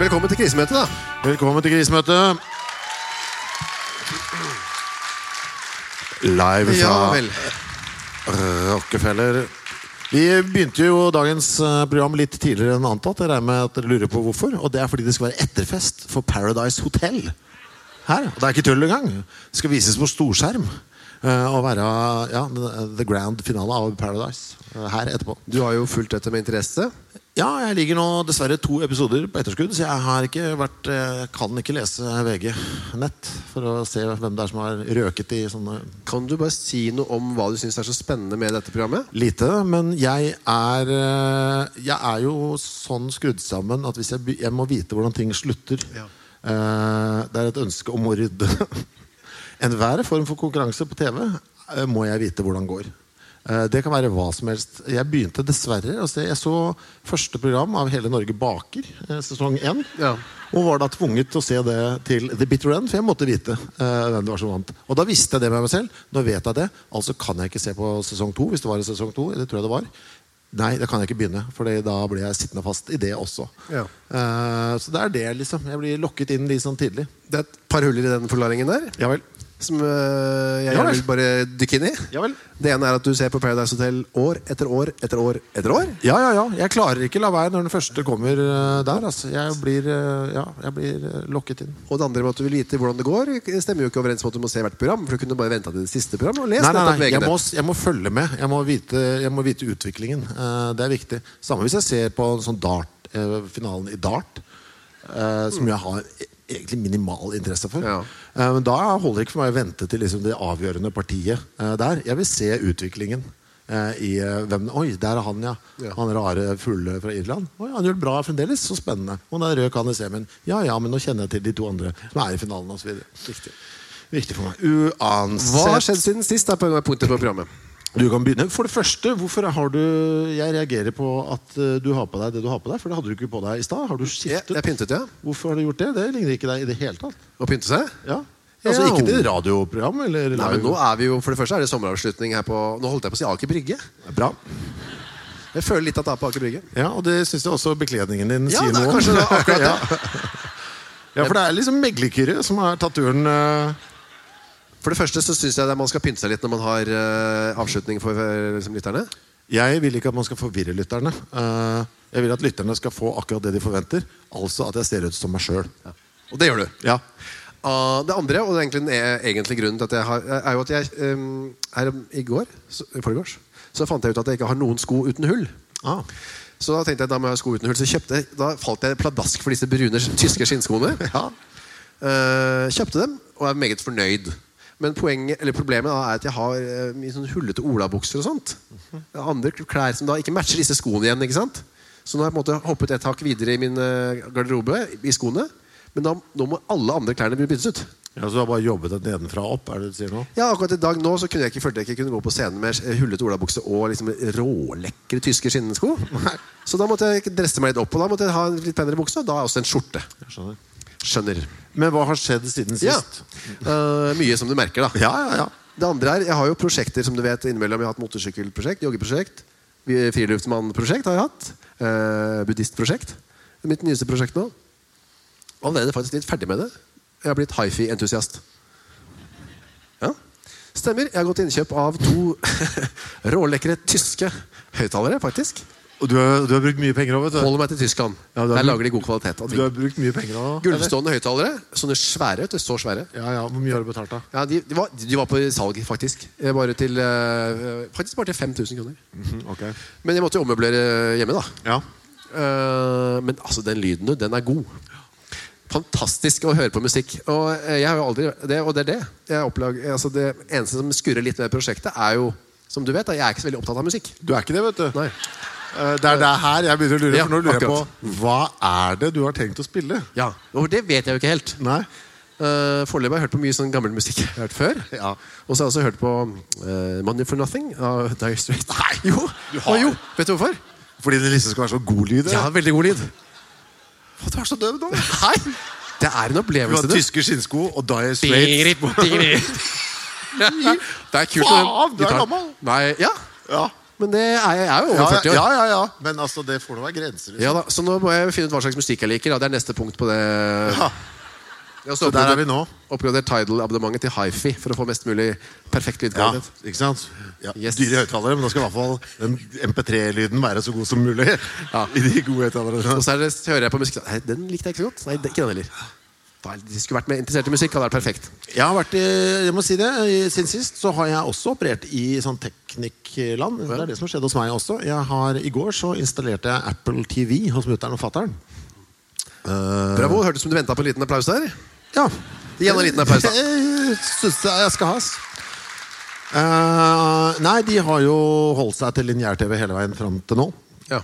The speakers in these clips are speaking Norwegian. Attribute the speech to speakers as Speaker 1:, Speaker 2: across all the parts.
Speaker 1: Velkommen til krisemøtet, da.
Speaker 2: Velkommen til krisemøtet. Live
Speaker 1: Ja
Speaker 2: fra
Speaker 1: vel.
Speaker 2: Rockefeller. Vi begynte jo dagens eh, program litt tidligere enn antatt. Jeg regner med at dere lurer på hvorfor. Og det er fordi det skal være etterfest for Paradise Hotel. Her. Og det er ikke tull engang. Det skal vises på storskjerm. eh, Og være ja, the grand finale av Paradise eh, her etterpå.
Speaker 1: Du har jo fulgt dette med interesse.
Speaker 2: Ja, jeg ligger nå dessverre to episoder på etterskudd, så jeg har ikke vært eh, kan ikke lese VG nett for å se hvem det er som har røket i sånne
Speaker 1: Kan du bare si noe om hva du syns er så spennende med dette programmet?
Speaker 2: lite. Men jeg er eh, Jeg er jo sånn skrudd sammen at hvis jeg, be- jeg må vite hvordan ting slutter.
Speaker 1: Ja.
Speaker 2: Eh, det er et ønske om å rydde. Enhver form for konkurranse på TV eh, må jeg vite hvordan går. Eh, det kan være hva som helst. Jeg begynte dessverre å se Jeg så første program av Hele Norge baker, eh, sesong én.
Speaker 1: Ja.
Speaker 2: Og var da tvunget til å se det til The Bitter End, for jeg måtte vite eh, hvem det var som vant. Og da visste jeg det med meg selv. Nå vet jeg det. Altså kan jeg ikke se på sesong to, hvis det var i sesong to. Det tror jeg det var. Nei, det kan jeg ikke begynne, for da blir jeg sittende fast i det også.
Speaker 1: Ja.
Speaker 2: Eh, så det er det, liksom. Jeg blir lokket inn litt sånn tidlig.
Speaker 1: Det er et par huller i den forklaringen der
Speaker 2: Ja vel.
Speaker 1: som øh, jeg
Speaker 2: Ja
Speaker 1: gjerne
Speaker 2: vel.
Speaker 1: vil bare dykke inn i.
Speaker 2: Ja vel.
Speaker 1: Det ene er at du ser på Paradise Hotel år etter år etter år etter år.
Speaker 2: Ja, ja, ja. Jeg klarer ikke la være når den første kommer eh, der. Altså. Jeg blir, eh, ja, jeg blir eh, lokket inn.
Speaker 1: Og det andre med at du vil vite hvordan det går, stemmer jo ikke overens med at du må se hvert program. For du kunne bare venta til det siste program og lest
Speaker 2: Nei, nei,
Speaker 1: nettopp
Speaker 2: nei. Jeg,
Speaker 1: VG-nett.
Speaker 2: må, jeg må følge med. Jeg må vite, jeg må vite utviklingen. Eh, det er viktig. Samme hvis jeg ser på en sånn dart, eh, finalen i dart, eh, som jeg har e- egentlig minimal interesse for.
Speaker 1: Ja.
Speaker 2: Eh, men da holder det ikke for meg å vente til liksom, det avgjørende partiet eh, der. Jeg vil se utviklingen. eh, I eh, hvem Oi, der er han, ja.
Speaker 1: Ja.
Speaker 2: Han rare fulle fra Irland. Oi, han gjør det bra fremdeles. Så spennende. Og den røde kan i semien. Ja ja, men nå kjenner jeg til de to andre som er i finalen osv. Viktig. Viktig for meg. Uansett.
Speaker 1: Hva har skjedd siden sist? er på en punktet på programmet
Speaker 2: Du kan begynne. For det første, hvorfor har du Jeg reagerer på at eh, du har på deg det du har på deg, for det hadde du ikke på deg i stad. Har du
Speaker 1: Jeg,
Speaker 2: skiftet?
Speaker 1: jeg pyntet, ja.
Speaker 2: Hvorfor har du gjort det? Det ligner ikke deg i det hele tatt.
Speaker 1: Å pynte seg?
Speaker 2: Ja. Altså
Speaker 1: Ja.
Speaker 2: ikke til radioprogram eller
Speaker 1: Nei, men nå er vi jo, For det første er det sommeravslutning her på Nå holdt jeg på å si Aker Brygge.
Speaker 2: Bra.
Speaker 1: Jeg føler litt at det er på Aker Brygge.
Speaker 2: Ja, og det syns jeg også bekledningen din
Speaker 1: Ja,
Speaker 2: sier
Speaker 1: det er
Speaker 2: noe om.
Speaker 1: kanskje det, akkurat det.
Speaker 2: ja. ja, for det er liksom meglerkyrre som har tatt turen eh,
Speaker 1: For det første så syns jeg at man skal pynte seg litt når man har eh, avslutning for eh, liksom, lytterne.
Speaker 2: Jeg vil ikke at man skal forvirre lytterne. Eh, jeg vil at lytterne skal få akkurat det de forventer. Altså at jeg ser ut som meg sjøl.
Speaker 1: Og det gjør du.
Speaker 2: Ja.
Speaker 1: Ah, det andre, og det er egentlig den e- egentlige grunnen til at jeg har Er jo at jeg eh, her om- i går, så, i forgårs, så fant jeg ut at jeg ikke har noen sko uten hull.
Speaker 2: Ah.
Speaker 1: Så da tenkte jeg da må jeg ha sko uten hull. Så kjøpte jeg, da falt jeg pladask for disse brune tyske skinnskoene.
Speaker 2: Ja.
Speaker 1: Eh, kjøpte dem og er meget fornøyd. Men poenget, eller problemet da, er at jeg har eh, mye sånn hullete olabukser og sånt. Andre klær som da ikke matcher disse skoene igjen. ikke sant? Så nå har jeg på en måte hoppet et hakk videre i min eh, garderobe, i skoene. Men da, nå må alle andre klærne bli byttet ut.
Speaker 2: Ja, Så du har bare jobbet det nedenfra og opp? er det det du sier nå?
Speaker 1: Ja, akkurat i dag nå så kunne jeg ikke, følte jeg ikke kunne gå på scenen med eh, hullete olabukse og liksom rålekre tyske skinnsko. Så da måtte jeg dresse meg litt opp, og da måtte jeg ha en litt penere bukse, og da også en skjorte.
Speaker 2: Jeg skjønner.
Speaker 1: Skjønner.
Speaker 2: Men hva har skjedd siden
Speaker 1: Ja.
Speaker 2: sist?
Speaker 1: Eh, mye som du merker, da.
Speaker 2: Ja, ja, ja.
Speaker 1: Det andre er, Jeg har jo prosjekter som du vet innimellom. Jeg har hatt motorsykkelprosjekt, joggeprosjekt, vi- friluftsmannprosjekt har jeg hatt. Eh, buddhistprosjekt. Det er Mitt nyeste prosjekt nå. Allerede faktisk litt ferdig med det. Jeg har blitt hifi-entusiast. Ja, Stemmer. Jeg har gått til innkjøp av to rålekre tyske høyttalere, faktisk.
Speaker 2: Og du har, du har brukt mye penger òg, vet du.
Speaker 1: Holder meg til Tyskland.
Speaker 2: Ja, du har
Speaker 1: Der
Speaker 2: blitt-
Speaker 1: lager de god kvalitet.
Speaker 2: Du har brukt mye penger også.
Speaker 1: Gulvstående høyttalere. Sånne svære. vet du, Så svære.
Speaker 2: Eller? Ja, ja. Hvor mye har du betalt, da?
Speaker 1: Ja, de, de, var, de var på salg, faktisk. Eh, Bare til, eh, faktisk bare til 5000 kroner.
Speaker 2: Mhm, Ok.
Speaker 1: Men jeg måtte jo ommøblere hjemme, da.
Speaker 2: Ja.
Speaker 1: Eh, men altså, den lyden, du, den er god. Fantastisk å høre på musikk. Og eh, jeg har jo aldri det, og det er det. Jeg opplag, altså, det eneste som skurrer litt med prosjektet, er jo som du vet, da, Jeg er ikke så veldig opptatt av musikk.
Speaker 2: Du er ikke det, vet du.
Speaker 1: Nei.
Speaker 2: Eh, Det er det er her jeg begynner å lure.
Speaker 1: Ja,
Speaker 2: for nå lurer jeg
Speaker 1: akkurat.
Speaker 2: på Hva er det du har tenkt å spille?
Speaker 1: Ja, Og det vet jeg jo ikke helt.
Speaker 2: Nei?
Speaker 1: Uh, Foreløpig har jeg hørt på mye sånn gammel musikk jeg har hørt før.
Speaker 2: Ja.
Speaker 1: Og så har jeg også hørt på eh, Money for Nothing av Dire Straits. Nei, jo.
Speaker 2: Du har-
Speaker 1: Å, jo! Vet du hvorfor?
Speaker 2: Fordi det liksom skal være så god lyd?
Speaker 1: Ja,
Speaker 2: eller?
Speaker 1: veldig god lyd.
Speaker 2: Å, Du er så døv nå!
Speaker 1: Nei! Det er en
Speaker 2: Du har
Speaker 1: opplevelse, du.
Speaker 2: tyske skinnsko og Dye Straits.
Speaker 1: Digri, digri. Det er kult. med den
Speaker 2: Faen, du er
Speaker 1: gitaren.
Speaker 2: gammel.
Speaker 1: Nei, ja.
Speaker 2: Ja.
Speaker 1: Men det er, jeg er jo
Speaker 2: Ja,
Speaker 1: over 40 år.
Speaker 2: ja, ja, ja. Men altså, det får da være grenser. Liksom.
Speaker 1: Ja da, Så nå må jeg finne ut hva slags musikk jeg liker. Da. Det er neste punkt på det.
Speaker 2: Ja.
Speaker 1: Jeg har også
Speaker 2: Så der er
Speaker 1: oppgradert-
Speaker 2: vi nå.
Speaker 1: Oppgradert Tidal-abonnementet til hifi for å få mest mulig perfekt
Speaker 2: Ja,
Speaker 1: lydkvalitet.
Speaker 2: ikke sant? Ja,
Speaker 1: Yes.
Speaker 2: Dyre høyttalere, men da skal i hvert fall den MP3-lyden være så god som mulig. I de gode høyttalerne.
Speaker 1: Og så er det, hører jeg på musikk Nei, den likte jeg ikke så godt. Nei, den, ikke den heller. Da, de skulle vært mer interessert i musikk. Hadde vært perfekt.
Speaker 2: Jeg har vært i, jeg må si det, i- siden sist så har jeg også operert i sånn teknikkland. Det er det som skjedde hos meg også. Jeg har, I går så installerte jeg Apple TV hos mutter'n og fatter'n.
Speaker 1: Bravo. Hørtes ut som du venta på en liten applaus der.
Speaker 2: Ja.
Speaker 1: Gi han en liten applaus, da.
Speaker 2: Jeg syns jeg skal has. Eh, nei, de har jo holdt seg til lineær-TV hele veien fram til nå.
Speaker 1: Ja.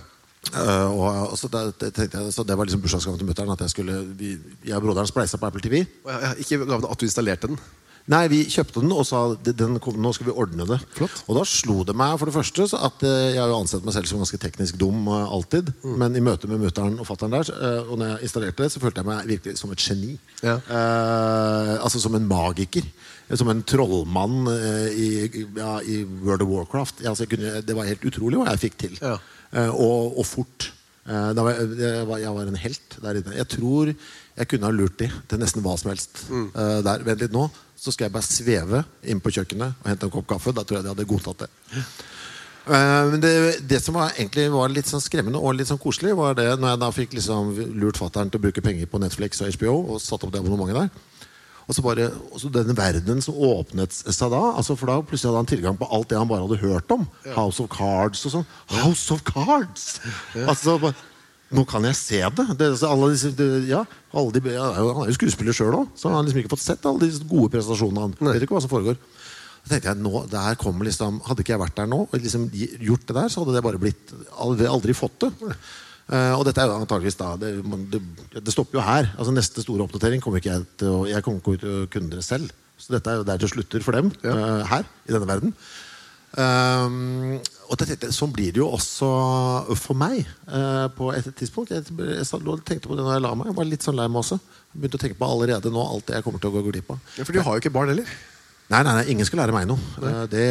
Speaker 2: Eh, og, og så, det, det, tenkte jeg, så det var liksom bursdagsgaven til mutter'n. At jeg skulle vi, Jeg og broderen spleisa på Apple TV.
Speaker 1: Og jeg, jeg, ikke gaven at du installerte den.
Speaker 2: Nei, vi kjøpte den og sa "Det- den kom, nå skal vi ordne det.
Speaker 1: Flott.
Speaker 2: Og da slo det meg for det første så at eh, jeg har jo ansett meg selv som ganske teknisk dum eh, alltid.
Speaker 1: Mm.
Speaker 2: Men i møte med mutter'n og fatter'n der, eh, og når jeg installerte det, så følte jeg meg virkelig som et geni.
Speaker 1: Ja.
Speaker 2: Eh, altså som en magiker. Som en trollmann eh, i, ja, i World of Warcraft. Jeg, altså, jeg kunne, det var helt utrolig hva jeg fikk til.
Speaker 1: Ja.
Speaker 2: Eh, og, og fort. Eh, da var jeg, jeg, var, jeg var en helt der inne. Jeg tror jeg kunne ha lurt de til nesten hva som helst. Eh, der, Vent litt nå, så skal jeg bare sveve inn på kjøkkenet og hente en kopp kaffe. Da tror jeg de hadde godtatt det. Eh, Men det, det som var, egentlig var litt sånn skremmende og litt sånn koselig, var det når jeg da fikk liksom lurt fattern til å bruke penger på Netflix og HBO, og satt opp det abonnementet der. Og så bare, og så denne verden som åpnet seg da altså For da plutselig hadde han tilgang på alt det han bare hadde hørt om. House of Cards og sånn. House of Cards! Altså, bare, nå kan jeg se det! det altså, alle disse, det ja, alle de, han er jo- han er jo skuespiller sjøl òg, så han har liksom ikke fått sett alle disse gode prestasjonene. Han vet ikke hva som foregår. Da tenkte jeg, nå, det her kommer liksom Hadde ikke jeg vært der nå og liksom gi- gjort det der, så hadde det bare blitt aldri, aldri fått det. Eh, og dette er jo antageligvis da det, man, det, det stopper jo her. Altså Neste store oppdatering kommer ikke jeg til å Jeg kommer ikke til å kunne det selv. Så dette er jo der det slutter for dem eh, her i denne verden. Ehm, og det tenkte jeg, sånn blir det jo også for meg eh, på et tidspunkt. Jeg, jeg sa- lå og tenkte på det når jeg la meg. Jeg var litt sånn lei meg også. Jeg begynte å tenke på allerede nå alt det jeg kommer til å gå glipp av.
Speaker 1: Ja, for du har jo ikke barn heller.
Speaker 2: Nei, nei, nei, ingen skal lære meg noe. Eh, Det,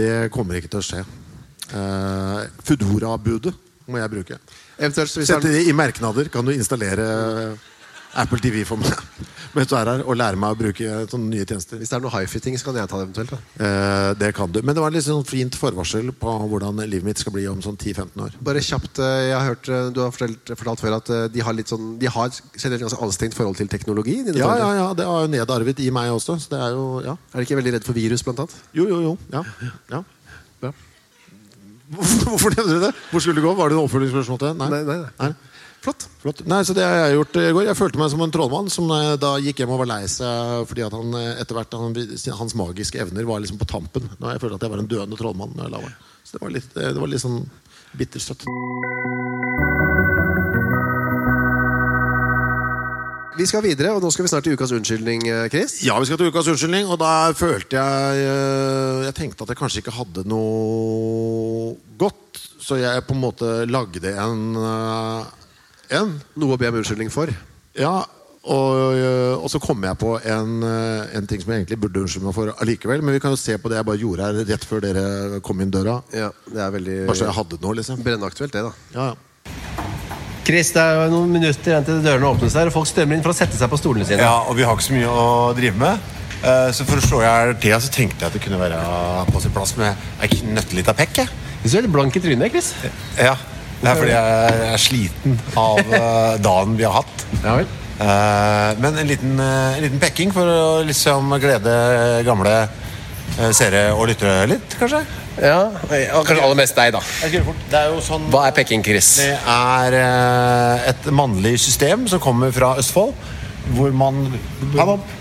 Speaker 2: det kommer ikke til å skje. Uh, Foodora-budet må jeg bruke.
Speaker 1: Eventuelt så hvis
Speaker 2: Sette
Speaker 1: han,
Speaker 2: det i merknader. Kan du installere Apple TV for meg mens du er her, og lære meg å bruke sånne nye tjenester?
Speaker 1: hvis det er noe hifi-ting, så kan jeg ta det eventuelt. Da.
Speaker 2: Eh, det kan du. Men det var litt sånn fint forvarsel på hvordan livet mitt skal bli om sånn 10-15 år.
Speaker 1: Bare kjapt, eh, jeg har hørt eh, Du har fortalt, fortalt før at eh, de har litt sånn De har generelt ganske anstrengt forhold til teknologi. dine
Speaker 2: Ja,
Speaker 1: foreldre.
Speaker 2: ja, ja, det har jo nedarvet i meg også. Så det er jo, ja.
Speaker 1: Er de ikke veldig redd for virus, blant annet?
Speaker 2: Jo, jo, jo. Ja. ja.
Speaker 1: Ja.
Speaker 2: Hvorfor nevner du det? Hvor skulle du gå? Var det en oppfølgingsspørsmål til det?
Speaker 1: Nei, nei, nei.
Speaker 2: nei.
Speaker 1: Flott.
Speaker 2: Flott. Nei, så det har jeg gjort i går. Jeg følte meg som en trollmann som eh, da gikk hjem og var lei seg fordi at han eh, etter hvert han, hans magiske evner var liksom på tampen. Da jeg følte at jeg var en døende trollmann når jeg la meg. Så det var litt, eh, det var litt sånn bittersøtt.
Speaker 1: Vi skal videre, og nå skal vi snart til ukas unnskyldning, eh, Chris.
Speaker 2: Ja, vi skal til ukas unnskyldning, og da følte jeg eh, Jeg tenkte at jeg kanskje ikke hadde noe godt, så jeg på en måte lagde en eh, en
Speaker 1: Noe å be om unnskyldning for.
Speaker 2: Ja, og, øh, og så kom jeg på en, øh, en ting som jeg egentlig burde unnskylde meg for allikevel. Men vi kan jo se på det jeg bare gjorde her rett før dere kom inn døra.
Speaker 1: Ja, Det er veldig
Speaker 2: Bare så jeg hadde noe, liksom.
Speaker 1: brennaktuelt, det, da.
Speaker 2: Ja, ja.
Speaker 3: Chris, det er jo noen minutter igjen til dørene åpnes her, og folk strømmer inn for å sette seg på stolene sine.
Speaker 4: Ja, og vi har ikke så mye å drive med. Eh, Så for å slå i hjel tida så tenkte jeg at det kunne være på sin plass med ei knøttelita pekk. jeg.
Speaker 3: Du ser litt blank i trynet, Chris.
Speaker 4: Ja. Det er fordi jeg er sliten av eh, dagen vi har hatt.
Speaker 3: Ja vel.
Speaker 4: Eh, Men en liten, eh, en liten pekking for å liksom glede gamle eh, seere og lyttere litt, kanskje?
Speaker 3: Ja, og Kanskje aller mest deg, da.
Speaker 4: Det er jo sånn
Speaker 3: Hva er pekking, Chris?
Speaker 4: Det er eh, et mannlig system som kommer fra Østfold. Hvor man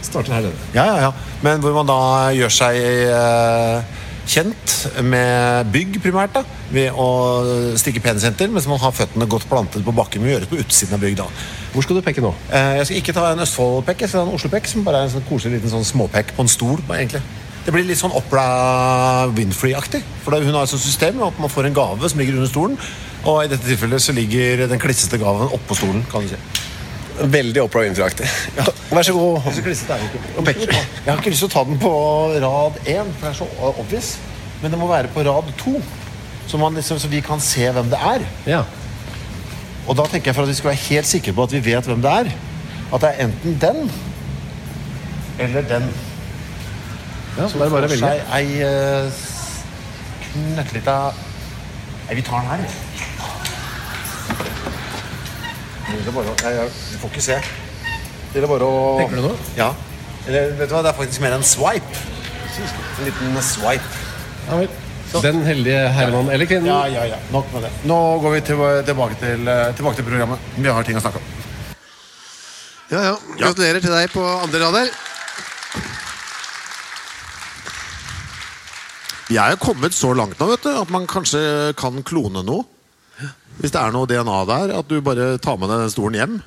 Speaker 3: Starter her, denne.
Speaker 4: Ja, ja, ja. Men hvor man da gjør seg eh, kjent med bygg, primært, da, ved å stikke penisenter mens man har føttene godt plantet på bakken. Men gjøres på utsiden av bygg, da.
Speaker 3: Hvor skal du peke nå?
Speaker 4: Eh, jeg skal ikke ta en Østfold-pekk, jeg skal ta en Oslo-pekk, som bare er en sånn koselig liten sånn småpekk på en stol. bare egentlig. Det blir litt sånn Opera Winfrey-aktig. For da, Hun har et sånt system med at man får en gave som ligger under stolen. Og i dette tilfellet så ligger den klissete gaven oppå stolen. kan du si.
Speaker 3: Veldig Opera Winfrey-aktig. Vær så god.
Speaker 4: Jeg har ikke lyst til å ta den på rad én, for det er så obvious. Men det må være på rad to, så, man liksom, så vi kan se hvem det er.
Speaker 3: Ja.
Speaker 4: Og da tenker jeg for at vi skal være helt sikre på at vi vet hvem det er, at det er enten den eller den.
Speaker 3: ja så det er bare å
Speaker 4: får
Speaker 3: velge.
Speaker 4: seg ei uh, knøttlita Nei, vi tar den her, vi. Det gjelder bare å Nei, jeg- vi får ikke se. Det gjelder bare å
Speaker 3: Tenker du nå?
Speaker 4: Ja. Eller vet du hva, det er faktisk mer en swipe. En liten swipe.
Speaker 3: Ja vel. Den heldige herremann eller kvinnen.
Speaker 4: Ja, ja, ja. Nok med det. Nå går vi til, tilbake, til, eh, tilbake til programmet. Vi har ting å snakke om.
Speaker 1: Ja, ja. Gratulerer til deg på andre radar.
Speaker 2: Jeg er kommet så langt nå vet du, at man kanskje kan klone noe. Hvis det er noe DNA der, at du bare tar med deg den stolen hjem.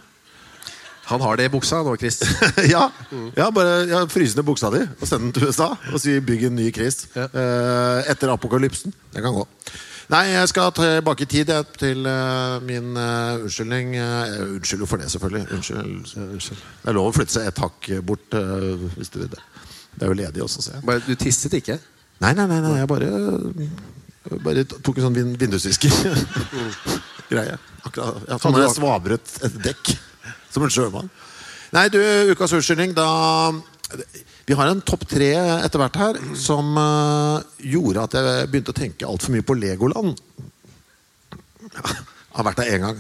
Speaker 1: Han har det i buksa nå, Chris.
Speaker 2: ja, ja, bare ja, Fryse ned buksa di og send den til USA og si 'bygg en ny Chris'
Speaker 1: Ja.
Speaker 2: eh, etter apokalypsen. Det kan gå. Nei, jeg skal tilbake i tid jeg, til eh, min eh, unnskyldning. Eh, jeg unnskylder jo for det, selvfølgelig. Unnskyld. Det er lov å flytte seg et hakk bort eh, hvis du vil det. Det er jo ledig også, ser jeg.
Speaker 1: Bare, du tisset ikke?
Speaker 2: Nei, nei, nei, nei jeg bare, bare tok en sånn vin vindusvisker. Greie. Akkurat, ja, sånn jeg svabret et dekk som en sjømann. Nei, du, ukas unnskyldning, da Vi har en topp tre etter hvert her som eh, gjorde at jeg begynte å tenke altfor mye på Legoland. Jeg har vært der én gang.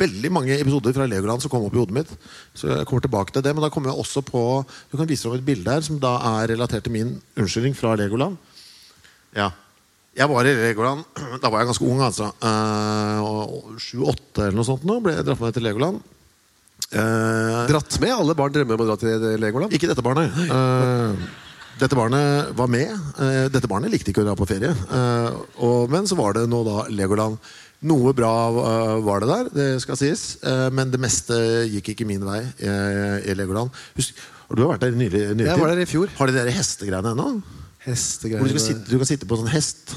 Speaker 2: Veldig mange episoder fra Legoland som kom opp i hodet mitt. Så jeg kommer tilbake til det, Men da kommer jeg også på Du kan vise fram et bilde her som da er relatert til min unnskyldning fra Legoland. Ja jeg var i Legoland, da var jeg ganske ung altså eh, 7-8 eller noe sånt nå Ble jeg dratt med til Legoland Eh,
Speaker 1: Dratt med? Alle barn drømmer om å dra til Legoland.
Speaker 2: Ikke dette barnet Eh, Dette barnet var med Eh, Dette barnet likte ikke å dra på ferie Eh, og, Men så var det nå da Legoland Noe bra eh, var det der Det skal sies Eh, Men det meste gikk ikke min vei eh, I Legoland Husk, og Du har vært der i nylig, nylig
Speaker 1: Jeg
Speaker 2: tid.
Speaker 1: var der i fjor.
Speaker 2: Har de der hestegreiene ennå? Hvor du,
Speaker 1: Hestegreier.
Speaker 2: skal sitte, du kan sitte på en sånn hest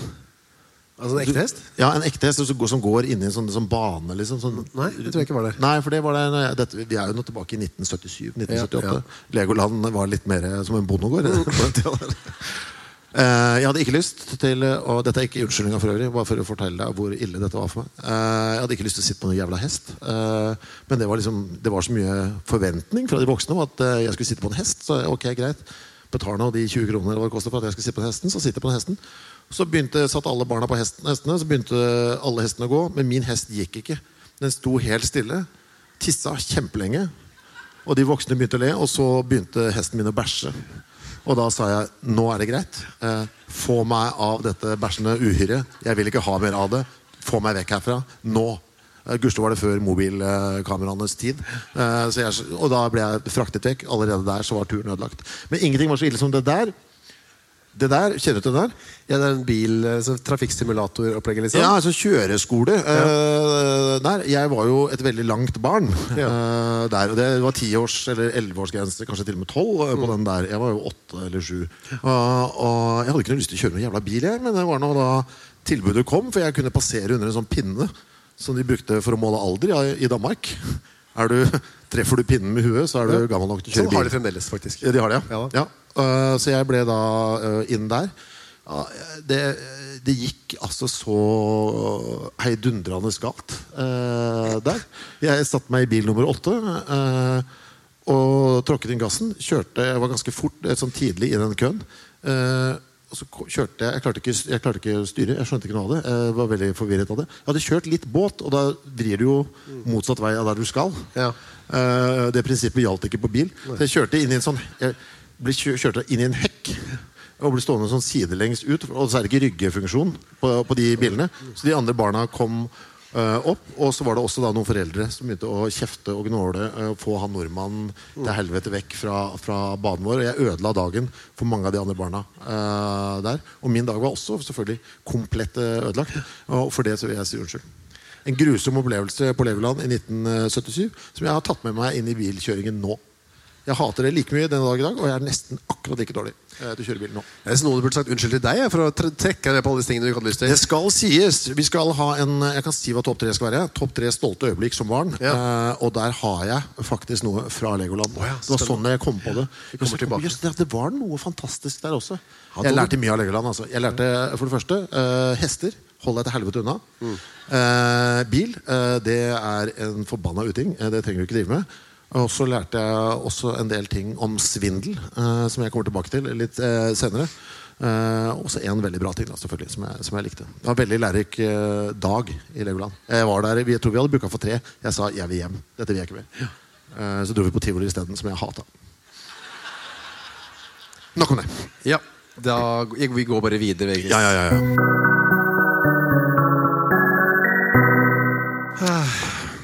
Speaker 1: Altså en ekte hest?
Speaker 2: Ja, en ekte hest som går- som går inn i en sånn, sånn bane liksom, sånn,
Speaker 1: Nei, det tror jeg ikke var der.
Speaker 2: Nei, for det var det når jeg- dette, Vi er jo nå tilbake i 1977-1978.
Speaker 1: Ja, ja.
Speaker 2: Legoland var litt mer eh, som en bondegård. på den tiden der. Eh, jeg hadde ikke lyst til Og dette er ikke unnskyldninga for øvrig, bare for å fortelle deg hvor ille dette var for meg. Eh, jeg hadde ikke lyst til å sitte på noen jævla hest. Eh, men det var, liksom, det var så mye forventning fra de voksne om at eh, jeg skulle sitte på en hest. Så ok, greit Betal nå de 20 kronene eller hva det koster for at jeg skulle sitte på den hesten. Så sitter jeg på den hesten Så begynte, satt alle barna på hesten, hestene, så begynte alle hestene å gå. Men min hest gikk ikke. Den sto helt stille tissa kjempelenge. Og de voksne begynte å le, og så begynte hesten min å bæsje. Og da sa jeg nå er det greit. Eh, få meg av dette bæsjende uhyret. Jeg vil ikke ha mer av det. Få meg vekk herfra. Nå. Eh, Gudskjelov var det før mobilkameraenes tid. Eh, så jeg, og da ble jeg fraktet vekk. Allerede der så var turen ødelagt. Men ingenting var så ille som det der. Det der, Kjenner du til det der?
Speaker 1: Ja, det er en bil, eh, så trafikksimulatoroplegget, liksom?
Speaker 2: Ja, altså kjøreskole. Eh, der, jeg var jo et veldig langt barn. eh, der, og det var tiårs- eller elleveårsgrense, kanskje til og med tolv. eh,
Speaker 1: Mm.
Speaker 2: på den der. Jeg var jo åtte eller sju. Og- og jeg hadde ikke noe lyst til å kjøre noen jævla bil, jeg, men det var nå da tilbudet kom, for jeg kunne passere under en sånn pinne som de brukte for å måle alder ja, i Danmark. Er du, treffer du pinnen med huet, så er du gammel nok til å kjøre
Speaker 1: Sånn
Speaker 2: bil.
Speaker 1: har de fremdeles, faktisk.
Speaker 2: Ja, de har det, ja.
Speaker 1: Ja da.
Speaker 2: ja. Eh, så jeg ble da eh, inn der. Ja, det, det gikk altså så heidundrende galt eh, der. Jeg satte meg i bil nummer åtte. eh, og tråkket inn gassen. Kjørte, jeg var ganske fort, eh, sånn tidlig i den køen. Eh, og så ko- kjørte jeg jeg klarte, ikke, jeg klarte ikke å styre, jeg skjønte ikke noe av det. Jeg var veldig forvirret av det. Jeg hadde kjørt litt båt, og da vrir du jo motsatt vei av der du skal.
Speaker 1: Ja.
Speaker 2: Eh, det prinsippet gjaldt ikke på bil. Så jeg kjørte inn i en sånn Jeg ble kjø- kjørte inn i en hekk. Og ble stående sånn sidelengs ut. Og så er det ikke ryggefunksjon på, på de bilene. Så de andre barna kom eh, opp. Og så var det også da noen foreldre som begynte å kjefte og gnåle. eh, få han nordmannen til helvete vekk fra, fra banen vår. Og jeg ødela dagen for mange av de andre barna eh, der. Og min dag var også selvfølgelig komplett eh, ødelagt. Og for det så vil jeg si unnskyld. En grusom opplevelse på Legoland i 1977 som jeg har tatt med meg inn i bilkjøringen nå. Jeg hater det like mye denne dag i dag, og jeg er nesten akkurat like dårlig eh, til å kjøre bil nå.
Speaker 1: Jeg synes noen burde sagt unnskyld til deg jeg, for å tre- trekke deg med på alle disse tingene du ikke hadde lyst til.
Speaker 2: Det skal sies. Vi skal ha en, jeg kan si hva topp tre skal være. Topp tre stolte øyeblikk som barn. Eh, og der har jeg faktisk noe fra Legoland.
Speaker 1: ja,
Speaker 2: det var sånn jeg kom på det.
Speaker 1: Vi kommer
Speaker 2: Just-
Speaker 1: tilbake.
Speaker 2: just det, at det var noe fantastisk der også.
Speaker 1: det
Speaker 2: Jeg
Speaker 1: var-
Speaker 2: lærte mye av Legoland. Altså. Jeg lærte for det første eh, hester. Hold deg til helvete unna. Eh, bil. eh, det er en forbanna uting. Eh, det trenger du ikke drive med. Og så lærte jeg også en del ting om svindel, eh, som jeg kommer tilbake til litt eh, senere. Eh, også en veldig bra ting da, selvfølgelig, som jeg, som jeg likte. Det var en veldig lærerik eh, dag i Legoland. Jeg var der, vi- jeg tror vi hadde booka for tre. Jeg sa 'jeg vil hjem'. Dette vil jeg ikke mer. Eh, så dro vi på tivoli isteden, som jeg hata. Nok om det.
Speaker 1: Ja, da, Vi går bare videre. Egil.
Speaker 2: ja, ja, ja.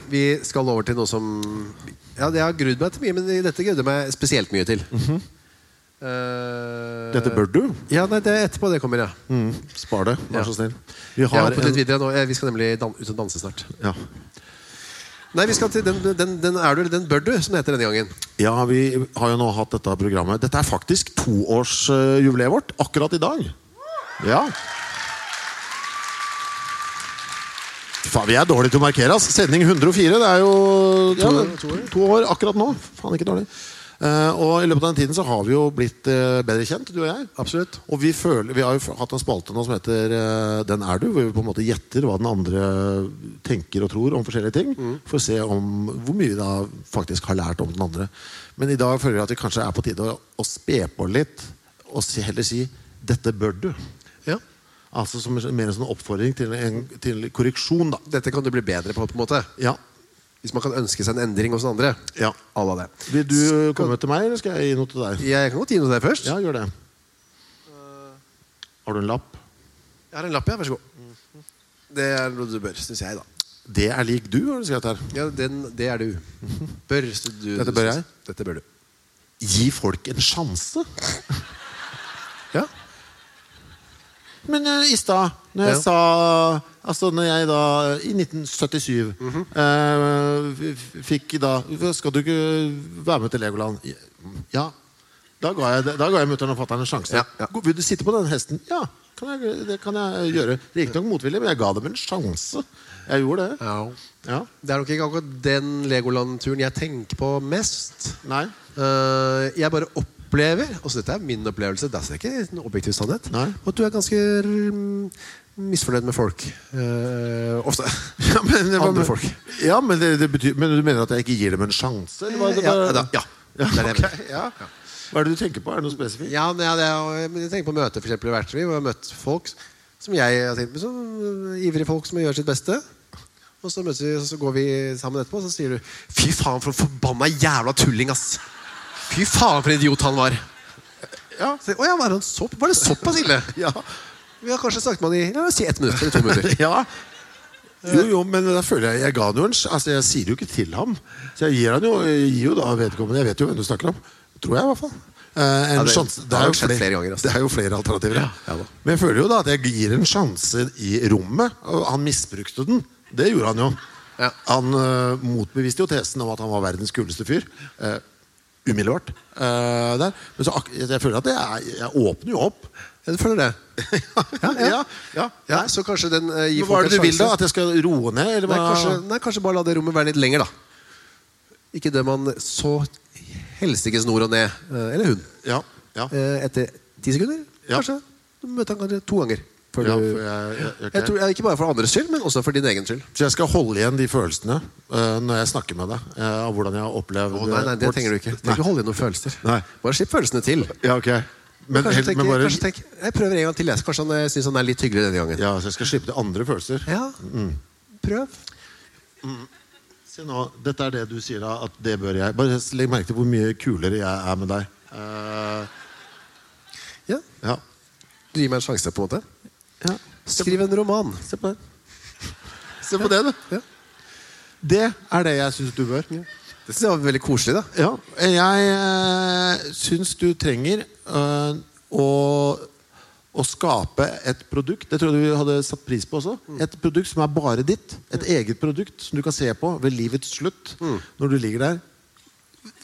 Speaker 1: Vi skal over til noe som Ja, det har grudd meg til mye, men dette grudde jeg meg spesielt mye til. Eh,
Speaker 2: Mhm. Dette bør du.
Speaker 1: Ja, nei, det er etterpå det kommer, ja.
Speaker 2: Spar det, vær
Speaker 1: Ja.
Speaker 2: så snill. Vi
Speaker 1: Jeg har
Speaker 2: har
Speaker 1: hoppet litt
Speaker 2: en,
Speaker 1: videre nå. Eh, Vi skal nemlig dan ut og danse snart.
Speaker 2: ja.
Speaker 1: Nei, vi skal til den, den, den er du, eller den bør du, som det heter denne gangen.
Speaker 2: ja, vi har jo nå hatt dette programmet. Dette er faktisk toårsjubileet vårt akkurat i dag. Ja. Faen, vi er dårlige til å markere. ass. Sending 104. Det er jo ja,
Speaker 1: år,
Speaker 2: to, to år akkurat nå. Faen, ikke dårlig. Eh, og i løpet av den tiden så har vi jo blitt eh, bedre kjent, du og jeg.
Speaker 1: Absolutt.
Speaker 2: Og vi, føler, vi har jo hatt en spalte nå som heter eh, Den er du, hvor vi på en måte gjetter hva den andre tenker og tror om forskjellige ting.
Speaker 1: Mm.
Speaker 2: For å se om hvor mye vi da faktisk har lært om den andre. Men i dag føler jeg at vi kanskje er på tide å, å spe på litt og si, heller si 'dette bør du'.
Speaker 1: Ja.
Speaker 2: Altså som, en- Mer en sånn oppfordring til, en, til korreksjon, da.
Speaker 1: Dette kan du bli bedre på, på en måte.
Speaker 2: Ja.
Speaker 1: Hvis man kan ønske seg en endring hos den andre.
Speaker 2: ja.
Speaker 1: Alla det.
Speaker 2: Vil du eh, komme til meg, eller skal jeg gi noe til deg?
Speaker 1: Jeg kan godt gi noe til deg først.
Speaker 2: Ja, gjør det. Har du en lapp?
Speaker 1: Jeg har en lapp, ja. Vær så god. Det er noe du bør, syns jeg, da.
Speaker 2: Det er lik du, har du skrevet her.
Speaker 1: Ja, den, det er du. Bør så du
Speaker 2: Mhm. Dette bør jeg?
Speaker 1: Dette bør du.
Speaker 2: Gi folk en sjanse.
Speaker 1: Ja.
Speaker 2: Men eh, i stad, når jeg
Speaker 1: Ja.
Speaker 2: sa Altså når jeg da I 1977
Speaker 1: Mhm.
Speaker 2: eh, f- f- fikk da Skal du ikke være med til Legoland? Ja. Da ga jeg, det- da ga jeg mutter'n og fatter'n en sjanse.
Speaker 1: Ja, ja.
Speaker 2: Vil du sitte på den hesten? Ja, kan jeg, det kan jeg gjøre. Riktignok motvillig, men jeg ga dem en sjanse. Jeg gjorde det. Ja.
Speaker 1: Det er nok ikke akkurat den Legoland-turen jeg tenker på mest.
Speaker 2: Nei.
Speaker 1: Eh, jeg bare opplever Også dette er min opplevelse, det er altså ikke en objektiv sannhet.
Speaker 2: Nei.
Speaker 1: At du er ganske mm, misfornøyd med folk. Eh, ofte.
Speaker 2: Ja, men, hva
Speaker 1: Andre
Speaker 2: med-
Speaker 1: folk.
Speaker 2: Ja, men, det, det betyr, men du mener at jeg ikke gir dem en sjanse? Eller hva er det
Speaker 1: Ja,
Speaker 2: bare-
Speaker 1: da, ja.
Speaker 2: Ja,
Speaker 1: Det er det jeg
Speaker 2: ok, ja. Hva er det du tenker på? Er det noe spesifikt?
Speaker 1: Ja, men ja, det er, jo- men jeg tenker på møter for eksempel i vertsliv Hvor jeg har møtt folk som jeg har tenkt på Som øh, ivrige folk som gjør sitt beste Og så møtes vi, og så går vi sammen etterpå Og så sier du Fy faen for en forbanna jævla tulling ass Fy faen for en idiot han var
Speaker 2: Ja.
Speaker 1: så, Åja, var, han så, var det såpass ille?
Speaker 2: Ja.
Speaker 1: Vi har kanskje snakket med han i ja, Si ett minutt eller to minutter
Speaker 2: ja. Jo, jo, men da føler jeg Jeg ga han jo en sj- Altså, jeg sier det jo ikke til ham. Så jeg gir han jo, jeg gir jo da vedkommende Jeg vet jo hvem du snakker om. Tror jeg, i hvert fall. Eh, en
Speaker 1: Ja, det-
Speaker 2: sjanse,
Speaker 1: det har jo skjedd flere ganger, altså.
Speaker 2: det er jo flere alternativer. ja.
Speaker 1: Ja, da.
Speaker 2: men jeg føler jo da at jeg gir en sjanse i rommet. Og han misbrukte den. Det gjorde han jo.
Speaker 1: Ja.
Speaker 2: Han eh, motbeviste jo tesen om at han var verdens kuleste fyr. eh, umiddelbart. eh, der. Men så ak jeg føler at jeg, jeg åpner jo opp.
Speaker 1: Ja, du føler det
Speaker 2: ja, ja, ja.
Speaker 1: ja, Så kanskje den øh, gir
Speaker 2: Men Hva
Speaker 1: folk
Speaker 2: er
Speaker 1: en
Speaker 2: det du vil, da?
Speaker 1: sjanse
Speaker 2: At jeg skal roe ned? Eller
Speaker 1: nei
Speaker 2: hva?
Speaker 1: kanskje, nei, kanskje bare la det rommet være litt lenger da Ikke døm han så helsikes nord og ned øh, Eller hun
Speaker 2: Ja, ja.
Speaker 1: Eh, etter ti sekunder,
Speaker 2: Ja.
Speaker 1: kanskje. Du møter han kanskje to ganger. før
Speaker 2: Ja,
Speaker 1: du-
Speaker 2: for jeg- jeg- ok.
Speaker 1: Jeg tror, ja, ikke bare for andres skyld, men også for din egen skyld.
Speaker 2: Så jeg skal holde igjen de følelsene eh, når jeg snakker med deg? eh, av hvordan jeg har opplevd eh,
Speaker 1: Å, nei, nei, det trenger du ikke. Du trenger ikke holde inn noen følelser.
Speaker 2: Nei.
Speaker 1: Bare slipp følelsene til.
Speaker 2: Ja, ok men,
Speaker 1: kanskje,
Speaker 2: helt,
Speaker 1: tenk,
Speaker 2: men bare,
Speaker 1: kanskje tenk Jeg prøver en gang til. jeg. så Kanskje han eh, synes han er litt hyggelig denne gangen.
Speaker 2: Ja, Mm. så jeg skal slippe til andre følelser.
Speaker 1: Ja, Prøv.
Speaker 2: Se nå, dette er det du sier da, at det bør jeg Bare legg merke til hvor mye kulere jeg er med deg. Eh,
Speaker 1: Ja.
Speaker 2: ja.
Speaker 1: Du gir meg en sjanse, på en måte.
Speaker 2: ja.
Speaker 1: Skriv en roman.
Speaker 2: Se på det. Se på det, du.
Speaker 1: Ja.
Speaker 2: Det er det jeg syns du bør.
Speaker 1: Det synes jeg var veldig koselig. da
Speaker 2: Ja, jeg eh, syns du trenger eh, å, å skape et produkt Det tror jeg du hadde satt pris på også. Et produkt som er bare ditt. Et eget produkt som du kan se på ved livets slutt. Når du ligger der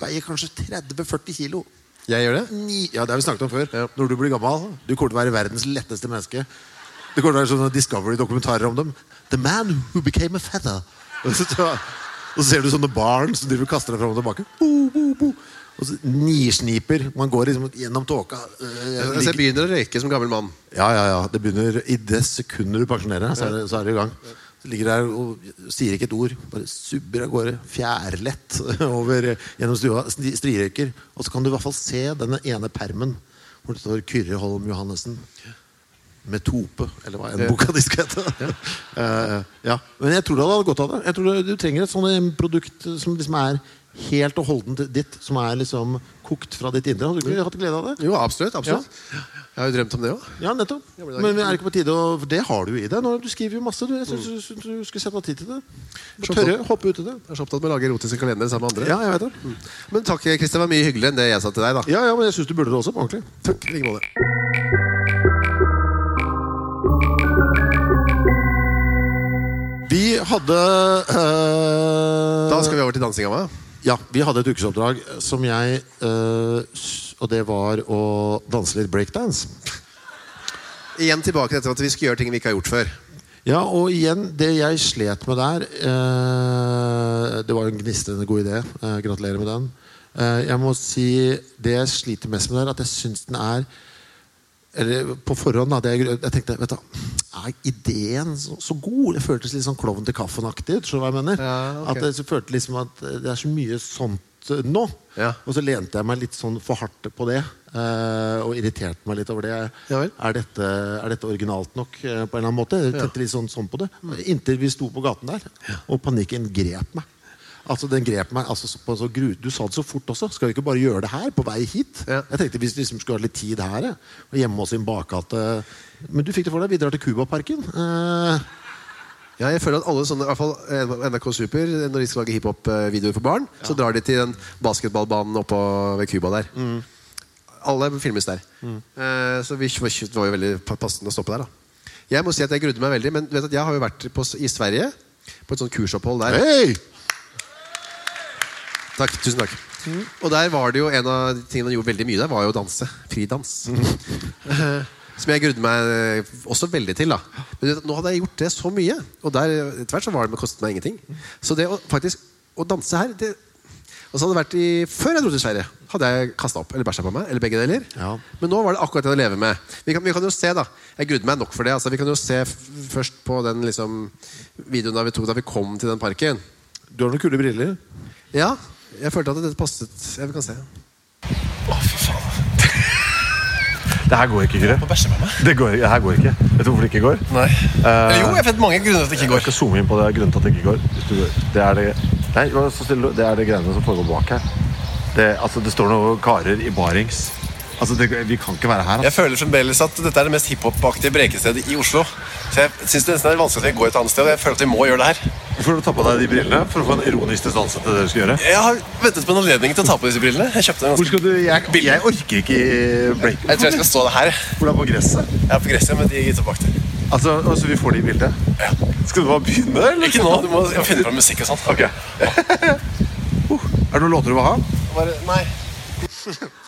Speaker 2: veier kanskje 30-40 kilo.
Speaker 1: Jeg gjør det?
Speaker 2: Ni, ja, det har vi snakket om før.
Speaker 1: Ja.
Speaker 2: Når du blir gammel, du kommer til å være verdens letteste menneske. Det kommer til å være sånne Discovery-dokumentarer om dem. The man who became a feather. Og så, og så ser du sånne barn som driver og kaster deg fram og tilbake. Bo, bo, bo. Og så nisniper. Man går liksom gjennom tåka.
Speaker 1: Jeg,
Speaker 2: Øh,
Speaker 1: altså, jeg begynner å røyke som gammel mann.
Speaker 2: Ja, ja, ja. Det begynner I det sekundet du pensjonerer deg, så, er det- så er det i gang. Så ligger der og sier ikke et ord. Bare subber av gårde. Fjærlett over eh, gjennom stua. sni- Strirøyker. Og så kan du i hvert fall se den ene permen hvor det står Kyrre Holm Johannessen. Med tope, eller hva enn boka di skal hete. Eh, ja. Men jeg tror du hadde godt av det. Jeg tror Du du trenger et sånt eh, produkt som liksom er helt og holdent ditt. Som er liksom kokt fra ditt indre. Hadde du ikke hatt glede av det?
Speaker 1: Jo, absolutt. absolutt. Jeg har jo drømt om det òg.
Speaker 2: Ja, nettopp.
Speaker 1: Ja, men det er
Speaker 2: Men er
Speaker 1: ikke-
Speaker 2: det ikke på tide å for Det har du jo i deg. Nå, du skriver jo masse. Du, jeg syns du, syns du skulle sette av tid til det.
Speaker 1: Så
Speaker 2: Tørre hoppe ut i det.
Speaker 1: Jeg er så opptatt med å lage erotiske kalendere sammen med andre.
Speaker 2: Ja, jeg vet det.
Speaker 1: Men takk, Kristian. Det var mye hyggeligere enn det jeg sa til deg. da.
Speaker 2: Ja, ja, men jeg syns du burde det også. på ordentlig
Speaker 1: Takk, i like måte.
Speaker 2: Vi hadde eh,
Speaker 1: Da skal vi over til dansinga. hva?
Speaker 2: Ja, vi hadde et ukesoppdrag som jeg eh, s- Og det var å danse litt breakdance.
Speaker 1: Igjen tilbake til dette med at vi skal gjøre ting vi ikke har gjort før.
Speaker 2: Ja, og igjen, det jeg slet med der eh, Det var en gnistrende god idé. Eh, gratulerer med den. Eh, jeg må si Det jeg sliter mest med der, at jeg syns den er eller på forhånd da, det jeg, jeg tenkte vet du, Er ideen så, så god? Det føltes litt sånn klovn til kaffen-aktig. Tror du hva jeg mener?
Speaker 1: Ja, ok.
Speaker 2: At det, så følte liksom at det er så mye sånt eh, nå.
Speaker 1: Ja.
Speaker 2: Og så lente jeg meg litt sånn for hardt på det. eh, og irriterte meg litt over det.
Speaker 1: Ja vel.
Speaker 2: er, dette, er dette originalt nok eh, på en eller annen måte? Jeg tenkte litt sånn, sånn på det. Inntil vi sto på gaten der, og panikken grep meg. Altså, den grep meg altså, så- på en så gru... Du sa det så fort også. Skal vi ikke bare gjøre det her? På vei hit?
Speaker 1: Ja.
Speaker 2: Jeg tenkte hvis vi liksom skulle ha litt tid her, ja, og hjemme oss i en bakgate Men du fikk det for deg. Vi drar til Cubaparken. Eh,
Speaker 1: Ja, jeg føler at alle sånne, i hvert fall eh, NRK Super, når de skal lage hiphop-videoer for barn, så drar de til den basketballbanen oppå ved Cuba der. Alle filmes der. Eh, så vi var, det var jo veldig pa- passende å stoppe der. da. Jeg må si at jeg grudde meg veldig, men du vet at jeg har jo vært på, s- i Sverige på et sånt kursopphold der.
Speaker 2: Hei!
Speaker 1: Takk, tusen takk. Og der var det jo en av de tingene han gjorde veldig mye der, var jo å danse. Fridans. Eh, Som jeg grudde meg eh, også veldig til. da Men du vet, nå hadde jeg gjort det så mye, og der eh, etter hvert så var det med kostet meg ingenting. Så det å faktisk å danse her det, og så hadde det vært i, Før jeg dro til Sverige, hadde jeg kasta opp eller bæsja på meg. Eller begge deler
Speaker 2: Ja.
Speaker 1: Men nå var det akkurat det å leve med. Vi kan, vi kan jo se da Jeg grudde meg nok for det. Altså, vi kan jo se f først på den liksom, videoen da vi tok da vi kom til den parken.
Speaker 2: Du har noen kule briller.
Speaker 1: Ja, jeg følte at dette passet. Jeg kan se.
Speaker 5: Det her går ikke, Kyrre. Det, går, det her går ikke. Vet du hvorfor det ikke går? Nei. Eh,
Speaker 3: Jo, jeg vet mange grunner til at det ikke
Speaker 5: Jeg skal zoome inn på det grunnen til at det ikke går. Hvis du, det er det, nei, vær så stille. det er det greiene som foregår bak her. Det, altså, det står noen karer i barings. Altså, det, vi kan ikke være her. altså.
Speaker 3: Jeg føler fremdeles at dette er det mest hiphop-aktige brekestedet i Oslo. Så jeg syns det nesten er vanskelig at vi går et annet sted. og Jeg føler at vi må gjøre det her.
Speaker 5: Altså. Får du ta på deg de brillene for å få en ironisk distanse til det du skal gjøre?
Speaker 3: Jeg har ventet på en anledning til å ta på disse brillene. Jeg kjøpte dem
Speaker 5: Hvor
Speaker 3: ganske
Speaker 5: skal du? Jeg, jeg orker ikke break.
Speaker 3: Jeg tror jeg skal stå her.
Speaker 5: Hvor er på gresset?
Speaker 3: Jeg er på gresset med de gitterbakte.
Speaker 5: Altså, altså, vi får de i bildet. Skal du bare begynne, eller?
Speaker 3: Ikke nå. Du må jeg må finne fram musikk og sånt.
Speaker 5: Ok. uh, er det noen låter du vil ha?
Speaker 3: Bare, nei.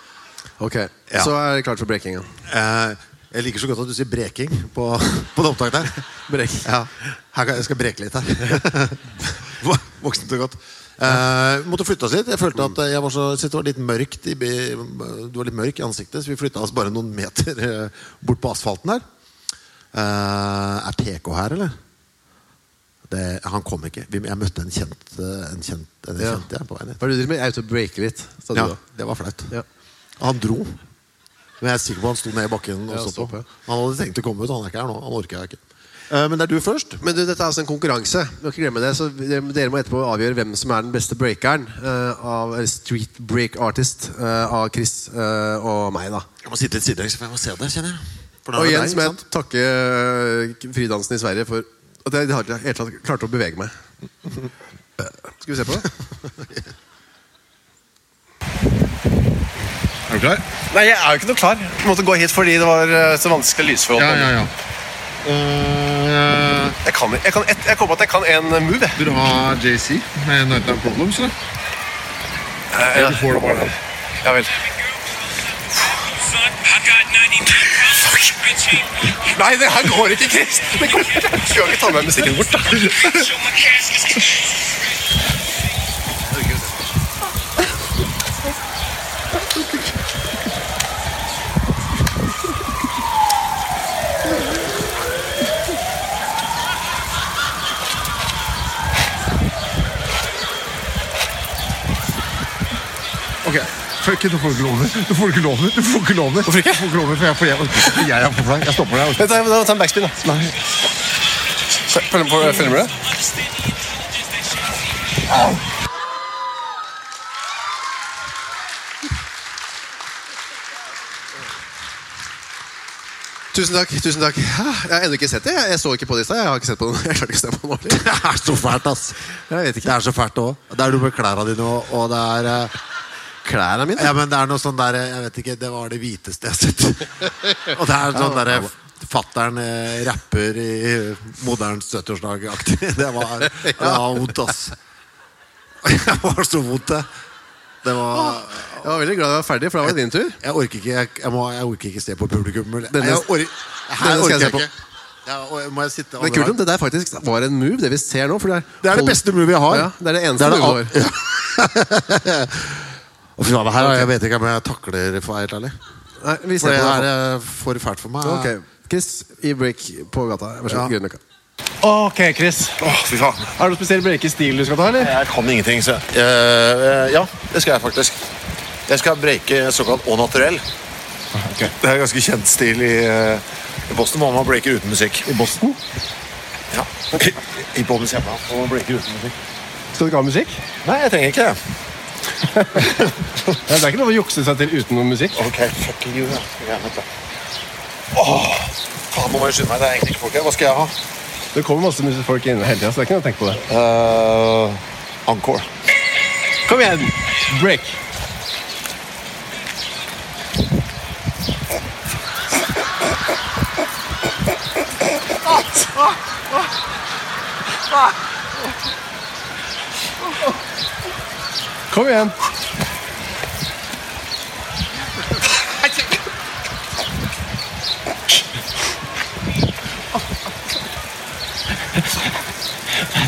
Speaker 1: Ok,
Speaker 2: Ja.
Speaker 1: Så er det klart for brekinga.
Speaker 2: Eh, jeg liker så godt at du sier breking på, på det opptaket der. Brek. Ja, her kan, jeg skal breke litt her. Voksent og godt. Eh, vi måtte flytte oss litt. Jeg følte at eh, jeg var så, jeg syntes det var litt mørkt i, bi- Du var litt mørk i ansiktet, så vi flytta oss bare noen meter eh, bort på asfalten der. Eh, er TK her, eller? Det, han kom ikke. Vi, jeg møtte en kjent, eh, en kjent, en
Speaker 1: Ja.
Speaker 2: kjent jeg, på veien.
Speaker 1: Hva er det du driver med? Jeg er ute og breaker litt. Sa du
Speaker 2: Ja,
Speaker 1: da.
Speaker 2: det var flaut.
Speaker 1: Ja.
Speaker 2: Han dro. Men jeg er sikker på han sto ned i bakken. Og
Speaker 1: Ja,
Speaker 2: så
Speaker 1: så
Speaker 2: på.
Speaker 1: på.
Speaker 2: Han hadde tenkt å komme ut, han er ikke her nå. Han orker jeg ikke. Eh, Men det er du først.
Speaker 1: Men du, dette er altså en konkurranse. Du må ikke glemme det Så Dere dere må etterpå avgjøre hvem som er den beste breakeren. eh, av eller Street break artist eh, av Chris eh, og meg, da.
Speaker 2: Jeg må sitte litt sidelengs, for jeg må se det, kjenner jeg. For da
Speaker 1: Og
Speaker 2: er det
Speaker 1: igjen
Speaker 2: deg,
Speaker 1: må jeg
Speaker 2: ikke sant?
Speaker 1: takke eh, fridansen i Sverige for at jeg i det hele tatt klarte å bevege meg. Eh, Skal vi se på det?
Speaker 2: Er du klar?
Speaker 3: Nei, jeg er jo ikke noe klar. Jeg måtte gå hit fordi det var eh, så vanskelig lysforhold.
Speaker 2: Ja, ja, ja. Eh,
Speaker 3: Jeg, kan, jeg, kan, jeg, jeg kom på at jeg kan en move. jeg.
Speaker 2: vil du ha JC med Nighttime Problems, eller?
Speaker 3: Eh, ja. ja vel. Nei, det her går ikke, Chris. Det går ikke. Du kan ikke ta med musikken bort, da.
Speaker 6: Ok, fuck it, du får ikke lov til Du får ikke lov til Du får ikke lov til Hvorfor ikke? Du får ikke lov til, for jeg, for jeg, for jeg, er for flau. Jeg stopper deg. altså.
Speaker 3: Vent, da, da, ta en backspin, da. Følg- følg- Filmer du det?
Speaker 1: Tusen takk. tusen takk Ah, Jeg har ennå ikke sett det. Jeg jeg så ikke på det i stad. Jeg har ikke sett på den. Jeg klarer ikke å se på den ordentlig.
Speaker 2: Det er så fælt, ass.
Speaker 1: Jeg vet ikke.
Speaker 2: Det er så fælt òg. Det er noe med klærne dine og, og det er eh,
Speaker 1: Klærne mine.
Speaker 2: Ja, men det er noe sånn der Jeg vet ikke, det var det hviteste jeg har sett. Og det er sånn der Fattern eh, rapper i moderne 70-årslag-aktig. Det var det var vondt, ass. Det var så vondt, det. Det var
Speaker 1: Jeg var veldig glad jeg var ferdig, for da var det din tur.
Speaker 2: Jeg orker ikke Jeg, jeg, må, jeg orker ikke se på publikum. eller-
Speaker 1: Denne-
Speaker 2: jeg orker, her
Speaker 1: denne skal
Speaker 2: orker
Speaker 1: jeg
Speaker 2: jeg
Speaker 1: se på.
Speaker 2: ikke. Ja, og jeg- må jeg sitte
Speaker 1: Men
Speaker 2: andre
Speaker 1: kult om
Speaker 2: veien?
Speaker 1: det der faktisk var en move, det vi ser nå. For det, er
Speaker 2: Det er det beste movet jeg har.
Speaker 1: Ja, det er det eneste
Speaker 2: Det er det
Speaker 1: movet vår.
Speaker 2: Å, fy faen, det her, Jeg vet ikke om jeg takler, for å være helt ærlig.
Speaker 1: Nei, vi
Speaker 2: For
Speaker 1: ser
Speaker 2: det
Speaker 1: på det.
Speaker 2: er eh, for fælt for meg.
Speaker 1: Ok, Chris i break på gata. Vær så
Speaker 2: Ja.
Speaker 1: god. Grünerløkka.
Speaker 3: Ok, Chris. Åh, fy faen. Er det noen spesiell breakestil du skal ta, eller?
Speaker 5: Jeg kan ingenting, så jeg. Eh, eh, Ja, det skal jeg faktisk. Jeg skal breake såkalt au naturel. Det er en ganske kjent stil i, eh, i Boston, hvor man breaker uten musikk.
Speaker 3: I Boston?
Speaker 5: Ja. I Bobbys hjemme, hvor man breaker uten musikk.
Speaker 3: Skal du ikke ha musikk?
Speaker 5: Nei, jeg trenger ikke det.
Speaker 3: Ja, Det er ikke lov å jukse seg til uten noe musikk.
Speaker 5: Ok, fuck you, da. Ja, vent da. Åh, faen, nå må jeg skynde meg. Det er egentlig ikke folk her. Hva skal jeg ha?
Speaker 3: Det kommer masse mus- folk inn hele tiden, så det er ikke noe å tenke på det.
Speaker 5: Uh, encore.
Speaker 3: Kom igjen! Break. Kom igjen.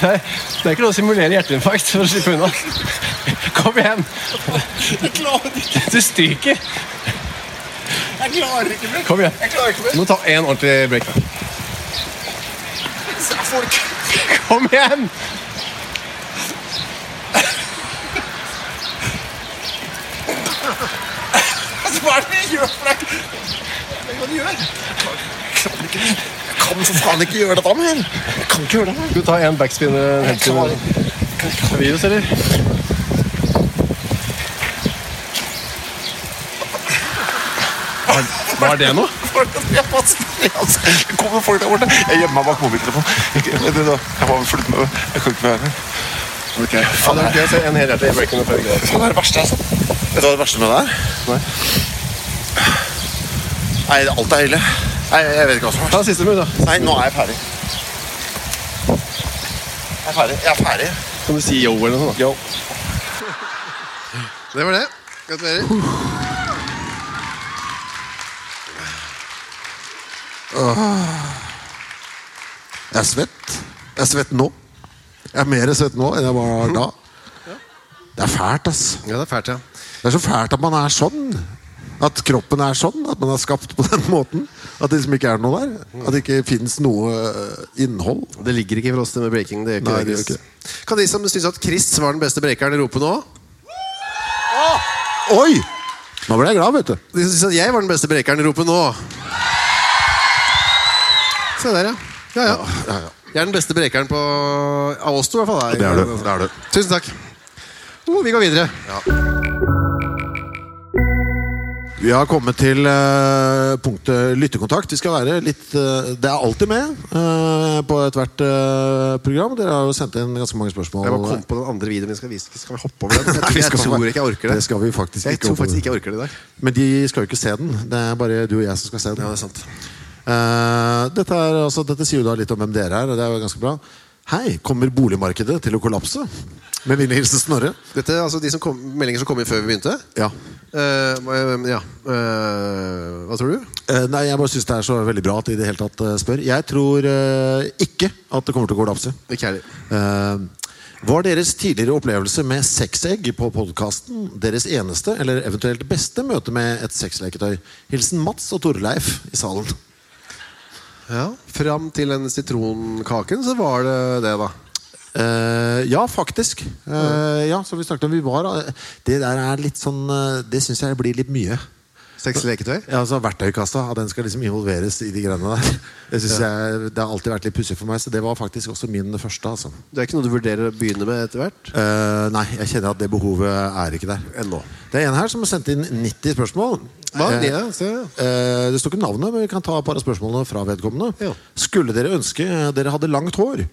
Speaker 3: Det er ikke lov å simulere hjerteinfarkt for å slippe unna. Kom igjen. Du stryker.
Speaker 5: Jeg klarer ikke mer.
Speaker 3: Kom igjen.
Speaker 5: Jeg klarer ikke mer.
Speaker 3: Du må ta en ordentlig break.
Speaker 5: Folk.
Speaker 3: Kom igjen!
Speaker 5: Hva er det du gjør for deg? Hva er det du gjør? Jeg kan for faen ikke gjøre dette mer. Jeg kan ikke gjøre det mer.
Speaker 3: Skal du ta en backspin? eh,
Speaker 5: Jeg
Speaker 3: headspin,
Speaker 5: klarer
Speaker 3: eh, Virus, eller? Hva er det nå?
Speaker 5: Folk, jeg må spille, altså. Det kommer folk der borte. Jeg gjemmer meg bak mobiltelefonen. Ikke- vet du hva? Jeg må flytte meg. Jeg kan ikke være her.
Speaker 3: Ja, det er gøy å se en helhjertet break under før vi går.
Speaker 5: Faen, det er det verste, altså. Vet du hva det verste med det er?
Speaker 3: Nei.
Speaker 5: Nei, det- alt er ille. Nei, jeg vet ikke hva som er verst.
Speaker 3: Ta siste move, da.
Speaker 5: Nei, nå er jeg ferdig. Jeg er ferdig. Jeg er ferdig.
Speaker 3: Kan du si yo eller noe sånt? da?
Speaker 1: Det var det. Gratulerer.
Speaker 2: Jeg er svett. Jeg er svett nå. Jeg er mer svett nå enn jeg var da. Det er fælt, ass.
Speaker 1: Ja, det er fælt, ja.
Speaker 2: Det er så fælt at man er sånn. At kroppen er sånn. At man er skapt på den måten. At det liksom ikke er noe der. At det ikke fins noe eh, innhold.
Speaker 1: Det ligger ikke for oss det med breaking. Det gjør ikke
Speaker 2: Nei,
Speaker 1: det,
Speaker 2: det gjør
Speaker 1: Chris. Kan de som syns at Chris var den beste breakeren, rope nå?
Speaker 2: Oi! Nå ble jeg glad, vet du.
Speaker 1: De som syns at jeg var den beste breakeren, rope nå? Se der, ja. Ja, ja.
Speaker 2: Ja, ja.
Speaker 1: Jeg er den beste breakeren på av oss to, i hvert fall.
Speaker 2: Det er du. Det er du.
Speaker 1: Tusen takk. Oh, vi går videre.
Speaker 2: Vi har kommet til eh, punktet lyttekontakt. Vi skal være litt eh, Det er alltid med eh, på ethvert uh, program. Dere har jo sendt inn ganske mange spørsmål.
Speaker 1: Jeg bare kom på den andre videoen vi skal vise. Skal vi hoppe over den?
Speaker 2: Nei, vi
Speaker 1: Jeg,
Speaker 2: skal-
Speaker 1: tror ikke jeg orker det.
Speaker 2: Det skal vi faktisk
Speaker 1: Jeg
Speaker 2: ikke
Speaker 1: tror
Speaker 2: hoppe
Speaker 1: faktisk
Speaker 2: over.
Speaker 1: ikke jeg orker det i dag.
Speaker 2: Men de skal jo ikke se den. Det er bare du og jeg som skal se den.
Speaker 1: Ja, det er sant.
Speaker 2: Eh, dette, er, altså, dette sier jo da litt om hvem dere er, og det er jo ganske bra. Hei, kommer boligmarkedet til å kollapse? Med vennlig hilsen Snorre.
Speaker 1: Dette er altså de som kom, meldinger som kom inn før vi begynte.
Speaker 2: Ja.
Speaker 1: Eh, eh, ja. Eh, hva tror du?
Speaker 2: Eh, nei, jeg bare syns det er så veldig bra at de i det hele tatt eh, spør. Jeg tror eh, ikke at det kommer til å kollapse.
Speaker 1: Ikke heller.
Speaker 2: Eh, var deres tidligere opplevelse med sexegg på podkasten deres eneste eller eventuelt beste møte med et sexleketøy? Hilsen Mats og Torleif i salen.
Speaker 1: Ja. Fram til den sitronkaken, så var det det, da.
Speaker 2: Eh, ja, faktisk. Eh, ja, som vi snakket om, vi var eh, Det der er litt sånn eh, Det syns jeg blir litt mye.
Speaker 1: Seks leketøy.
Speaker 2: Ja, altså Verktøykassa at den skal liksom involveres i de greiene der. Det, synes jeg, det har alltid vært litt pussig for meg, så det var faktisk også min første. altså
Speaker 1: Det er ikke noe du vurderer å begynne med etter hvert?
Speaker 2: Eh, nei, jeg kjenner at det behovet er ikke der.
Speaker 1: Ennå.
Speaker 2: Det er en her som har sendt inn 90 spørsmål.
Speaker 1: Hva?
Speaker 2: Eh,
Speaker 1: Ja, se.
Speaker 2: eh, det står ikke navnet, men vi kan ta et par av spørsmålene fra vedkommende.
Speaker 1: Ja.
Speaker 2: Skulle dere ønske dere hadde langt hår?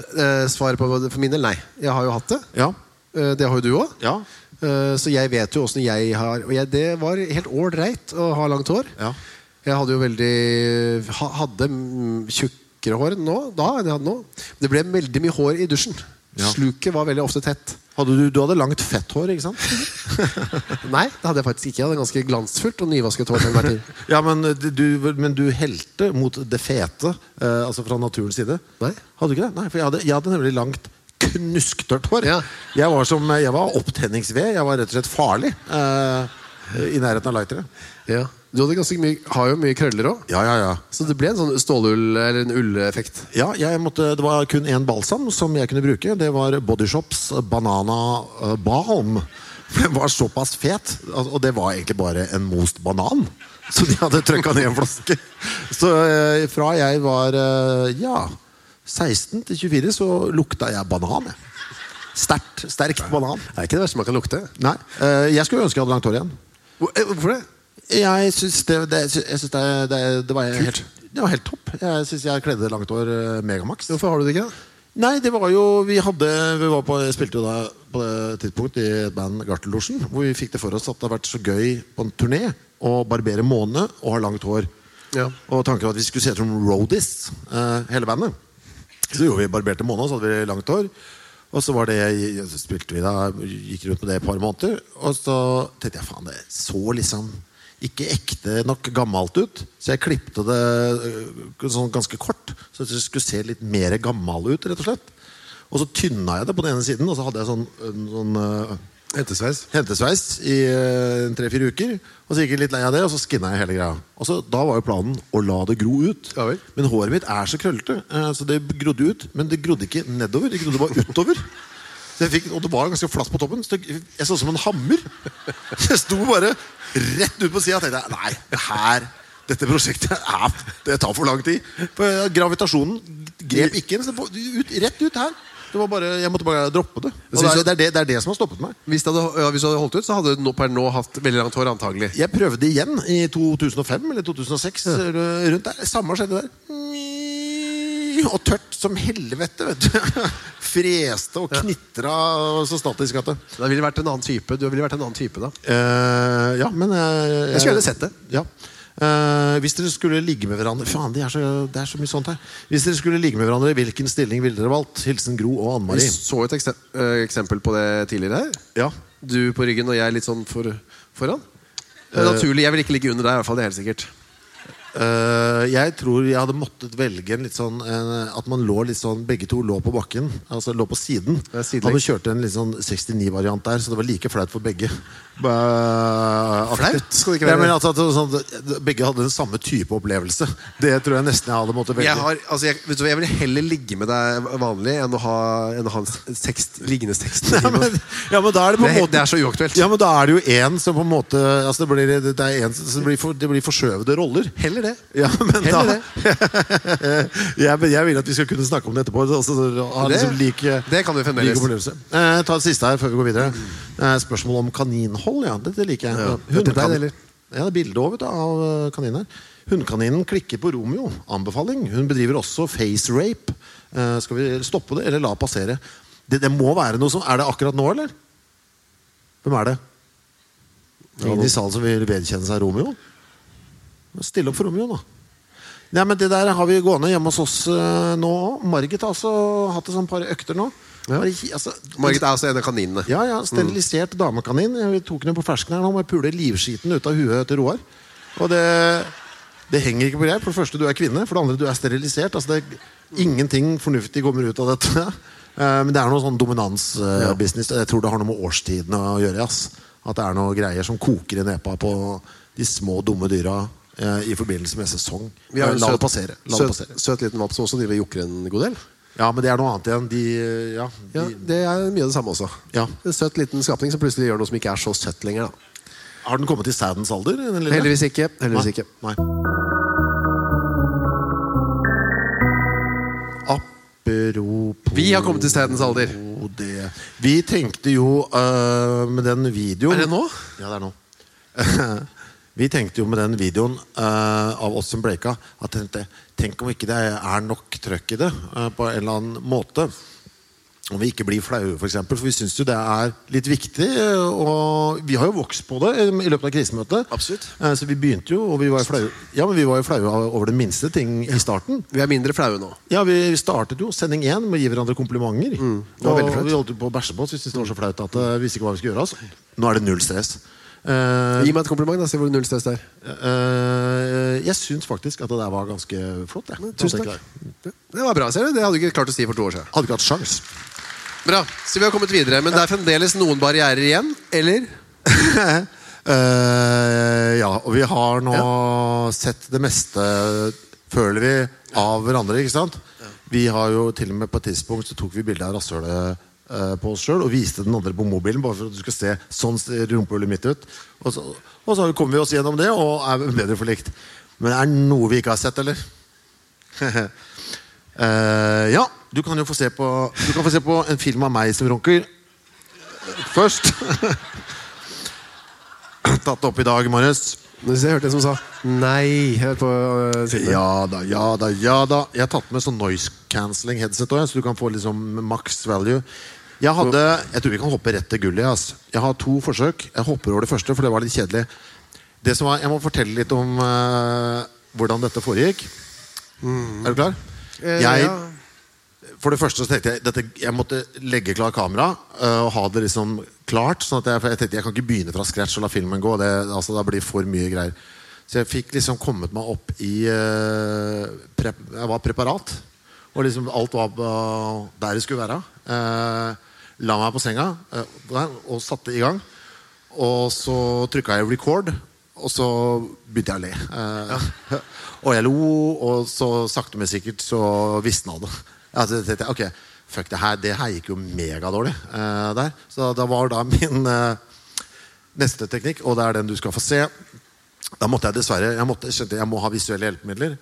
Speaker 1: Eh, Svaret på for min del nei. Jeg har jo hatt det.
Speaker 2: Ja.
Speaker 1: Eh, Det har jo du òg.
Speaker 2: Ja.
Speaker 1: Eh, Så jeg vet jo åssen jeg har Og jeg, det var helt ålreit å ha langt hår.
Speaker 2: Ja.
Speaker 1: Jeg hadde jo veldig ha- Hadde mm, tjukkere hår nå, da enn jeg hadde nå. Det ble veldig mye hår i dusjen.
Speaker 2: Ja.
Speaker 1: Sluket var veldig ofte tett.
Speaker 2: Hadde du, du hadde langt fett hår, ikke sant?
Speaker 1: Nei, det hadde jeg faktisk ikke. Jeg hadde ganske glansfullt og nyvasket hår. til enhver tid.
Speaker 2: Ja, men eh, du, men du helte mot det fete, eh, altså fra naturens side.
Speaker 1: Nei.
Speaker 2: Hadde du ikke det? Nei, for jeg hadde, jeg hadde nemlig langt knusktørt hår.
Speaker 1: Ja.
Speaker 2: Jeg var som, eh, jeg var opptenningsved, jeg var rett og slett farlig eh, i nærheten av lightere.
Speaker 1: Ja. Du hadde ganske mye, har jo mye krøller òg.
Speaker 2: Ja, ja, ja.
Speaker 1: Så det ble en sånn stålull eller en ulleffekt.
Speaker 2: Ja, jeg måtte, det var kun én balsam som jeg kunne bruke. Det var Bodyshops Banana eh, Balm. For den var såpass fet, al- og det var egentlig bare en most banan. Så de hadde trøkka ned en flaske. Så eh, fra jeg var eh, ja, 16 til 24, så lukta jeg banan. jeg. Sterkt. Sterkt banan.
Speaker 1: Det er ikke det verste man kan lukte.
Speaker 2: Nei, eh, jeg skulle ønske jeg hadde langt hår igjen.
Speaker 1: Hvor- eh, Hvorfor det?
Speaker 2: Jeg syns det, det, jeg syns det, det, det, var, helt, det var helt topp. Jeg syns jeg kledde langt hår eh, megamax.
Speaker 1: Hvorfor har du det ikke? da?
Speaker 2: Nei, det var jo Vi hadde Vi var på, jeg spilte jo da på det tidspunkt i et band Gartellosjen, hvor vi fikk det for oss at det har vært så gøy på en turné å barbere måne og ha langt hår.
Speaker 1: Ja.
Speaker 2: Og tanken var at vi skulle se ut som roadies, eh, hele bandet. Så gjorde vi barberte måne, og så hadde vi langt hår. Og så var det, så spilte vi da, gikk rundt med det i et par måneder. Og så tenkte jeg faen, det så liksom ikke ekte nok gammelt ut. Så jeg klippte det eh, sånn ganske kort, så det skulle se litt mer gammel ut. rett og slett. Og så tynna jeg det på den ene siden, og så hadde jeg sånn, en sånn eh,
Speaker 1: Hentesveis.
Speaker 2: hentesveis i eh, tre-fire uker. Og så gikk jeg litt lei av det, og så skinna jeg hele greia. Og så, Da var jo planen å la det gro ut.
Speaker 1: Ja vel.
Speaker 2: Men håret mitt er så krøllete, eh, så det grodde ut. Men det grodde ikke nedover, det grodde bare utover. Så jeg fikk, og det var ganske flatt på toppen. Så det- jeg så ut som en hammer. Så jeg sto bare rett ut på sida og tenkte nei, det her dette prosjektet er, det tar for lang tid. For eh, gravitasjonen grep ikke inn. Så det var ut, rett ut her. Det var bare, jeg måtte bare droppe det. Og det, er, det, er det. det er det som har stoppet meg.
Speaker 1: Hvis du hadde, ja, hvis du hadde holdt ut, så hadde du nå- per nå hatt veldig langt hår, antagelig.
Speaker 2: Jeg prøvde igjen i 2005 eller 2006 eller eh, rundt der. Samme skjedde der. Og tørt som helvete, vet du. Freste og knitra og så statisk at det.
Speaker 1: Da ville det vært en annen type. Du ville vært en annen type da.
Speaker 2: Eh, ja, men eh,
Speaker 1: Jeg skulle gjerne sett det.
Speaker 2: Ja. Eh, hvis dere skulle ligge med hverandre Faen, det er, så, det er så mye sånt her. Hvis dere skulle ligge med hverandre, hvilken stilling ville dere valgt? Hilsen Gro og Anne
Speaker 1: Vi
Speaker 2: Marie.
Speaker 1: så et ekse- eh, eksempel på det tidligere her.
Speaker 2: Ja.
Speaker 1: Du på ryggen og jeg litt sånn for, foran. Det er naturlig, Jeg vil ikke ligge under deg, i hvert fall. det er helt sikkert
Speaker 2: Eh, jeg tror jeg hadde måttet velge en litt sånn eh, At man lå litt sånn Begge to lå på bakken, altså lå på siden.
Speaker 1: Ja, sidelengs.
Speaker 2: Han kjørte en litt sånn 69-variant der, så det var like flaut for begge. Uh,
Speaker 1: Flaut skal det ikke være.
Speaker 2: men at, at, sånn, begge hadde den samme type opplevelse. Det tror jeg nesten jeg hadde måttet velge.
Speaker 1: Jeg, har, altså, jeg, vet du, hva, jeg vil heller ligge med deg vanlig enn å ha, enn å ha en sext, liggende sext.
Speaker 2: ja, men, ja, men da er det
Speaker 1: Det
Speaker 2: på en
Speaker 1: er-
Speaker 2: måte
Speaker 1: det er så uaktuelt.
Speaker 2: Ja, men da er det jo én som på en måte altså det, blir, det, er en, som- det, blir for, det blir forskjøvede roller.
Speaker 1: Heller det.
Speaker 2: Ja, men
Speaker 1: Heller
Speaker 2: da
Speaker 1: det.
Speaker 2: jeg, men jeg vil at vi skal kunne snakke om det etterpå. Altså, ha
Speaker 1: Det-
Speaker 2: liksom lik,
Speaker 1: det kan vi fremdeles.
Speaker 2: lik opplevelse. Eh, ta det siste her før vi går videre. Eh, spørsmål om kaninhold. Ja, dette liker jeg.
Speaker 1: Ja.
Speaker 2: Hundekan-
Speaker 1: Hørte deg, eller?
Speaker 2: Ja, det er bilde over, vet du, av eh, kaniner. Hundekaninen klikker på Romeo. Anbefaling. Hun bedriver også face rape. Eh, skal vi stoppe det, eller la passere? Det, det må være noe som Er det akkurat nå, eller? Hvem er det? Ingen i salen som vil vedkjenne seg Romeo? Stille opp for Romeo, da. Nei, men Det der har vi gående hjemme hos oss eh, nå òg. Margit har altså hatt et sånt par økter nå. Bare hi- altså,
Speaker 1: Margit er også en av kaninene.
Speaker 2: Ja, ja, Sterilisert
Speaker 1: Mm.
Speaker 2: damekanin. Vi tok henne på fersken her nå med å pule livskiten ut av huet til Roar. Og det, det henger ikke på greip. For det første, du er kvinne. For det andre, du er sterilisert. Altså, det, ingenting fornuftig kommer ut av dette. Eh, Men det er noe sånn dominansbusiness. Jeg tror det har noe med årstidene å gjøre. Ass. At det er noe greier som koker i nepa på de små, dumme dyra eh, i forbindelse med sesong. Eh,
Speaker 1: Vi har en
Speaker 2: La det
Speaker 1: søt-
Speaker 2: passere. La det
Speaker 1: søt-
Speaker 2: passere.
Speaker 1: Søt liten valp som også driver og jokker en god del.
Speaker 2: Ja, men det er noe annet igjen. De, eh, ja, de,
Speaker 1: Ja, det er mye av det samme også.
Speaker 2: Ja.
Speaker 1: En søt liten skapning som plutselig gjør noe som ikke er så søtt lenger. Da.
Speaker 2: Har den kommet i sædens alder? den lille?
Speaker 1: Heldigvis ikke. Heldigvis
Speaker 2: Nei.
Speaker 1: ikke.
Speaker 2: Nei. Apropos
Speaker 1: Vi har kommet til stedens alder.
Speaker 2: det. Vi tenkte jo øh, med den videoen
Speaker 1: Er det nå?
Speaker 2: Ja, det er nå. Vi tenkte jo med den videoen øh, av oss som bleika at tenkte, Tenk om ikke det er nok trøkk i det øh, på en eller annen måte. Om vi ikke blir flaue, f.eks. For, eksempel, for vi syns jo det er litt viktig. øh, Og vi har jo vokst på det øh, i løpet av krisemøtet.
Speaker 1: Absolutt.
Speaker 2: Eh, Så vi begynte jo, og vi var jo flaue Ja, men vi var jo flaue over den minste ting i starten.
Speaker 1: Vi er mindre flaue nå.
Speaker 2: Ja, Vi startet jo sending én med å gi hverandre komplimenter.
Speaker 1: Mm. det var
Speaker 2: og
Speaker 1: veldig flaut.
Speaker 2: vi holdt jo på å bæsje på oss. Vi syntes det var så flaut at eh, vi visste ikke hva vi skulle gjøre. Altså. Nå er det null stress. Eh,
Speaker 1: Gi meg et kompliment, da. Se hvor null stress det er.
Speaker 2: eh, jeg syns faktisk at det der var ganske flott. Jeg.
Speaker 1: Tusen takk. Det det var bra, ser du. Det hadde du ikke klart å si for to år siden.
Speaker 2: Hadde ikke hatt sjans.
Speaker 1: Bra, så vi har kommet videre, Men det er fremdeles noen barrierer igjen, eller?
Speaker 2: Eh, ja, og vi har nå sett det meste, føler vi, av hverandre. ikke sant? Vi har jo til og med på et tidspunkt så tok vi bilde av rasshølet eh, på oss sjøl og viste den andre på mobilen. bare for at du skal se sånn ser rumpehullet mitt ut. Og så, og så kommer vi oss gjennom det og er bedre forlikt. Men er det noe vi ikke har sett, eller? Eh, ja, du kan jo få se på Du kan få se på en film av meg som runker. Først. Tatt opp i dag morges.
Speaker 1: Nå synes jeg jeg hørte en som sa nei. Hør på øh, siden.
Speaker 2: Ja da, ja da, ja da. Jeg har tatt med sånn noise cancelling headset også, så du kan få liksom max value. Jeg hadde, jeg tror vi kan hoppe rett til gullet. ass. Jeg har to forsøk. Jeg hopper over det første, for det var litt kjedelig. Det som var, jeg må fortelle litt om eh, hvordan dette foregikk. Mm. Er du klar?
Speaker 1: Eh,
Speaker 2: jeg,
Speaker 1: ja.
Speaker 2: for det første så tenkte jeg dette, Jeg måtte legge klar kamera øh, og ha det liksom klart. Sånn at jeg, for jeg tenkte jeg kan ikke begynne fra scratch og la filmen gå. Det, altså, da blir det for mye greier. Så jeg fikk liksom kommet meg opp i øh, prep, Jeg var preparat. Og liksom alt var øh, der det skulle være. Eh, la meg på senga øh, der, og satte i gang. Og så trykka jeg record, og så begynte jeg å le. Eh, og jeg lo, og så sakte, men sikkert så visna det. Altså, jeg tenkte, ok, fuck det her, det her gikk jo megadårlig eh, der. Så da var da min eh, neste teknikk, og det er den du skal få se. Da måtte jeg dessverre Jeg, måtte, jeg skjønte jeg må ha visuelle hjelpemidler.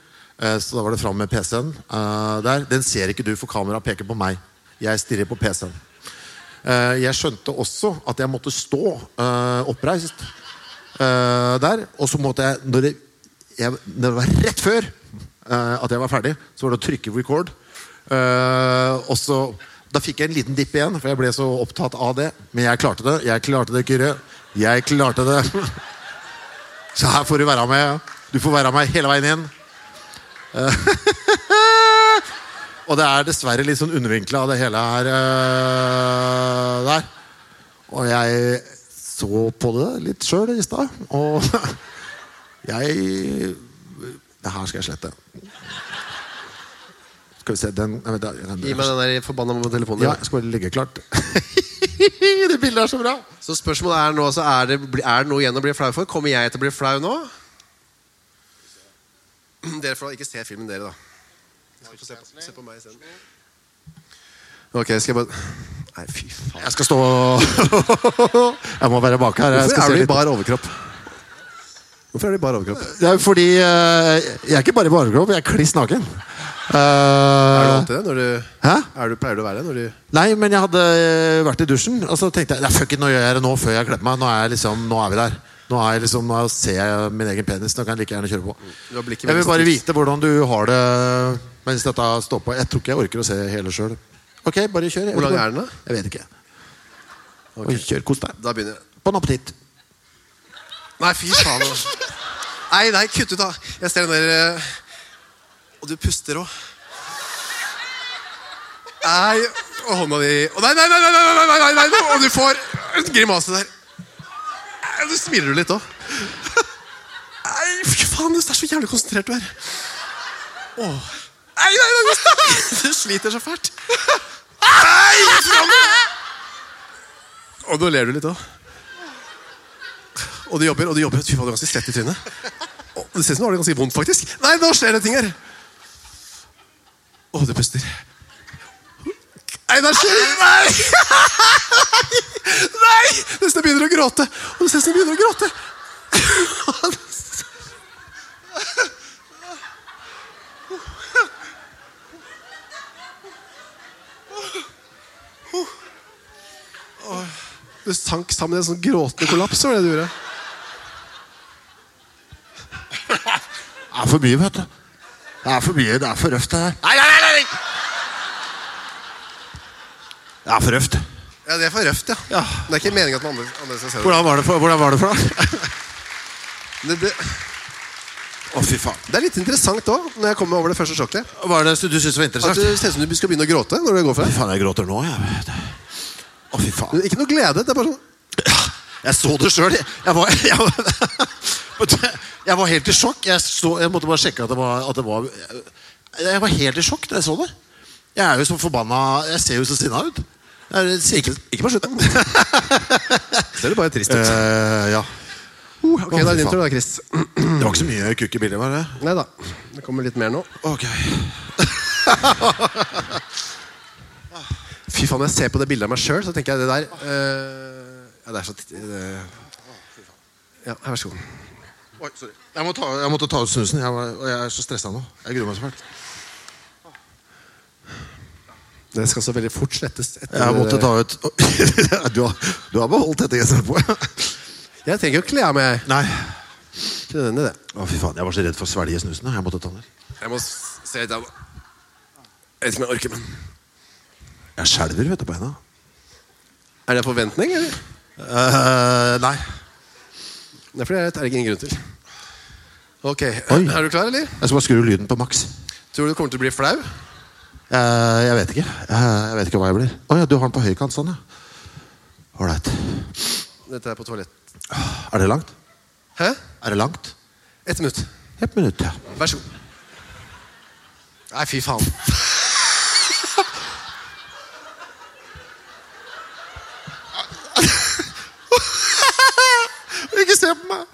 Speaker 2: Eh, Så da var det fram med PC-en eh, der. Den ser ikke du, for kameraet peker på meg. Jeg stirrer på PC-en. Eh, Jeg skjønte også at jeg måtte stå eh, oppreist eh, der. Og så måtte jeg når, det, jeg når det var rett før eh, at jeg var ferdig, så var det å trykke record. Eh, og så Da fikk jeg en liten dipp igjen, for jeg ble så opptatt av det. Men jeg klarte det. Jeg klarte det, Kyrre. Jeg klarte det. Så her får du være med. Du får være med hele veien inn. Eh, Og det er dessverre litt sånn undervinkla, det hele her øh, der. Og jeg så på det litt sjøl i stad, og jeg Det her skal jeg slette. Skal vi se den, nei, vent, den
Speaker 1: Gi meg den der forbanna telefonen.
Speaker 2: Ja,
Speaker 1: din.
Speaker 2: jeg skal bare ligge klart. det bildet er så bra!
Speaker 1: Så spørsmålet er nå altså, er, det, bli- er det noe igjen å bli flau for? Kommer jeg til å bli flau nå? Dere får da ikke se filmen, dere, da. Skal få se på, se på meg isteden. Ok, skal jeg bare Nei, fy faen.
Speaker 2: Jeg skal stå Jeg må være bak her. Jeg
Speaker 1: Hvorfor
Speaker 2: skal
Speaker 1: er
Speaker 2: se
Speaker 1: du i
Speaker 2: litt.
Speaker 1: bar overkropp? Hvorfor er du i bar overkropp?
Speaker 2: Det er fordi øh, Jeg er ikke bare i barnekropp, jeg er kliss naken.
Speaker 1: Er du
Speaker 2: Uh,
Speaker 1: alltid det? Når du,
Speaker 2: Hæ?
Speaker 1: er du, pleier du å være det? Når du,
Speaker 2: Nei, men jeg hadde eh, vært i dusjen, og så tenkte jeg Nei, fuck it, nå gjør jeg det nå før jeg klemmer meg. Nå er, jeg liksom, nå er vi der. Nå, er jeg liksom, nå ser jeg min egen penis. Nå kan jeg like gjerne kjøre på.
Speaker 1: Mm. du har blikket
Speaker 2: Jeg vil
Speaker 1: veldig
Speaker 2: bare
Speaker 1: stivt.
Speaker 2: vite hvordan du har det mens dette står på. Jeg tror ikke jeg orker å se hele sjøl. Ok, bare kjør. Jeg
Speaker 1: Hvor
Speaker 2: vet
Speaker 1: lang
Speaker 2: ikke.
Speaker 1: er den da?
Speaker 2: Jeg vet ikke. Oi, Kjør. Kos deg.
Speaker 1: Da begynner jeg.
Speaker 2: Bon appétit.
Speaker 1: Nei, fy faen. altså. Nei, nei, kutt ut, da. Jeg ser den der eh, Og du puster òg. Nei, og hånda di og nei, nei, nei, nei, nei, nei, nei, nei, nei, Og du får en grimase der. Nei, og Du smiler jo litt òg. Nei, fy faen, det er så jævlig konsentrert du er. Åh. Nei, nei, nei, nei. Du sliter så fælt. Nei, fram! Og nå ler du litt òg. Og du jobber, og du jobber. Fy faen, du er ganske svett i trynet. Å, Det ser ut som du har det ganske vondt, faktisk. Nei, nå skjer det ting her! Å, du puster. Nei, der skjer det Nei! Nei! Nesten jeg begynner å gråte. Og det ser ut som jeg begynner å gråte. Du sank sammen i en sånn gråtende kollaps. var det du gjorde.
Speaker 2: Det er for mye, vet du. Det er for mye. Det er for røft, det her. Nei, nei, nei, nei! Det er for røft.
Speaker 1: Ja, Det er for røft, ja. Det er ikke meningen at man andre, andre skal se det.
Speaker 2: Hvordan var det for, hvordan var det for deg?
Speaker 1: Det, det,
Speaker 2: Å, fy faen.
Speaker 1: det er litt interessant òg, når jeg kommer over det første sjokket.
Speaker 2: Hva er det du syns var
Speaker 1: At
Speaker 2: interessant?
Speaker 1: du ser ut som du skal begynne å gråte. når det går for
Speaker 2: Fy
Speaker 1: deg.
Speaker 2: faen, jeg gråter nå, jeg. vet du. Å, fy faen.
Speaker 1: Ikke noe glede. det er bare sånn...
Speaker 2: Jeg så det sjøl. Jeg, var- jeg, var- jeg var helt i sjokk. Jeg, så, jeg måtte bare sjekke at det var, at det var Jeg var helt i sjokk da jeg så det. Jeg er jo så forbanna Jeg ser jo så sinna ut. Jeg er sikkert-
Speaker 1: Ikke på slutten. Ser du bare trist ut.
Speaker 2: Eh, ja.
Speaker 1: Uh, ok,
Speaker 2: Å,
Speaker 1: da
Speaker 2: fy
Speaker 1: er det din
Speaker 2: faen.
Speaker 1: tur, da, Chris.
Speaker 2: Det var ikke så mye kukk i bildet, var det?
Speaker 1: Nei da. Det kommer litt mer nå.
Speaker 2: Ok
Speaker 1: Fy faen, når jeg ser på det bildet av meg sjøl, så tenker jeg det der eh, Ja, det er så t- det- Ja, vær så god.
Speaker 2: Oi, sorry. Jeg, må ta, jeg måtte ta ut snusen. Jeg, var, og jeg er så stressa nå. Jeg gruer meg så fælt.
Speaker 1: Det skal så veldig fort slettes. etter-
Speaker 2: Jeg måtte ta ut Du har, du har beholdt dette genseren på?
Speaker 1: Jeg trenger ikke å kle av meg.
Speaker 2: Nei.
Speaker 1: Ikke nødvendig, det.
Speaker 2: Å, fy faen. Jeg var så redd for å svelge snusen. Jeg måtte ta den.
Speaker 1: Jeg må s- se litt av Jeg vet ikke om jeg orker, men
Speaker 2: Jeg skjelver, vet du, på henda.
Speaker 1: Er det en forventning, eller?
Speaker 2: Eh, nei.
Speaker 1: Det er fordi det er det ingen grunn til. Ok,
Speaker 2: Oi.
Speaker 1: Er du klar, eller?
Speaker 2: Jeg skal bare skru lyden på maks.
Speaker 1: Tror du du kommer til å bli flau?
Speaker 2: Eh, jeg vet ikke. Eh, jeg vet ikke hva jeg blir. Å ja, du har den på høykant sånn, ja. Ålreit.
Speaker 1: Dette er på toalett.
Speaker 2: Er det langt?
Speaker 1: Hæ?
Speaker 2: Er det langt?
Speaker 1: Ett minutt.
Speaker 2: Et minutt, ja.
Speaker 1: Vær så god. Nei, fy faen.
Speaker 2: Ikke se på meg!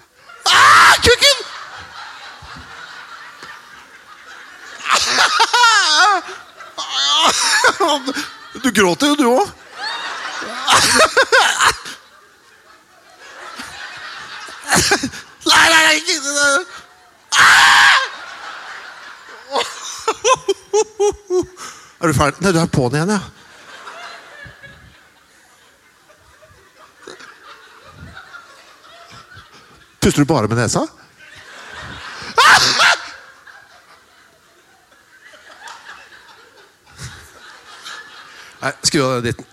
Speaker 2: Ah, kukken! Du gråter jo, du òg. Nei, nei, nei, ikke det der. Ah! Er du ferdig? Nei, du er på'n igjen, ja. Puster du bare med nesa?
Speaker 1: Nei, Skru av den dritten.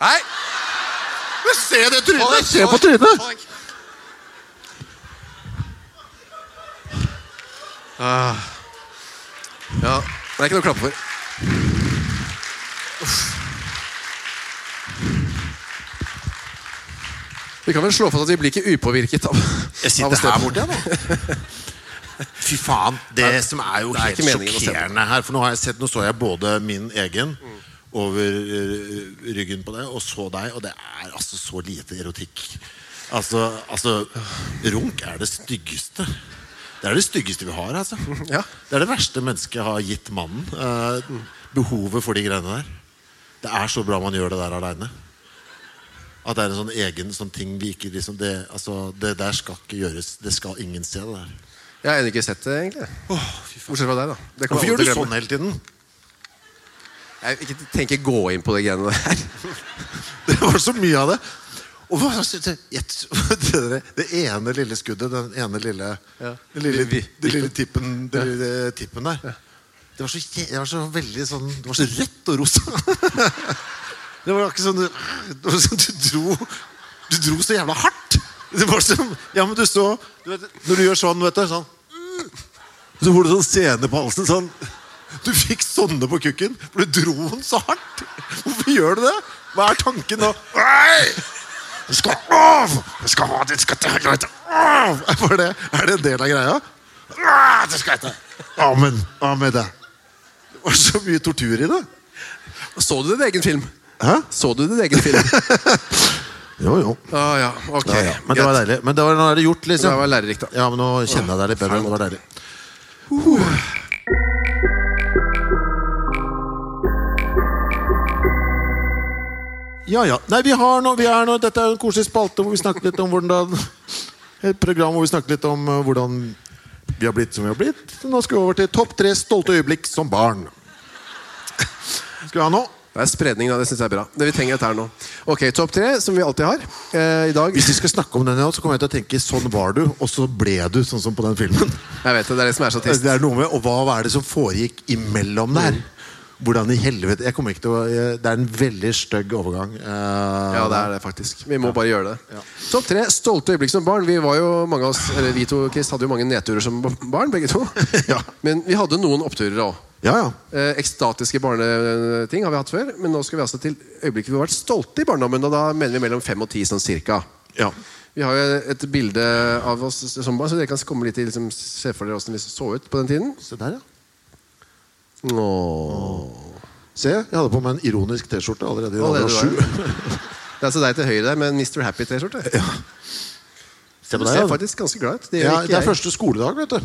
Speaker 1: Nei!
Speaker 2: Men se det trynet! Se på
Speaker 1: Få
Speaker 2: trynet!
Speaker 1: deg. Ah. Ja, det er ikke noe å klappe for. Uff. Vi kan vel slå fast at vi blir ikke upåvirket av
Speaker 2: Jeg
Speaker 1: av å
Speaker 2: sitter
Speaker 1: se
Speaker 2: her
Speaker 1: på.
Speaker 2: borte, jeg, nå. Fy faen. Det som er jo
Speaker 1: det er
Speaker 2: helt
Speaker 1: ikke meningen å se på.
Speaker 2: sjokkerende her For nå har jeg sett, nå så jeg både min egen over eh, ryggen på deg, og så deg, og det er altså så lite erotikk. Altså, altså Runk er det styggeste. Det er det styggeste vi har, altså.
Speaker 1: Ja.
Speaker 2: Det er det verste mennesket har gitt mannen. eh, behovet for de greiene der. Det er så bra man gjør det der aleine. At det er en sånn egen sånn ting vi ikke liksom det, altså, det der skal ikke gjøres. Det skal ingen se, det der.
Speaker 1: Jeg har ennå ikke sett det, egentlig. Bortsett fra deg, da. Det kommer
Speaker 2: Hvorfor
Speaker 1: jeg aldri til
Speaker 2: gjør du
Speaker 1: å glemme.
Speaker 2: sånn hele tiden?
Speaker 1: Jeg vil ikke tenker ikke gå inn på de greiene der.
Speaker 2: Det var så mye av det. Og hva, jeg- det, der- det ene lille skuddet, den ene lille
Speaker 1: Ja.
Speaker 2: Den lille,
Speaker 1: Vi- vi-
Speaker 2: den lille tippen, den lille tippen der. Det var, så, jæ- det var så veldig sånn Det var så rødt og rosa. Det var ikke sånn du, det var sånn, du dro Du dro så jævla hardt. Det var som, ja, men du så du vet, Når du gjør sånn, vet du sånn, Så får du sånn sene på halsen sånn. Du fikk sånne på kukken For du dro den så hardt Hvorfor gjør du det? Hva er tanken nå? Nei! Det skal av! Det skal av! Det skal til helvete av! Er det, er det en del av greia? Ah, Det skal hete Amen, amen det Det var så mye tortur i det
Speaker 1: Så du din egen film?
Speaker 2: Hæ?
Speaker 1: Så du din egen film?
Speaker 2: Jo, jo
Speaker 1: Å ja, ok.
Speaker 2: ja, ja. Men det var
Speaker 1: Greit.
Speaker 2: deilig. Men det var, nå er det gjort, liksom.
Speaker 1: Det var lærerikt, da.
Speaker 2: Ja, men nå kjenner jeg deg litt bedre. Det var deilig. Ja, ja. Nei, vi har nå, vi er nå Dette er jo en koselig spalte hvor vi snakker litt om hvordan Et program hvor vi snakker litt om eh, hvordan vi har blitt som vi har blitt. Så Nå skal vi over til topp tre stolte øyeblikk som barn. Skal vi ha nå?
Speaker 1: Det er spredning, da. Det syns jeg er bra. Det vi trenger dette her nå. Ok, Topp tre, som vi alltid har. Eh, I dag
Speaker 2: Hvis vi skal snakke om den, ja, så kommer jeg til å tenke 'sånn var du', og så ble du sånn som på den filmen.
Speaker 1: Jeg vet det, det er det som er så trist.
Speaker 2: Det er noe med, og hva er det som foregikk imellom der?
Speaker 1: Mm.
Speaker 2: Hvordan i helvete Jeg kommer ikke til å jeg- Det er en veldig stygg overgang. eh,
Speaker 1: Ja, det er det faktisk. Vi må bare gjøre det. Topp tre stolte øyeblikk som barn. Vi var jo mange av oss, eller vi to Chris, hadde jo mange nedturer som barn, begge to.
Speaker 2: Ja.
Speaker 1: Men vi hadde noen oppturer òg.
Speaker 2: ja, ja.
Speaker 1: Eh, ekstatiske barneting har vi hatt før. Men nå skal vi altså til øyeblikket vi har vært stolte i barndommen. Og da mener vi mellom fem og ti, sånn cirka.
Speaker 2: ja.
Speaker 1: Vi har jo et bilde av oss som barn, så dere kan komme litt til liksom, se for dere åssen vi så ut på den tiden.
Speaker 2: Se der, ja.
Speaker 1: Åh.
Speaker 2: Se, jeg hadde på meg en ironisk T-skjorte allerede i
Speaker 1: Allerede
Speaker 2: alder av sju.
Speaker 1: Det er altså deg til høyre der med en Mr. Happy-T-skjorte.
Speaker 2: Se
Speaker 1: Du
Speaker 2: på deg,
Speaker 1: ser
Speaker 2: ja.
Speaker 1: faktisk ganske glad ut. Det gjør
Speaker 2: Ja,
Speaker 1: ikke
Speaker 2: det er
Speaker 1: jeg.
Speaker 2: første skoledag, vet du.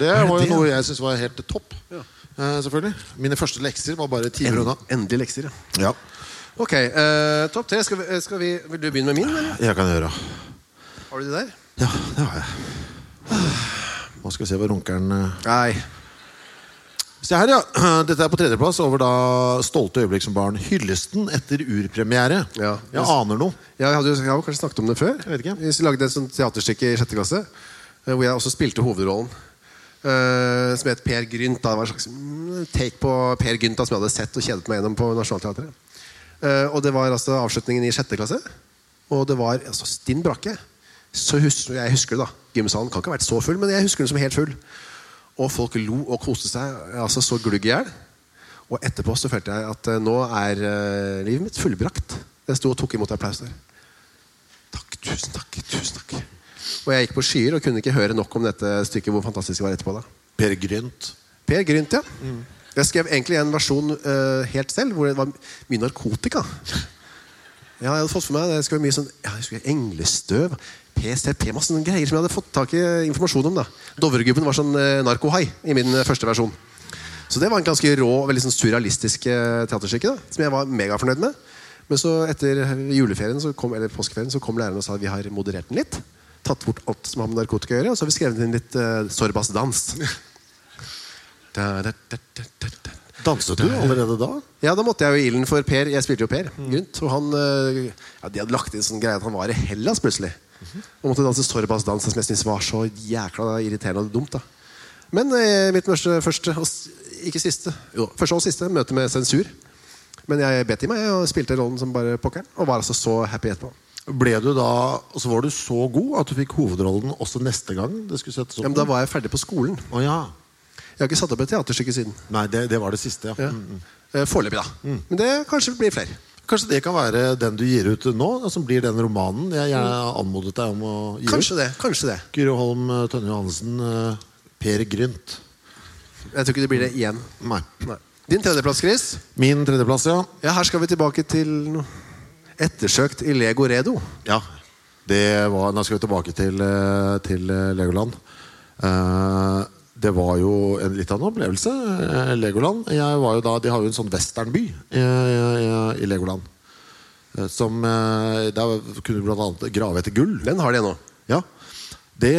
Speaker 2: Det var jo
Speaker 1: det, ja?
Speaker 2: noe jeg syntes var helt topp. Eh, selvfølgelig. Mine første lekser var bare timer unna.
Speaker 1: Endelig lekser, ja.
Speaker 2: Ja,
Speaker 1: Ok, eh, topp tre. Skal vi, skal vi, vil du begynne med min? Eller?
Speaker 2: jeg kan gjøre
Speaker 1: Har du de der?
Speaker 2: Ja, det har jeg. Nå skal vi se hva runkeren eh,
Speaker 1: Nei.
Speaker 2: Se her, ja. Dette er på tredjeplass over da Stolte øyeblikk som barn. Hyllesten etter urpremiere.
Speaker 1: Ja.
Speaker 2: Jeg aner noe.
Speaker 1: Jeg hadde jo jeg har jo kanskje snakket om det før.
Speaker 2: Jeg vet ikke.
Speaker 1: Vi lagde et sånt teaterstykke i sjette klasse eh, hvor jeg også spilte hovedrollen. eh, som het Per Gynt. Da. Det var en slags mm, take på Per Gynt da, som jeg hadde sett og kjedet meg gjennom på Nationaltheatret. Eh, og det var altså avslutningen i sjette klasse. Og det var altså, stinn brakke. Så hus jeg husker det, da. Gymsalen kan ikke ha vært så full, men jeg husker den som helt full. Og folk lo og koste seg altså så glugg i hjel. Og etterpå så følte jeg at eh, nå er eh, livet mitt fullbrakt. Jeg sto og tok imot applaus der. Takk, tusen takk, tusen takk. Og jeg gikk på skyer og kunne ikke høre nok om dette stykket. hvor fantastisk det var etterpå da.
Speaker 2: Per Grynt.
Speaker 1: Per Grynt, ja. Jeg skrev egentlig en versjon eh, helt selv, hvor det var mye narkotika. Ja, jeg hadde fått for meg, det skulle være mye sånn, ja, jeg husker englestøv, PCP, masse sånne greier som jeg hadde fått tak i eh, informasjon om. da. Dovregubben var sånn eh, narkohai i min eh, første versjon. Så det var en ganske rå og veldig sånn surrealistisk eh, teaterstykke, da, som jeg var megafornøyd med. Men så etter eh, juleferien, så kom, eller påskeferien så kom læreren og sa at vi har moderert den litt. Tatt bort alt som har med narkotika å gjøre, og så har vi skrevet inn litt eh, Sorbas dans. Da, da, da, da, da, da.
Speaker 2: Danset du allerede da?
Speaker 1: Ja, da måtte jeg jo i ilden for Per. Jeg spilte jo Per Grynt. Og han, øh, ja, de hadde lagt inn sånn greie at han var i Hellas plutselig. Og måtte danse Sorbas dans, som jeg syntes var så jækla irriterende og dumt. da Men eh, mitt første, første og s- ikke siste, jo, første og siste møte med sensur. Men jeg bet i meg og spilte rollen som bare pokkeren. Og var altså så happy etterpå.
Speaker 2: Ble du da, og så Var du så god at du fikk hovedrollen også neste gang? det skulle settes opp?
Speaker 1: Ja, men da var jeg ferdig på skolen.
Speaker 2: Å ja.
Speaker 1: Jeg har ikke satt opp et teaterstykke siden.
Speaker 2: Nei, det, det var det siste, ja.
Speaker 1: Ja.
Speaker 2: Mm.
Speaker 1: Eh, Foreløpig, da. Men det kanskje blir flere.
Speaker 2: Kanskje det kan være den du gir ut nå? Som blir den romanen jeg gjerne anmodet deg om å gi
Speaker 1: Kanskje
Speaker 2: ut?
Speaker 1: det. kanskje det
Speaker 2: Kyrre Holm eh, Tønne Johansen, eh, Per Grynt.
Speaker 1: Jeg tror ikke det blir det igjen.
Speaker 2: Nei.
Speaker 1: Nei. Din tredjeplass, Chris?
Speaker 2: Min tredjeplass, ja.
Speaker 1: Ja, her skal vi tilbake til noe. Ettersøkt i Lego Redo.
Speaker 2: Ja, det var Da skal vi tilbake til, eh, til eh, Legoland. Eh, Det var jo en, litt av en opplevelse, eh, Legoland. Jeg var jo da, de har jo en sånn westernby eh, i- i Legoland. Eh, Som eh, Der kunne du blant annet grave etter gull.
Speaker 1: Den har de nå.
Speaker 2: Ja. Det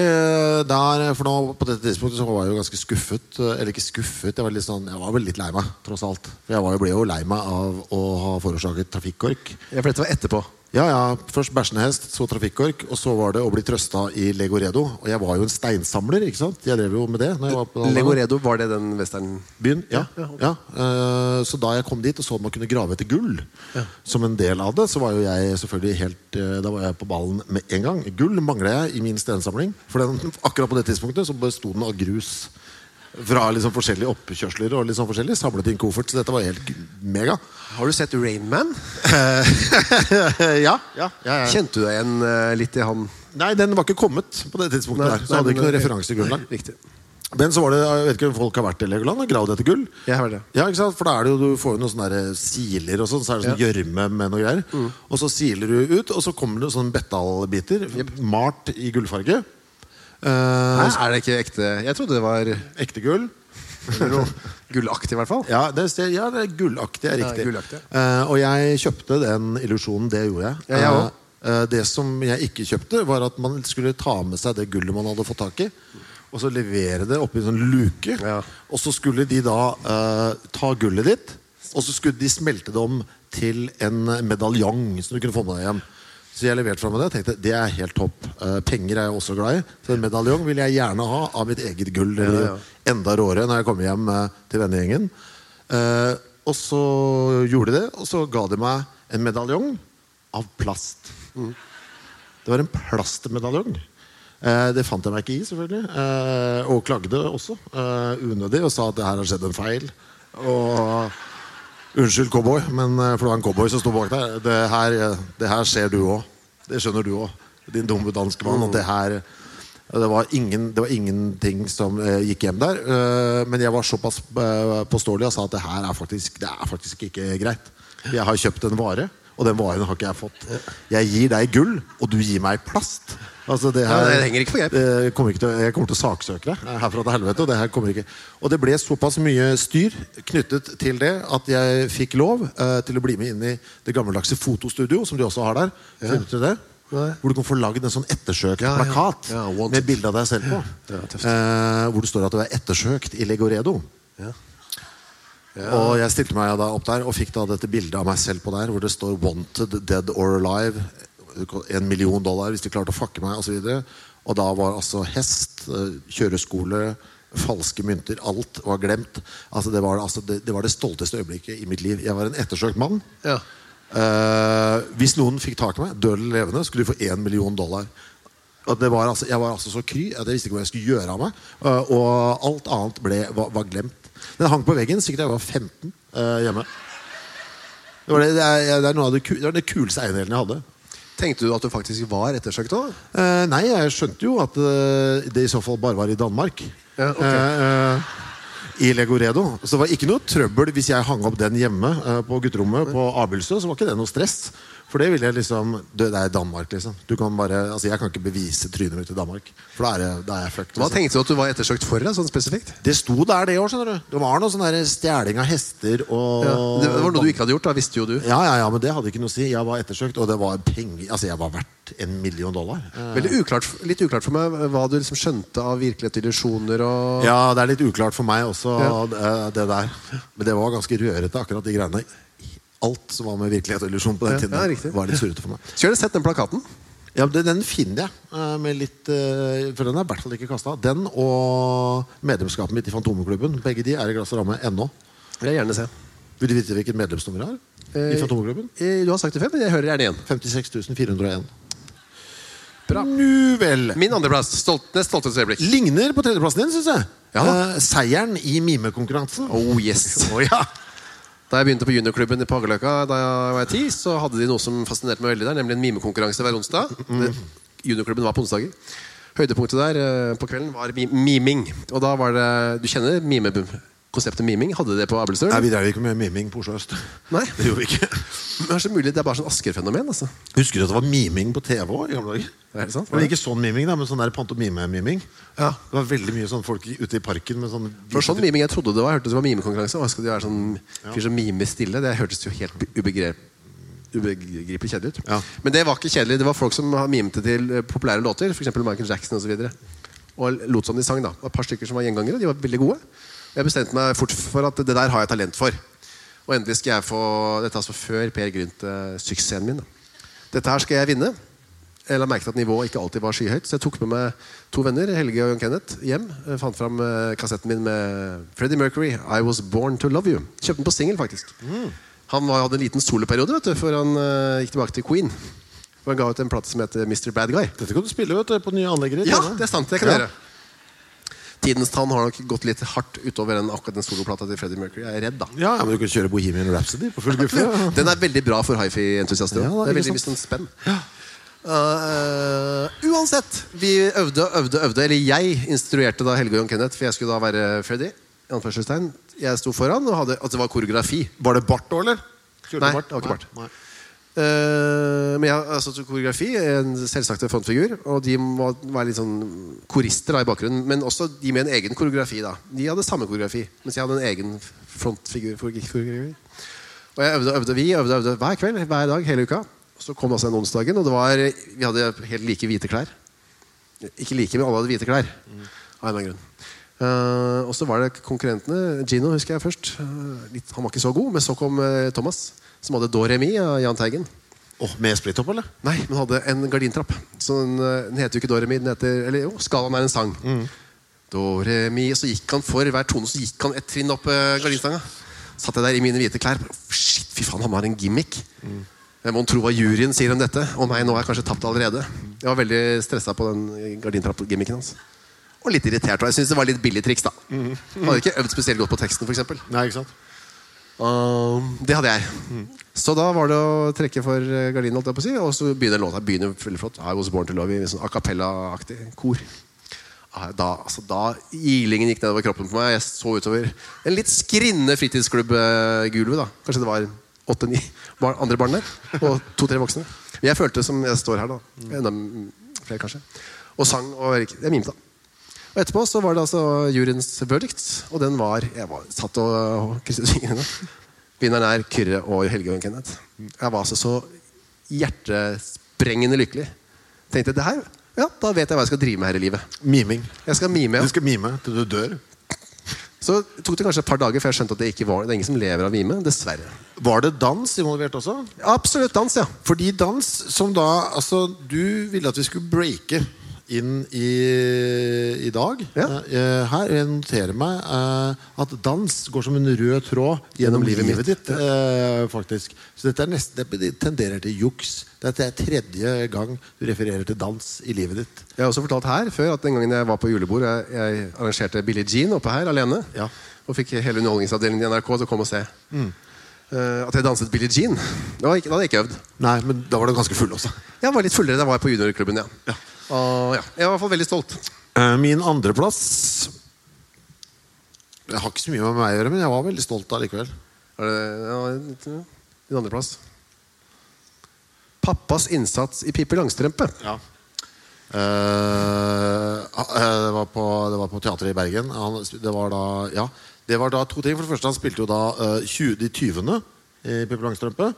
Speaker 2: der, for nå, På dette tidspunktet så var jeg jo ganske skuffet. eh, Eller ikke skuffet, jeg var, litt sånn, jeg var vel litt lei meg, tross alt. For jeg var jo, ble jo lei meg av å ha forårsaket trafikkork.
Speaker 1: Ja, for dette var etterpå.
Speaker 2: Ja, ja. Først bæsjende hest, så trafikkork, og så var det å bli trøsta i Legoredo. Og jeg var jo en steinsamler, ikke sant? Jeg drev jo med det. Når jeg var på
Speaker 1: Legoredo, var det den western...
Speaker 2: Byen, ja, ja. Eh, Så da jeg kom dit og så at man kunne grave etter gull Som en del av det Så var jo jeg selvfølgelig helt eh, Da var jeg på ballen med en gang Gull manglet jeg i min stensamling For den, akkurat på det tidspunktet så bestod den av grus Fra liksom forskjellige oppkjørsler Og liksom forskjellig samlet i en koffert Så dette var helt g- mega
Speaker 1: Har du sett Rain Man?
Speaker 2: ja, ja, ja, ja.
Speaker 1: Kjente du deg igjen eh, litt i han?
Speaker 2: Nei, den var ikke kommet på det tidspunktet
Speaker 1: Nei,
Speaker 2: der Så
Speaker 1: nei,
Speaker 2: hadde
Speaker 1: men-
Speaker 2: ikke noen referansegrunnlag
Speaker 1: Nei, Riktig.
Speaker 2: Men så var det, jeg vet ikke om folk har vært i Legoland og gravd etter gull.
Speaker 1: Jeg har vært det.
Speaker 2: Ja, ikke sant? For da er det jo, du får jo noen sånne der eh, siler og sånn, så er det sånn gjørme med noe greier.
Speaker 1: Mm.
Speaker 2: Og så siler du ut, og så kommer det sånne bettalbiter, malt i gullfarge. Eh,
Speaker 1: Nei, er det ikke ekte? Jeg trodde det var
Speaker 2: ekte gull.
Speaker 1: gullaktig, i hvert fall.
Speaker 2: Ja, det, er- ja, det er gullaktig, er
Speaker 1: Ja,
Speaker 2: riktig.
Speaker 1: gullaktig.
Speaker 2: Eh, og jeg kjøpte den illusjonen, det gjorde jeg.
Speaker 1: Ja, jeg også.
Speaker 2: Eh, eh, det som jeg ikke kjøpte, var at man skulle ta med seg det gullet man hadde fått tak i, og så levere det oppi en sånn luke.
Speaker 1: Ja.
Speaker 2: Og så skulle de da eh, ta gullet ditt, og så skulle de smelte det om til en medaljong som du kunne få med deg hjem. Så jeg leverte fra meg det og tenkte det er helt topp. Eh, penger er jeg også glad i. Så en medaljong vil jeg gjerne ha av mitt eget gull. Det blir
Speaker 1: ja.
Speaker 2: Enda råere når jeg kommer hjem eh, til vennegjengen. Eh, og så gjorde de det, og så ga de meg en medaljong av plast. Det var en plastmedaljong. Eh, det fant jeg meg ikke i, selvfølgelig. Eh, og klagde også. Eh, unødig, og sa at det her har skjedd en feil. Og Unnskyld, cowboy, men eh, for det var en cowboy som sto bak deg. Det her, eh, det her ser du òg. Det skjønner du òg, din dumme danske mann. At det her det var, ingen, det var ingenting som eh, gikk hjem der. Eh, men jeg var såpass eh, påståelig og sa at det her er faktisk, det er faktisk ikke greit. Jeg har kjøpt en vare, og den varen har ikke jeg fått. Jeg gir deg gull, og du gir meg plast. Altså, det
Speaker 1: Ja,
Speaker 2: her,
Speaker 1: det henger ikke på greip.
Speaker 2: eh, kommer ikke til, jeg kommer til å saksøke deg eh, herfra til helvete. Og det her kommer ikke Og det ble såpass mye styr knyttet til det at jeg fikk lov eh, til å bli med inn i det gammeldagse fotostudio, som de også har der. Kjenner du til det?
Speaker 1: Nei.
Speaker 2: Hvor du kan få lagd en sånn ettersøkt
Speaker 1: Ja, ja.
Speaker 2: plakat
Speaker 1: Ja, wanted.
Speaker 2: med bilde av deg selv på.
Speaker 1: Ja, tøft.
Speaker 2: eh, hvor det står at du er ettersøkt i Legoredo.
Speaker 1: Ja.
Speaker 2: Og jeg stilte meg da opp der og fikk da dette bildet av meg selv på der, hvor det står 'Wanted, Dead or Alive'. En million dollar hvis de klarte å fucke meg, osv. videre og da var altså hest, eh, kjøreskole, falske mynter, alt var glemt. Altså det, var, altså det, det var det stolteste øyeblikket i mitt liv. Jeg var en ettersøkt mann.
Speaker 1: Ja.
Speaker 2: Eh, hvis noen fikk tak i meg, død eller levende, skulle de få én million dollar. Og det var altså, jeg var altså så kry at jeg visste ikke hva jeg skulle gjøre av meg. eh, og alt annet ble, var, var glemt. Den hang på veggen sikkert da jeg var 15 eh, hjemme. Det, var det, det, er, det, er noe av det, ku, det var den kuleste eiendelen jeg hadde.
Speaker 1: Tenkte du at du faktisk var ettersøkt òg?
Speaker 2: Eh, nei, jeg skjønte jo at eh, det i så fall bare var i Danmark.
Speaker 1: Ja, ok.
Speaker 2: Eh, eh, I Legoredo. Så det var ikke noe trøbbel hvis jeg hang opp den hjemme eh, på gutterommet på Abelsø. Så var ikke det noe stress. For det ville jeg liksom Det, det er Danmark, liksom. Du kan bare, altså Jeg kan ikke bevise trynet mitt i Danmark. For da er, jeg- da er jeg fucked.
Speaker 1: Hva
Speaker 2: Liksom.
Speaker 1: tenkte du at du var ettersøkt for? da, Sånn spesifikt?
Speaker 2: Det sto der, det òg, skjønner du. Det var noe sånn der stjeling av hester og
Speaker 1: Ja. Det var noe du ikke hadde gjort, da visste jo du.
Speaker 2: ja, ja, ja, men det hadde ikke noe å si. Jeg var ettersøkt, og det var penger Altså, jeg var verdt en million dollar. Eh,
Speaker 1: Veldig uklart, litt uklart for meg hva du liksom skjønte av virkelighet og illusjoner. Og...
Speaker 2: Ja, det er litt uklart for meg også,
Speaker 1: Ja.
Speaker 2: eh, det der. Men det var ganske rørete, akkurat de greiene. Alt som var med virkelighet og illusjon på den
Speaker 1: Ja,
Speaker 2: tiden,
Speaker 1: ja, riktig.
Speaker 2: var litt surrete for meg.
Speaker 1: Skulle gjerne sett den plakaten.
Speaker 2: Ja, men den- Den finner jeg, eh, med litt, eh, for den er i hvert fall ikke kasta. Den og medlemskapet mitt i Fantomeklubben. Begge de er i glass og ramme ennå.
Speaker 1: Vil jeg gjerne se.
Speaker 2: Vil du vite hvilket medlemsnummer jeg har? I
Speaker 1: Eh,
Speaker 2: Fantomeklubben?
Speaker 1: eh, Du har sagt det før, men jeg hører gjerne igjen.
Speaker 2: 56401.
Speaker 1: Bra.
Speaker 2: Nu vel!
Speaker 1: Min andreplass. Stolt, nest stolteste øyeblikk.
Speaker 2: Ligner på tredjeplassen din, syns jeg.
Speaker 1: Ja.
Speaker 2: Eh, seieren i mimekonkurransen.
Speaker 1: Oh yes.
Speaker 2: Å, ja.
Speaker 1: Da jeg begynte på juniorklubben i Pagerløkka da jeg var ti, så hadde de noe som fascinerte meg veldig der, nemlig en mimekonkurranse hver onsdag.
Speaker 2: Mm.
Speaker 1: Det- Juniorklubben var på onsdager. Høydepunktet der eh, på kvelden var mi- miming. Og da var det Du kjenner mime, konseptet miming? Hadde det på Abelstøl?
Speaker 2: Nei,
Speaker 1: Nei.
Speaker 2: vi drev ikke med miming på Oslo øst.
Speaker 1: Nei.
Speaker 2: Det gjorde vi ikke.
Speaker 1: Men Det er så mulig, det er bare sånn Asker-fenomen. altså.
Speaker 2: Husker du at det var miming på TV også i gamle dager?
Speaker 1: Er det sant?
Speaker 2: Det var ikke sånn miming, da, men sånn der pantomime-miming.
Speaker 1: Ja.
Speaker 2: Det var veldig mye sånn folk ute i parken med sånn
Speaker 1: Det var sånn miming jeg trodde det var. Jeg hørte det var mimekonkurranse. Hva skal det være sånn fyr som mimer stille? Det hørtes jo helt ubegrep, ubegripelig kjedelig ut.
Speaker 2: Ja.
Speaker 1: Men det var ikke kjedelig. Det var folk som mimte til eh, populære låter, f.eks. Michael Jackson osv. Og, så videre. og lot som de sang, da. Det var et par stykker som var gjengangere. De var veldig gode. Og jeg bestemte meg fort for at det der har jeg talent for. Og endelig skal jeg få Dette er altså før Per Grynt-suksessen eh, min. da Dette her skal jeg vinne. Jeg la merke til at nivået ikke alltid var skyhøyt, så jeg tok med meg to venner Helge og John Kenneth, hjem. Jeg fant fram eh, kassetten min med Freddie Mercury, 'I Was Born To Love You'. Kjøpte den på singel, faktisk. Han var, hadde en liten soloperiode vet du, før han eh, gikk tilbake til Queen. Og han ga ut en plate som heter Mr. Bad Guy.
Speaker 2: Dette kan du spille vet du, på nye anlegger. i
Speaker 1: Ja,
Speaker 2: Trondheim.
Speaker 1: det er sant. Det kan jeg
Speaker 2: Ja.
Speaker 1: gjøre. Tidens tann har nok gått litt hardt utover den, akkurat den soloplata til Freddie Mercury. Jeg er redd, da.
Speaker 2: Ja, ja, men du kan kjøre Bohemian Rhapsody på full guffe. ja.
Speaker 1: Den er veldig bra for hifi-entusiaster.
Speaker 2: Ja,
Speaker 1: også. det er
Speaker 2: ikke
Speaker 1: veldig visst en spenn. Uh, uansett, vi øvde, øvde, øvde Eller jeg instruerte da Helge og John Kenneth For jeg skulle da være Freddy i anførselstegn. Jeg sto foran og hadde, at det var koreografi
Speaker 2: Var det bart da, eller? Kjørte
Speaker 1: Nei,
Speaker 2: du
Speaker 1: det var ikke bart.
Speaker 2: Nei.
Speaker 1: Eh, men jeg altså, til koreografi, en selvsagt en frontfigur, og de må være litt sånn korister da, i bakgrunnen. Men også de med en egen koreografi. da De hadde samme koreografi, mens jeg hadde en egen frontfigur. for koreografi. Og jeg øvde og øvde, vi øvde og øvde hver kveld, hver dag, hele uka. Så kom altså den onsdagen, og det var, vi hadde helt like hvite klær. Ikke like, men alle hadde hvite klær. Av en eller annen grunn. Eh, og så var det konkurrentene. Gino husker jeg først. Eh, litt, han var ikke så god, men så kom eh, Thomas, som hadde Doremi av Jahn Teigen.
Speaker 2: Åh, med splittopp, eller?
Speaker 1: Nei, men hadde en gardintrapp. Så den, eh, den heter jo ikke Doremi, den heter Eller jo, skalaen er en sang. Doremi Så gikk han for hver tone så gikk han et trinn opp eh, gardinstanga. Satt jeg der i mine hvite klær. Bare, Shit, fy faen, han har en gimmick. Jeg må tro hva juryen sier om dette. Å nei, nå har jeg kanskje tapt allerede. Jeg var veldig stressa på den gardintrapp-gimmicken hans. Og litt irritert. Og jeg syns det var litt billig triks, da. Hadde ikke øvd spesielt godt på teksten, for eksempel
Speaker 2: Nei, ikke sant?
Speaker 1: Um, det hadde jeg. Så da var det å trekke for eh, gardinen, holdt jeg på å si, og så begynner låta. Begynner veldig flott. I was born to love you, i sånn a cappella-aktig kor. Ah, Da, altså, da Ilingen gikk nedover kroppen på meg. Jeg så utover en litt skrinne fritidsklubbgulvet. da. Kanskje det var åtte-ni bar andre barn der, og to-tre voksne. Men Jeg følte som jeg står her, da. Enda mm, flere, kanskje. Og sang og Jeg mimte. Og etterpå så var det altså juryens verdict, og den var Jeg var satt og og krysset fingrene. Vinneren er Kyrre og Helge og Kenneth. Jeg var altså så hjertesprengende lykkelig. Tenkte det her, ja, da vet jeg hva jeg skal drive med her i livet.
Speaker 2: Miming.
Speaker 1: Jeg skal mime.
Speaker 2: Du
Speaker 1: Ja.
Speaker 2: skal mime til du dør.
Speaker 1: Så tok det kanskje et par dager før jeg skjønte at det ikke var Det er ingen som lever av mime, dessverre.
Speaker 2: Var det dans involvert også?
Speaker 1: Absolutt dans, ja.
Speaker 2: Fordi dans som da Altså, du ville at vi skulle breake inn i, i dag.
Speaker 1: Ja.
Speaker 2: Eh, Her jeg noterer meg eh, at dans går som en rød tråd gjennom livet,
Speaker 1: livet
Speaker 2: ditt. eh, faktisk. Så dette er nesten, det tenderer til juks. Dette er tredje gang du refererer til dans i livet ditt.
Speaker 1: Jeg har også fortalt her før at den gangen jeg var på julebord, jeg, jeg arrangerte Billie Jean oppe her alene.
Speaker 2: Ja.
Speaker 1: Og fikk hele underholdningsavdelingen i NRK til å komme og se. Eh, at jeg danset Billie Jean. Det, var ikke, det hadde jeg ikke øvd.
Speaker 2: Nei, men da var du ganske full også.
Speaker 1: Jeg var litt fullere da jeg var på juniorklubben, ja. Og, ja. Jeg var i hvert fall veldig stolt.
Speaker 2: Eh, Min andreplass Det har ikke så mye med meg å gjøre, men jeg var veldig stolt allikevel.
Speaker 1: Er det, ja, litt, ja. Din andreplass. Pappas innsats i Pippi Langstrømpe.
Speaker 2: Ja. Eh, det, var på, det var på teatret i Bergen. Han, det, var da, ja, det var da to ting. For det første, han spilte jo da eh, 20, De tyvene i Pippi Langstrømpe.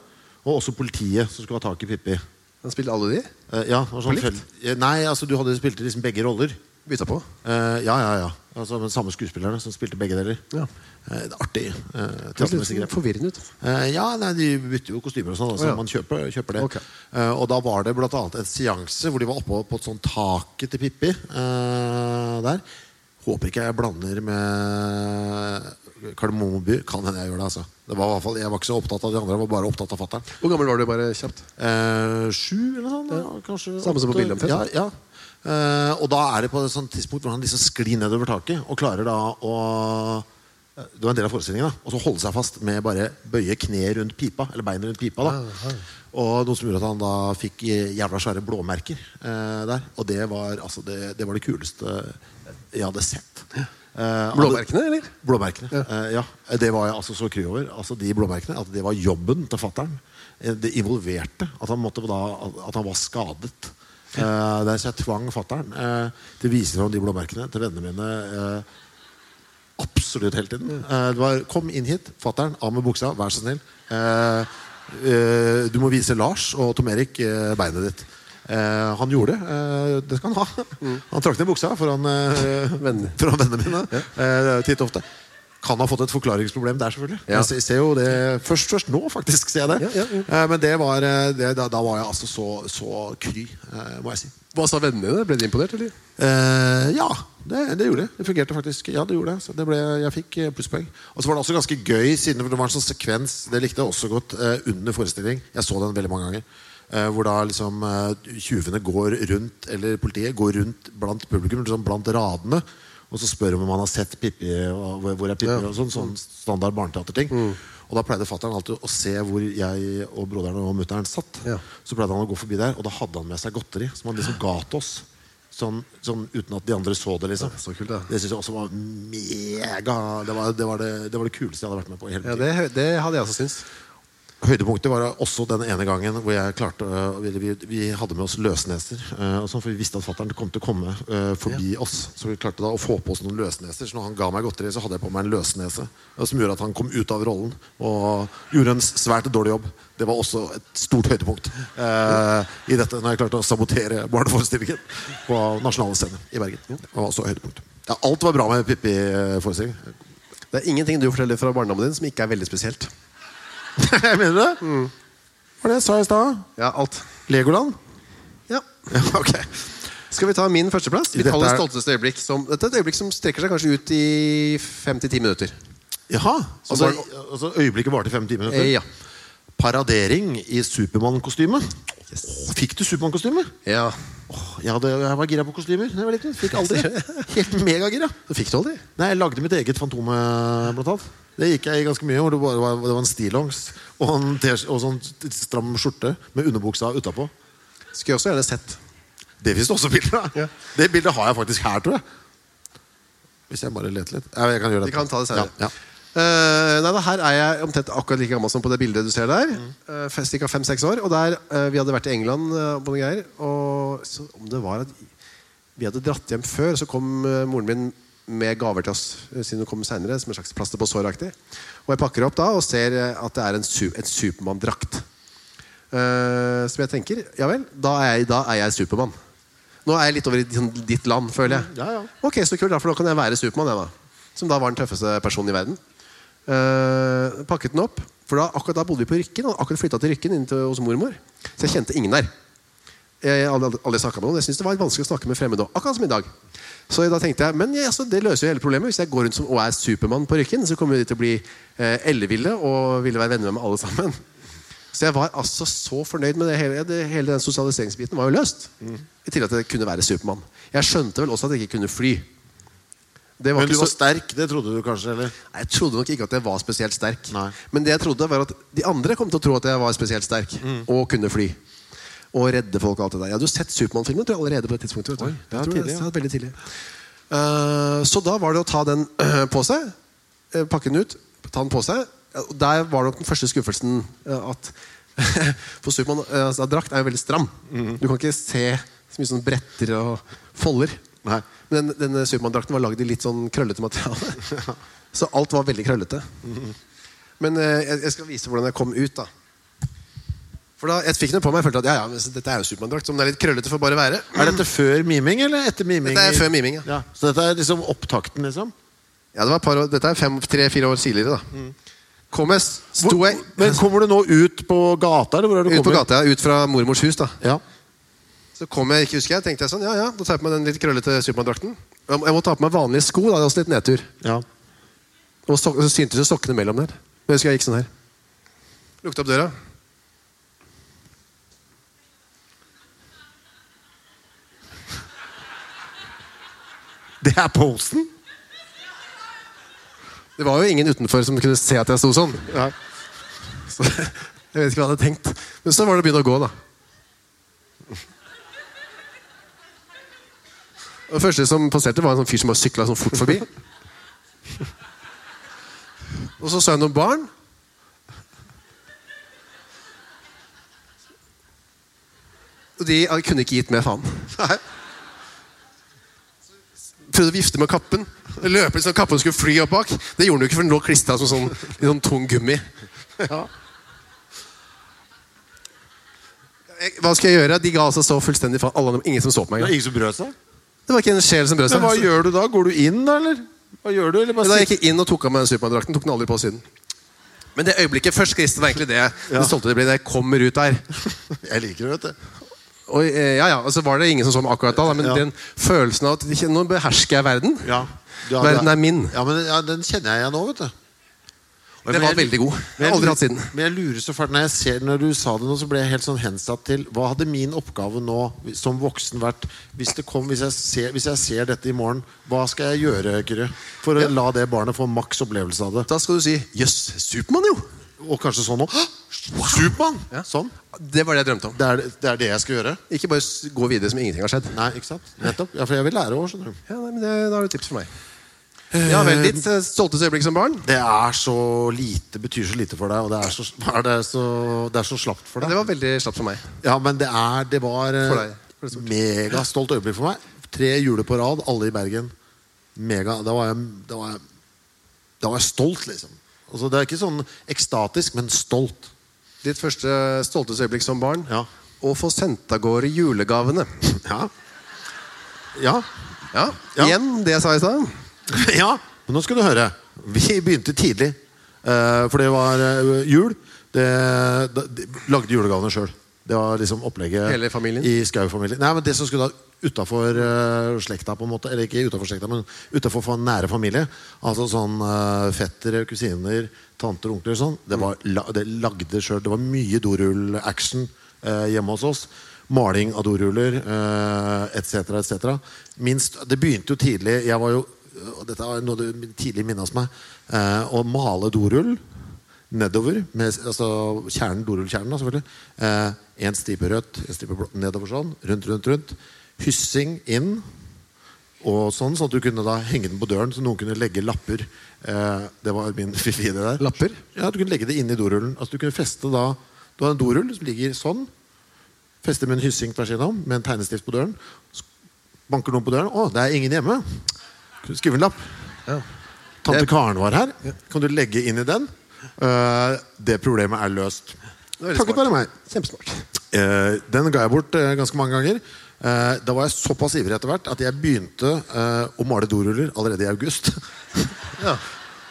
Speaker 2: Og også politiet som skulle ha tak i Pippi.
Speaker 1: Han spilte alle de.
Speaker 2: Eh, ja, det var sånn
Speaker 1: På likt?
Speaker 2: fell- eh, Nei, altså du hadde spilte liksom begge roller.
Speaker 1: Bytta på.
Speaker 2: Eh, ja, ja, ja. Altså, men samme skuespillerne som spilte begge deler.
Speaker 1: Ja.
Speaker 2: Eh, det er artig. eh,
Speaker 1: Det ser
Speaker 2: teatermessig grep.
Speaker 1: litt forvirrende ut.
Speaker 2: Eh, ja, nei, De bytter jo kostymer og sånn. Altså,
Speaker 1: Å, ja.
Speaker 2: Man kjøper, kjøper det.
Speaker 1: Ok.
Speaker 2: Eh, og da var det blant annet en seanse hvor de var oppe på et sånt taket til Pippi. eh, der. Håper ikke jeg blander med Kardemomme by. Kan hende jeg gjør det. altså det var i hvert fall, Jeg var ikke så opptatt av de andre, jeg var bare opptatt av fatter'n.
Speaker 1: Hvor gammel var du, bare kjapt?
Speaker 2: Eh, sju eller sånn, ja, kanskje
Speaker 1: Samme som på
Speaker 2: åtte.
Speaker 1: Billumfest,
Speaker 2: Ja, ja. Eh, og da er det på et sånt tidspunkt hvor han liksom sklir nedover taket og klarer da å eh, Det var en del av forestillingen. da Og så holde seg fast med bare bøye kne rundt pipa. Eller beinet rundt pipa da Og noe som gjorde at han da fikk eh, jævla svære blåmerker eh, der. Og det var, altså, det, det var det kuleste jeg hadde sett. Eh,
Speaker 1: Blåmerkene, eller?
Speaker 2: Blåmerkene. Eh, ja. Det var jeg altså så kry over. Altså de blåmerkene, At det var jobben til fattern. Det involverte at han, måtte da, at han var skadet. Eh, der så jeg tvang fattern eh, til å vise fram de blåmerkene til vennene mine. Eh, absolutt hele tiden. Eh, det var 'kom inn hit, fattern, av med buksa, vær så snill'. Eh, eh, du må vise Lars og Tom Erik eh, beinet ditt. Eh, han gjorde det. Eh, det skal han ha. Han trakk ned buksa foran, eh,
Speaker 1: Venner.
Speaker 2: foran vennene mine. Eh, titt ofte. Kan ha fått et forklaringsproblem der, selvfølgelig.
Speaker 1: Ja.
Speaker 2: Jeg se- ser jo det først, først nå, faktisk. ser jeg det
Speaker 1: Ja, ja,
Speaker 2: Eh, Men det var, eh, det, da, da var jeg altså så, så kry, eh, må jeg si.
Speaker 1: Hva sa vennene dine? Ble de imponert, eller?
Speaker 2: Eh, ja, det, det gjorde det. Det fungerte faktisk. Ja, det gjorde det. Så det ble, jeg fikk eh, plusspoeng. Og så var det også ganske gøy, siden det var en sånn sekvens Det likte jeg også godt eh, under forestilling. Jeg så den veldig mange ganger. Eh, hvor da liksom eh, tjuvene går rundt, eller politiet går rundt blant publikum, liksom blant radene. Og så spør om man har sett Pippi, og hvor, hvor er Pippi, og sånn, sånn standard barneteaterting. Og da pleide fattern alltid å se hvor jeg og broderen og mutter'n satt.
Speaker 1: Ja.
Speaker 2: Så pleide han å gå forbi der, og da hadde han med seg godteri, som han liksom ga til oss. Sånn, sånn uten at de andre så det, liksom.
Speaker 1: så kult, da.
Speaker 2: Det synes jeg også var mega Det var det, var det, det, var det kuleste jeg hadde vært med på i hele
Speaker 1: Ja, det,
Speaker 2: mitt
Speaker 1: det hadde jeg også syntes.
Speaker 2: Høydepunktet var også den ene gangen hvor jeg klarte øh, vi, vi, vi hadde med oss løsneser. øh, og sånn, for vi visste at fatter'n kom til å komme øh, forbi oss. Så vi klarte da å få på oss noen løsneser. Så når han ga meg godteri, så hadde jeg på meg en løsnese. og Som gjorde at han kom ut av rollen og gjorde en s- svært dårlig jobb. Det var også et stort høydepunkt øh, i dette, når jeg klarte å sabotere barneforestillingen på Nasjonale Scene i Bergen. Det var også et høydepunkt. Ja, alt var bra med eh, Pippi-forestillingen.
Speaker 1: Det er ingenting du forteller fra barndommen din som ikke er veldig spesielt.
Speaker 2: Mener du det? Mm. Var det jeg sa i stad?
Speaker 1: Ja, alt.
Speaker 2: Legoland?
Speaker 1: Ja.
Speaker 2: Ja, ok
Speaker 1: Skal vi ta min førsteplass? Vi
Speaker 2: Dette
Speaker 1: kaller det
Speaker 2: er-
Speaker 1: stolteste øyeblikk. Som, dette er et øyeblikk som strekker seg kanskje ut i fem til ti minutter.
Speaker 2: Jaha, altså,
Speaker 1: var-
Speaker 2: altså øyeblikket varte fem timer
Speaker 1: Eh, ja.
Speaker 2: Paradering i Superman-kostyme
Speaker 1: Yes.
Speaker 2: Åh, Fikk du Superman-kostyme?
Speaker 1: ja.
Speaker 2: Åh, jeg, hadde- jeg var gira på kostymer da jeg var liten Fikk aldri Helt megagira
Speaker 1: Det fikk du aldri.
Speaker 2: Nei, jeg lagde mitt eget fantome blant annet Det gikk jeg i ganske mye hvor det, bare var, det var en stilongs og en t- og sånn stram skjorte Med underbuksa utenpå
Speaker 1: Skulle jeg også gjerne sett.
Speaker 2: Det finnes det også bilder av
Speaker 1: Ja.
Speaker 2: Det bildet har jeg faktisk her, tror jeg Hvis jeg bare leter litt Ja, jeg kan gjøre det
Speaker 1: Vi kan ta det senere.
Speaker 2: ja, ja.
Speaker 1: Eh, nei, da, her er jeg omtrent akkurat like gammel som på det bildet du ser der.
Speaker 2: Mm.
Speaker 1: Uh, Cirka fem-seks år. Og der, eh, Vi hadde vært i England eh, på noen greier. Og så, om det var at vi hadde dratt hjem før, så kom eh, moren min med gaver til oss. eh, Siden hun kom senere, som en slags plaster på såraktig. Og jeg pakker opp da og ser eh, at det er en, su en Supermann-drakt. Eh, som jeg tenker Ja vel, da er jeg, da er jeg Supermann. Nå er jeg litt over i sånn ditt land, føler jeg.
Speaker 2: Mm, Ja, ja.
Speaker 1: Ok, så kult, da, for da kan jeg være Supermann, jeg, da. Som da var den tøffeste personen i verden. Eh, pakket den opp. For da, akkurat da bodde vi på Rykken. Og akkurat flytta til Rykken inn til, hos mormor. Så jeg kjente ingen der. Jeg, aldri, aldri snakket med noen. jeg syntes det var vanskelig å snakke med fremmede òg. Akkurat som i dag. Så da tenkte jeg men ja, altså, det løser jo hele problemet. Hvis jeg går rundt som, og er Supermann på Rykken, så kommer de til å bli eh, elleville og ville være venner med meg alle sammen. Så jeg var altså så fornøyd med det hele. Det, hele den sosialiseringsbiten var jo løst.
Speaker 2: Mm.
Speaker 1: I tillegg til at jeg kunne være Supermann. Jeg skjønte vel også at jeg ikke kunne fly. Det var
Speaker 2: Men du
Speaker 1: ikke
Speaker 2: var
Speaker 1: så,
Speaker 2: sterk, det trodde du kanskje, eller?
Speaker 1: Nei, jeg trodde nok ikke at jeg var spesielt sterk.
Speaker 2: Nei.
Speaker 1: Men det jeg trodde var at de andre kom til å tro at jeg var spesielt sterk
Speaker 2: Mm.
Speaker 1: og kunne fly. Og redde folk og alt det der. Jeg hadde jo sett Supermann-filmen tror jeg, allerede på det tidspunktet. Vet du.
Speaker 2: det var
Speaker 1: jeg tror
Speaker 2: tidlig, ja.
Speaker 1: det var veldig tidlig. Eh, så da var det å ta den eh, på seg, eh, pakke den ut, ta den på seg. Ja, og Der var nok den første skuffelsen eh, at For Supermann eh, altså, drakt er jo veldig stram. Du kan ikke se så mye sånn bretter og folder.
Speaker 2: Nei.
Speaker 1: Men den, denne Supermann-drakten var lagd i litt sånn krøllete materiale. Så alt var veldig krøllete. Men eh, jeg, jeg skal vise hvordan jeg kom ut, da. For da, Jeg fikk den på meg og følte at ja, ja, men dette er jo Supermann-drakt. Så om den er litt krøllete, får bare være.
Speaker 2: Er dette før miming, eller etter miming?
Speaker 1: Dette er før miming, ja.
Speaker 2: ja. Så dette er liksom opptakten, liksom?
Speaker 1: Ja, det var et par år, Dette er tre-fire år tidligere, da. Kom jeg, s- sto
Speaker 2: Mm. Hvor,
Speaker 1: jeg
Speaker 2: men kommer du nå ut på gata, eller hvor er du
Speaker 1: ut på
Speaker 2: kommet?
Speaker 1: gata, ja, ut fra mormors hus, da.
Speaker 2: Ja.
Speaker 1: Så kom jeg, ikke husker jeg, tenkte jeg sånn, ja ja, da tar jeg på meg den litt krøllete Supermann-drakten. Jeg må- Jeg må ta på meg vanlige sko, da. Det er også litt nedtur.
Speaker 2: ja.
Speaker 1: Og so så syntes det sokkene mellom der. Jeg husker jeg gikk sånn her. Lukte opp døra.
Speaker 2: Det er posen?
Speaker 1: Det var jo ingen utenfor som kunne se at jeg sto sånn.
Speaker 2: Ja.
Speaker 1: Så, jeg vet ikke hva jeg hadde tenkt. Men så var det å begynne å gå, da. Og Det første som passerte, var en sånn fyr som bare sykla sånn fort forbi. Og så så jeg noen barn. Og de jeg kunne ikke gitt mer faen. Nei. Prøvde å vifte med kappen. Løpe litt sånn kappen skulle fly opp bak. Det gjorde den jo ikke, for den lå klistra som sånn, litt sånn tung gummi. Jeg- Hva skal jeg gjøre? De ga altså så fullstendig faen. Alle, ingen som så på meg.
Speaker 2: Det
Speaker 1: engang.
Speaker 2: er ingen som brød seg?
Speaker 1: Det var ikke en sjel som brød seg.
Speaker 2: Men hva gjør du da? Går du inn, da, eller? Hva gjør du? Eller
Speaker 1: Men
Speaker 2: bare
Speaker 1: da
Speaker 2: sitter-
Speaker 1: jeg gikk inn og tok av meg Supermann-drakten. Tok den aldri på siden. Men det øyeblikket først Christian, var egentlig det det stolte det ble da jeg kommer ut der.
Speaker 2: Jeg liker det, vet du.
Speaker 1: Og, eh, ja, ja, og så var det ingen som så meg akkurat da, da, men
Speaker 2: Ja.
Speaker 1: den følelsen av at ikke- nå behersker jeg verden.
Speaker 2: Ja. Du har-
Speaker 1: Verden er min.
Speaker 2: Ja, men ja, Den kjenner jeg igjen nå, vet du. Og
Speaker 1: Den
Speaker 2: men
Speaker 1: var veldig god. Jeg
Speaker 2: men
Speaker 1: har aldri hatt siden.
Speaker 2: Men jeg lurer så fælt Når jeg ser når du sa det nå, så ble jeg helt sånn hensatt til Hva hadde min oppgave nå som voksen vært hvis, det kom, hvis, jeg, ser, hvis jeg ser dette i morgen? Hva skal jeg gjøre, Kyrre? For å la det barnet få maks opplevelse av det.
Speaker 1: Da skal du si 'jøss, Supermann', jo!
Speaker 2: Og kanskje sånn nå. «Hå! Supermann!
Speaker 1: Ja.
Speaker 2: Sånn.
Speaker 1: Det var det jeg drømte om.
Speaker 2: Det er, det er det jeg skal gjøre?
Speaker 1: Ikke bare s- gå videre som ingenting har skjedd.
Speaker 2: Nei, ikke sant? Nettopp. Ja, for jeg vil lære òg, skjønner du.
Speaker 1: Ja, nei, men det, Da har du tips for meg. Ja vel, Ditt eh, stolteste øyeblikk som barn?
Speaker 2: Det er så lite, betyr så lite for deg, og det er så, er det så, det er så slapt for
Speaker 1: Ja,
Speaker 2: deg.
Speaker 1: Det var veldig slapt for meg.
Speaker 2: Ja, men det, er, det var
Speaker 1: For deg.
Speaker 2: et megastolt øyeblikk for meg. Tre juler på rad, alle i Bergen. Mega, da var jeg, da var jeg, da var jeg stolt, liksom. Altså, det er ikke sånn ekstatisk, men stolt.
Speaker 1: Ditt første stolteste øyeblikk som barn?
Speaker 2: Ja.
Speaker 1: Å få sendt av gårde julegavene.
Speaker 2: Ja. Ja.
Speaker 1: Ja,
Speaker 2: Ja.
Speaker 1: Igjen det jeg sa i stad.
Speaker 2: ja. Men nå skal du høre. Vi begynte tidlig. Eh, for det var eh, jul. Det, da, de lagde julegavene sjøl. Det var liksom opplegget
Speaker 1: Hele familien?
Speaker 2: i Skau-familien. Nei, men Det som skulle da utafor slekta, på en måte Eller ikke utenfor slekta, men utafor fa- nære familie. Altså sånn eh, fettere, kusiner, tanter og onkler og sånn. Det var la, det lagde sjøl. Det var mye dorull-action eh, hjemme hos oss. Maling av doruller etc., uh, etc. Minst Det begynte jo tidlig. Jeg var jo eh, og dette er noe du tidlig minnes meg. eh, å male dorull nedover. Med, altså kjernen, dorullkjernen, da, selvfølgelig. Én stripe rødt, én stripe blått. Nedover sånn. Rundt, rundt, rundt. Hyssing inn. Og sånn, sånn at du kunne da henge den på døren, så noen kunne legge lapper. Eh, det var min fifi, det der.
Speaker 1: Lapper?
Speaker 2: Ja, Du kunne legge det inn i dorullen. Altså Du kunne feste da Du har en dorull som ligger sånn. Fester med en hyssing tvers igjennom, med en tegnestift på døren. Så banker noen på døren. 'Å, det er ingen hjemme.' Skriv en lapp. Tante Karen var her. Kan du legge inn i den? Eh, det problemet er løst.
Speaker 1: var veldig
Speaker 2: Takket
Speaker 1: smart.
Speaker 2: være meg.
Speaker 1: Kjempesmart.
Speaker 2: Eh, den ga jeg bort eh, ganske mange ganger. Eh, da var jeg såpass ivrig etter hvert at jeg begynte eh, å male doruller allerede i august.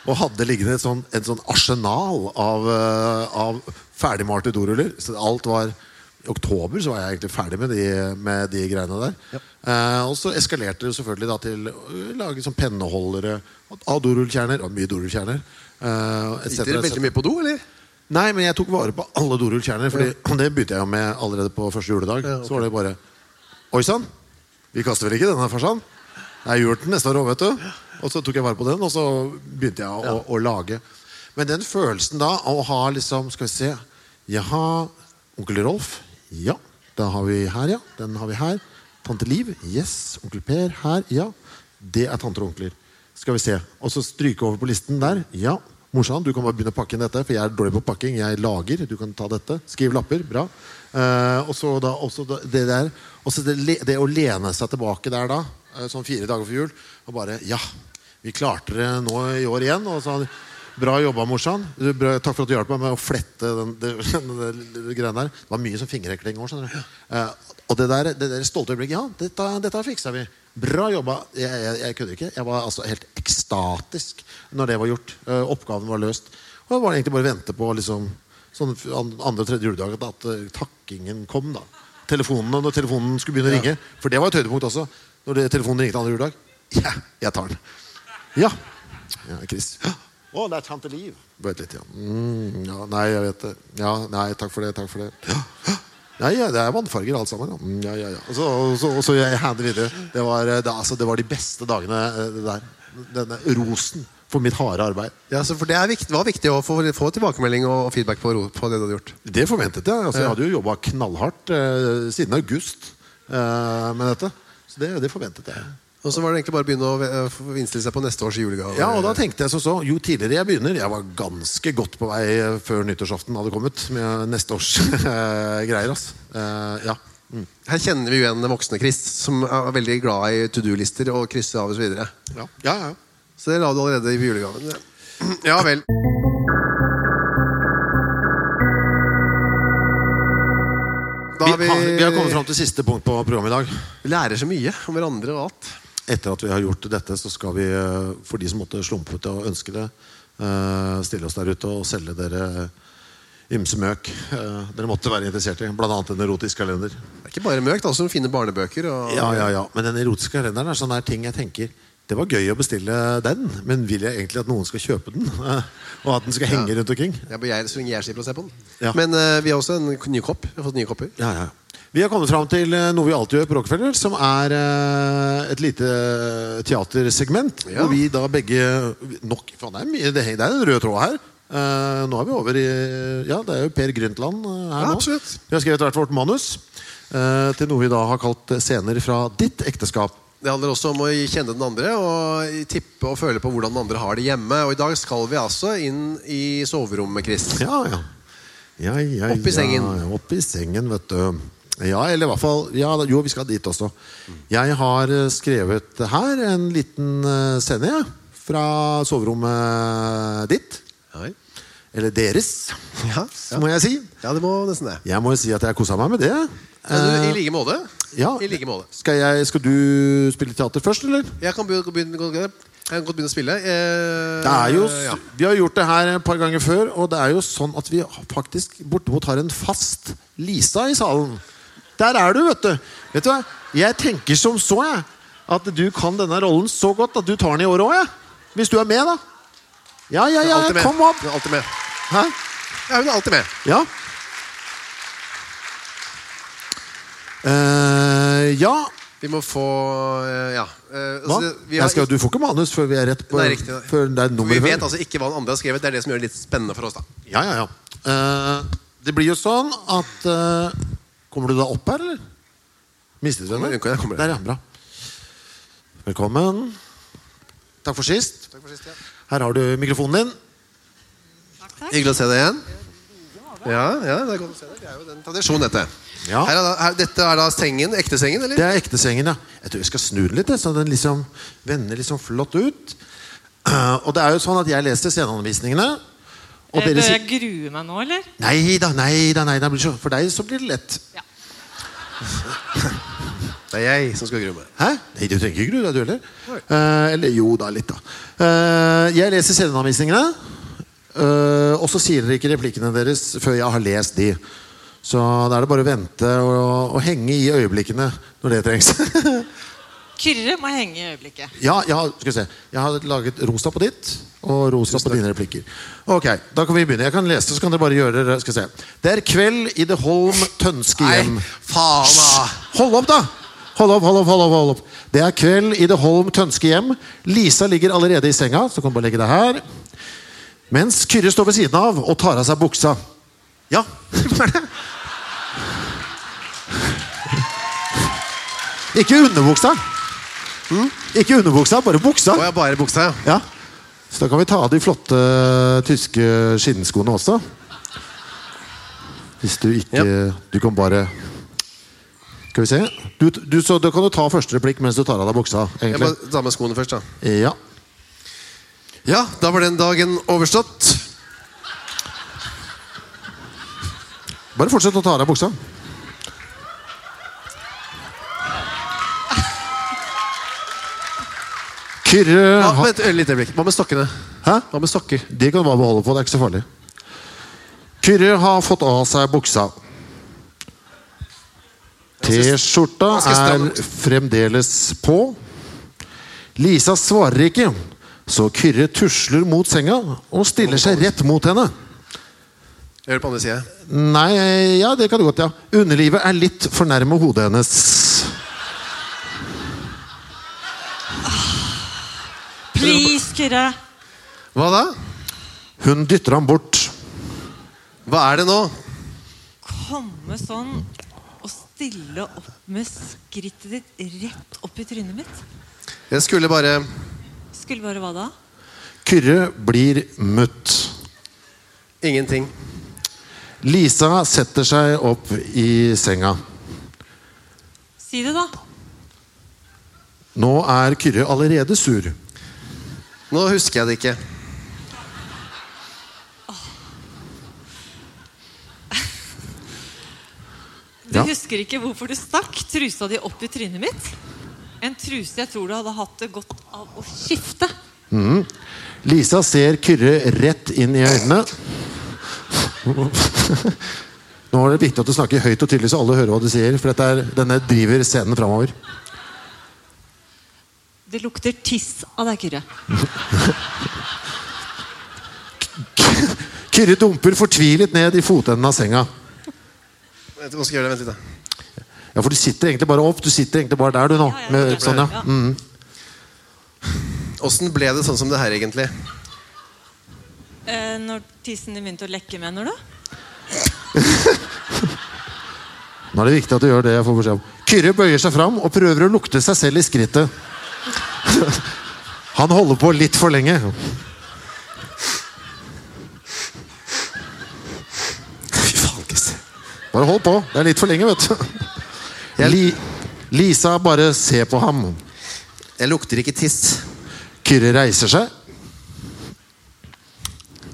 Speaker 2: Og hadde liggende et sånn, et sånn arsenal av, eh, av ferdigmalte doruller. Så alt var I oktober så var jeg egentlig ferdig med de, med de greiene der. Eh, og så eskalerte det selvfølgelig da til å lage sånn penneholdere av dorullkjerner. Og mye dorullkjerner. Eh,
Speaker 1: Sitter dere
Speaker 2: et cetera, et
Speaker 1: veldig
Speaker 2: cetera.
Speaker 1: mye på do, eller?
Speaker 2: Nei, men jeg tok vare på alle dorullkjerner. Fordi det begynte jeg jo med allerede på første juledag. Så var det bare Oi sann! Vi kaster vel ikke denne, farsan? Det er jul til neste år òg, vet du. Og så tok jeg vare på den, og så begynte jeg å, å, å lage. Men den følelsen da av å ha liksom Skal vi se Jeg har onkel Rolf. Ja. Den har vi her, ja. Den har vi her. Tante Liv. Yes. Onkel Per her. Ja. Det er tanter og onkler. Skal vi se. Og så stryke over på listen der. Ja. Morsan, du kan bare begynne å pakke inn dette, for jeg er dårlig på pakking. Jeg lager. Du kan ta dette. Skriv lapper. Bra. Eh, og så da også da, det der Og så det, le- det å lene seg tilbake der da, eh, sånn fire dager før jul, og bare Ja, vi klarte det nå i år igjen. Og så Bra jobba, morsan. Du, bra, takk for at du hjalp meg med å flette den, den, den, den, greia der. Det var mye som fingerhekling òg, skjønner du. Eh, og det der, det der stolte øyeblikket Ja, dette, dette fiksa vi. Bra jobba. Jeg, jeg, jeg kødder ikke. Jeg var altså helt ekstatisk når det var gjort. Eh, oppgaven var løst. Og det var egentlig bare å vente på liksom, sånn f- an- andre og tredje juledag at, at eh, takkingen kom. da Telefonene, Når telefonen skulle begynne å ringe. For det var et høydepunkt også. Når det, telefonen ringte andre juledag. Ja, jeg tar den. Ja. ja Chris. Å, det er tante Liv. Vent litt, ja. Mm, ja. Nei, jeg vet det. Ja, nei, takk for det, takk for det. Ja. Nei, ja, det er vannfarger alt sammen. Ja, Mm, ja, ja, ja. Og så, og så, og så jeg hander videre. Det var, eh, det, altså, det var de beste dagene eh, det der. Denne rosen for mitt harde arbeid.
Speaker 1: Ja, så for Det er vikt, var viktig å få, få tilbakemelding og feedback på, ro- på det du hadde gjort.
Speaker 2: Det forventet jeg. Altså, jeg hadde jo jobba knallhardt eh, siden august eh, med dette. Så det, det forventet jeg.
Speaker 1: Og så var det egentlig bare å begynne å eh, få innstille seg på neste års julegave.
Speaker 2: Ja, og da tenkte jeg som så Jo tidligere jeg begynner Jeg var ganske godt på vei eh, før nyttårsaften hadde kommet Med neste års eh, greier ass. Eh, Ja mm.
Speaker 1: Her kjenner vi jo igjen den voksne Chris, som er veldig glad i to do-lister og krysse av osv. Så, videre.
Speaker 2: Ja, ja, ja
Speaker 1: så det la du allerede i julegaven. Ja vel. Da har
Speaker 2: vi,
Speaker 1: vi,
Speaker 2: har, vi har kommet frem til siste punkt på programmet i dag
Speaker 1: lærer så mye om hverandre og alt.
Speaker 2: etter at vi har gjort dette, så skal vi, eh, for de som måtte slumpe til å ønske det, eh, stille oss der ute og selge dere ymse møk eh, dere måtte være interessert i. Blant annet en erotisk kalender.
Speaker 1: Det er ikke bare møk, det er også fine barnebøker. Og...
Speaker 2: Ja, ja, ja. Men den erotiske kalenderen er sånn der ting jeg tenker Det var gøy å bestille den, men vil jeg egentlig at noen skal kjøpe den? Og at den skal henge rundt omkring?
Speaker 1: Jeg begjærer så lenge jeg slipper å se på den.
Speaker 2: Ja.
Speaker 1: Men eh, vi har også en k- ny kopp. Vi har fått nye kopper.
Speaker 2: Ja, ja. Vi har kommet fram til eh, noe vi alltid gjør på Rockefeller, som er eh, et lite teatersegment.
Speaker 1: Ja.
Speaker 2: Hvor vi da begge nok, faen, det, er mye, det, henger- det er en rød tråd her. Eh, nå er vi over i Ja, det er jo Per Grøntland eh, her
Speaker 1: Ja,
Speaker 2: nå.
Speaker 1: absolutt.
Speaker 2: Vi har skrevet hvert vårt manus eh, til noe vi da har kalt scener fra ditt ekteskap.
Speaker 1: Det handler også om å kjenne den andre og tippe og føle på hvordan den andre har det hjemme. Og i dag skal vi altså inn i soverommet, Chris.
Speaker 2: Ja, ja. ja, ja
Speaker 1: Opp i sengen.
Speaker 2: Ja, opp i sengen, vet du. Ja, eller i hvert fall ja, da- Jo, vi skal dit også. Jeg har eh, skrevet her en liten eh, scene jeg, fra soverommet ditt.
Speaker 1: Ja,
Speaker 2: Eller deres,
Speaker 1: ja.
Speaker 2: må jeg si.
Speaker 1: ja det må nesten det.
Speaker 2: Jeg må jo si at jeg kosa meg med det.
Speaker 1: Ja, du, I
Speaker 2: Eh,
Speaker 1: like måte.
Speaker 2: ja.
Speaker 1: I like måte.
Speaker 2: Skal, jeg, skal du spille teater først, eller?
Speaker 1: Jeg kan begynne, begynne, begynne, jeg kan godt begynne å spille. Eh,
Speaker 2: Det er jo,
Speaker 1: ja.
Speaker 2: Vi har gjort det her et par ganger før, og det er jo sånn at vi faktisk bortimot har en fast Lisa i salen. Der er du, vet du. Vet du hva? Jeg tenker som så, jeg. At du kan denne rollen så godt at du tar den i år òg, jeg. Hvis du er med, da. Ja,
Speaker 1: Hun
Speaker 2: ja,
Speaker 1: er
Speaker 2: ja.
Speaker 1: alltid med.
Speaker 2: Kom opp.
Speaker 1: Hun er alltid med.
Speaker 2: Hæ?
Speaker 1: Ja, hun er alltid med.
Speaker 2: Ja. Eh, ja.
Speaker 1: Vi må få eh, Ja. eh,
Speaker 2: Hva?
Speaker 1: altså, det- vi har
Speaker 2: Jeg skal, du får ikke manus før vi er rett på
Speaker 1: Nei, riktig.
Speaker 2: før det er
Speaker 1: For
Speaker 2: nummer
Speaker 1: vi
Speaker 2: før.
Speaker 1: vet altså ikke hva den andre har skrevet. Det er det som gjør det litt spennende for oss. da
Speaker 2: Ja, ja, ja. Eh, det blir jo sånn at eh, Kommer du da opp her, eller? Mistet du henne?
Speaker 1: Kommer, jeg kommer.
Speaker 2: Der, ja. Bra. Velkommen. Takk for sist. Her har du mikrofonen din.
Speaker 1: Hyggelig å se deg igjen. Ja, ja, det er godt å se deg. Det er jo den tradisjonen, dette.
Speaker 2: Ja.
Speaker 1: Her er da, her, dette er da sengen? Ekte sengen, eller?
Speaker 2: Det er ektesengen, ja. Jeg tror vi skal snu den litt, jeg, så den liksom vender liksom flott ut. Eh, og det er jo sånn at jeg leser sceneanvisningene. Og
Speaker 7: Eh,
Speaker 2: dere
Speaker 7: Bør jeg
Speaker 2: sier
Speaker 7: grue meg nå, eller?
Speaker 2: Nei da, nei da, nei da. blir så- For deg så blir det lett.
Speaker 1: Det er jeg som skal grue meg.
Speaker 2: Hæ? Nei, du trenger ikke grue deg, du heller. Eh, eller jo da, litt, da. Eh, jeg leser sceneanvisningene. eh, og så sier dere ikke replikkene deres før jeg har lest de. Så da er det bare å vente og, og henge i øyeblikkene når det trengs.
Speaker 7: Kyrre må henge i øyeblikket.
Speaker 2: ja, jeg har, skal vi se. Jeg har laget rosa på ditt og rosa på dine replikker. Ok, Da kan vi begynne. Jeg kan lese, så kan dere bare gjøre dere. Skal vi se. Det er kveld i det Holm Tønske hjem.
Speaker 1: faen da!
Speaker 2: Hold opp, da! Hold opp, hold opp, hold opp, hold opp. Det er kveld i det Holm Tønske hjem. Lisa ligger allerede i senga, så kan du bare legge deg her. Mens Kyrre står ved siden av og tar av seg buksa. Ja, hva er det? Ikke underbuksa. Mm? Ikke underbuksa, bare buksa.
Speaker 1: Å, jeg har bare buksa, ja.
Speaker 2: Ja. Så da kan vi ta av de flotte eh, tyske skinnskoene også. Hvis du ikke Du kan bare Skal vi se. Du, du, så da kan du ta første replikk mens du tar av deg buksa.
Speaker 1: Jeg
Speaker 2: egentlig.
Speaker 1: må ta med skoene først, da.
Speaker 2: Ja.
Speaker 1: Ja, da var den dagen overstått.
Speaker 2: Bare fortsett å ta av deg buksa. Kyrre
Speaker 1: Ja,
Speaker 2: ha-
Speaker 1: vent et lite øyeblikk. Hva med stokkene?
Speaker 2: Hæ?
Speaker 1: Hva med stokker?
Speaker 2: De kan du bare beholde på, det er ikke så farlig. Kyrre har fått av seg buksa. T-skjorta
Speaker 1: Ganske
Speaker 2: er
Speaker 1: stramt.
Speaker 2: fremdeles på. Lisa svarer ikke, så Kyrre tusler mot senga og stiller seg rett mot henne.
Speaker 1: Jeg gjør det på andre sida.
Speaker 2: Nei, ja, det kan du godt, ja. Underlivet er litt for nærme hodet hennes.
Speaker 7: Please, Kyrre.
Speaker 1: Hva da?
Speaker 2: Hun dytter ham bort.
Speaker 1: Hva er det nå?
Speaker 7: Komme sånn og stille opp med skrittet ditt rett opp i trynet mitt.
Speaker 1: Jeg skulle bare
Speaker 7: Skulle bare hva da?
Speaker 2: Kyrre blir mutt.
Speaker 1: Ingenting.
Speaker 2: Lisa setter seg opp i senga.
Speaker 7: Si det, da.
Speaker 2: Nå er Kyrre allerede sur.
Speaker 1: Nå husker jeg det ikke.
Speaker 7: Du
Speaker 2: Ja.
Speaker 7: husker ikke hvorfor du stakk trusa di opp i trynet mitt? En truse jeg tror du hadde hatt det godt av å skifte.
Speaker 2: Lisa ser Kyrre rett inn i øynene. Nå er det viktig at du snakker høyt og tydelig, så alle hører hva du sier. For dette er, denne driver scenen framover.
Speaker 7: Det lukter tiss av deg, Kyrre.
Speaker 2: Kyrre dumper fortvilet ned i fotenden av senga.
Speaker 1: Vent, hva skal jeg gjøre? Vent litt, da.
Speaker 2: Ja, For du sitter egentlig bare opp. Du sitter egentlig bare der, du nå.
Speaker 7: Ja, ja,
Speaker 2: Med,
Speaker 7: det ble
Speaker 2: sånn,
Speaker 7: det, ja.
Speaker 2: ja. Mm.
Speaker 1: Åssen ble det sånn som det her, egentlig?
Speaker 7: Eh, når tissen din begynte å lekke, mener du?
Speaker 2: Nå er det viktig at du gjør det jeg får beskjed om. Kyrre bøyer seg fram og prøver å lukte seg selv i skrittet. Han holder på litt for lenge.
Speaker 1: Fy faen, Chris.
Speaker 2: Bare hold på. Det er litt for lenge, vet du. Li Lisa bare ser på ham.
Speaker 1: Jeg lukter ikke tiss.
Speaker 2: Kyrre reiser seg.